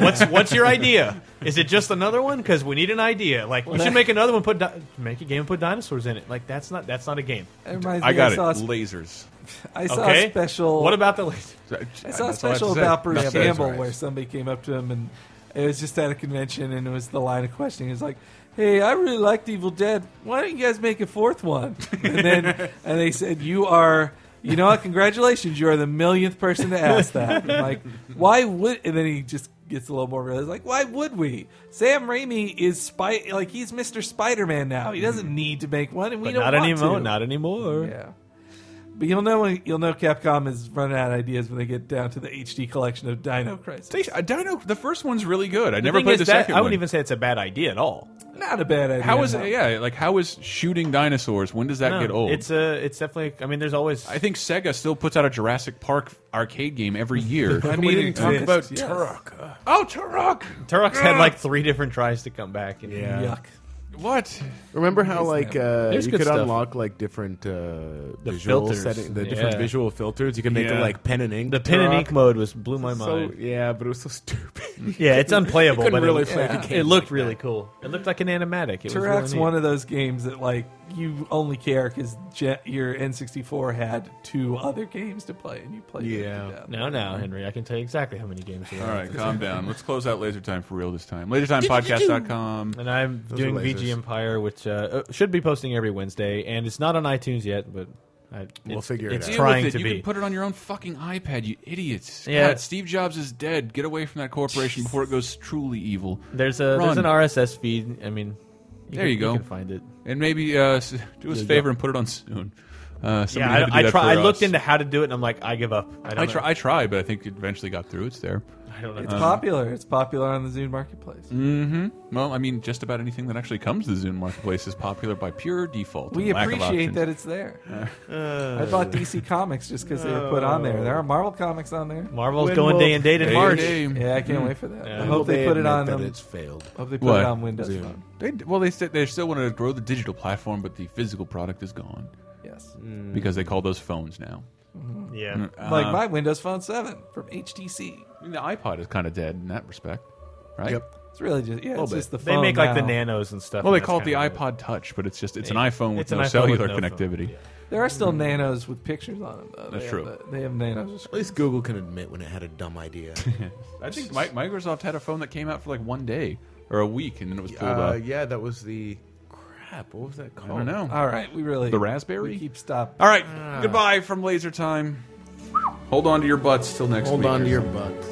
What's what's your idea? Is it just another one? Because we need an idea. Like we
Well,
should
that-
make another one. Put di- make a game. and Put dinosaurs in it. Like that's not that's not a game.
That reminds
I
me,
got
I saw
it.
a sp-
Lasers.
I saw
Okay.
a special.
What about the lasers?
I saw a
That's all I have
special
to say.
about Bruce
Nothing.
Campbell
That's all right.
where somebody came up to him and it was just at a convention and it was the line of questioning. It's like, "Hey, I really liked Evil Dead. Why don't you guys make a fourth one?" And
<laughs>
then and they said, "You are." You know what? Congratulations! You are the millionth person to ask that. I'm like, why would? And then he just gets a little more realized. Like, why would we? Sam Raimi is spy. Like, he's Mister Spider Man now. He doesn't
Mm-hmm.
need to make one, and we
But
don't
not
want
anymore.
to.
Not anymore.
Yeah. But you'll know when, you'll know Capcom is running out of ideas when they get down to the HD collection of Dino Crisis.
Dino, the first one's really good. I
The
never
thing
played
is
the
that-
second
I
one.
wouldn't even say it's a bad idea at all.
Not a bad idea.
How is
no.
it? Yeah, like how is shooting dinosaurs? When does that
No,
get old?
It's a. It's definitely. I mean, there's always.
I think Sega still puts out a Jurassic Park arcade game every <laughs> year.
I
we
mean,
didn't talk
it's-
about
yes.
Turok. Oh, Turok!
Turok's
Ah.
had like three different tries to come back. And
Yeah. Yuck.
What?
Remember how like uh,
There's
you
good
could
stuff.
unlock like different uh, visual
filters.
setting, the different
Yeah.
visual filters. You could make it
Yeah.
like pen and ink.
The pen and
Turok.
ink mode was blew my
So- <laughs>
mind.
yeah, but it was so stupid.
Yeah, it's unplayable,
You couldn't
but
really
it,
play the
yeah.
game
it looked
like
really
that.
cool. It looked like an animatic. It was
Turok's
really
one of those games that like you only care because your N64 had two other games to play, and you played. them to death.
No, no, Henry. I can tell you exactly how many games.
All right, <laughs> calm down. Let's close out Laser Time for real this time. LaserTimePodcast.com.
And I'm
Those
doing
are lasers.
VG Empire, which uh, uh, should be posting every Wednesday, and it's not on iTunes yet, but I,
We'll
it's,
figure it
it's
out.
Deal
trying
with
to
it. you
be.
can put it on your own fucking iPad, you idiots.
Yeah.
God, Steve Jobs is dead. Get away from that corporation before it goes truly evil.
There's a
Run.
there's an RSS feed. I mean, you
there
can,
you go.
You can find it.
And maybe uh, s- do us a
Yeah,
favor
yeah.
and put it on soon. Uh, somebody
Yeah,
had to do
I, I
that
try. I
for
looked
us.
into how to do it, and I'm like, I give up. I don't
I,
know.
try, I tried, but I think it eventually got through. It's there.
I don't know.
It's
Um,
popular. It's popular on the Zune Marketplace.
hmm Well, I mean, just about anything that actually comes to the Zune marketplace is popular by pure default.
We
and lack of
appreciate
options.
that it's there.
Uh.
I bought DC Comics just because they were put on there. There are Marvel comics on there.
Marvel's When going will- day and date in
Day
March.
date. Yeah, I can't
Mm.
wait for that.
Yeah.
I hope they,
They
put it
admit
on.
that
um,
it's failed.
Hope they put
What?
it on Windows
Zoom.
Phone.
They, well, they said they still want to grow the digital platform, but the physical product is gone.
Yes.
Mm.
because they call those phones now.
Mhm.
Yeah.
Mm,
like
um,
my Windows Phone Seven from HTC.
I mean, the iPod is kind of dead in that respect, right?
Yep.
It's really just yeah,
Little
it's
bit.
just the phone.
They make like the
now.
nanos and stuff.
Well, they
and that's
call it the
kinda-
iPod Touch, but it's just it's an
Yeah.
iPhone with
It's
no
an iPhone
cellular
with no phone.
connectivity.
There are still nanos with pictures on them. Though.
Mm. That's
They
true.
Have the- they have nanos.
At least Google can admit when it had a dumb idea.
I think Mi- Microsoft had a phone that came out for like one day or a week, and then it was pulled
uh,
off.
yeah, that was the crap. What was that
I
called?
don't know.
All right, we really
Oh. The Raspberry?
We keep stop.
All right, goodbye from Laser Time. Hold on to your butts till next
Hold
week.
on to your butt.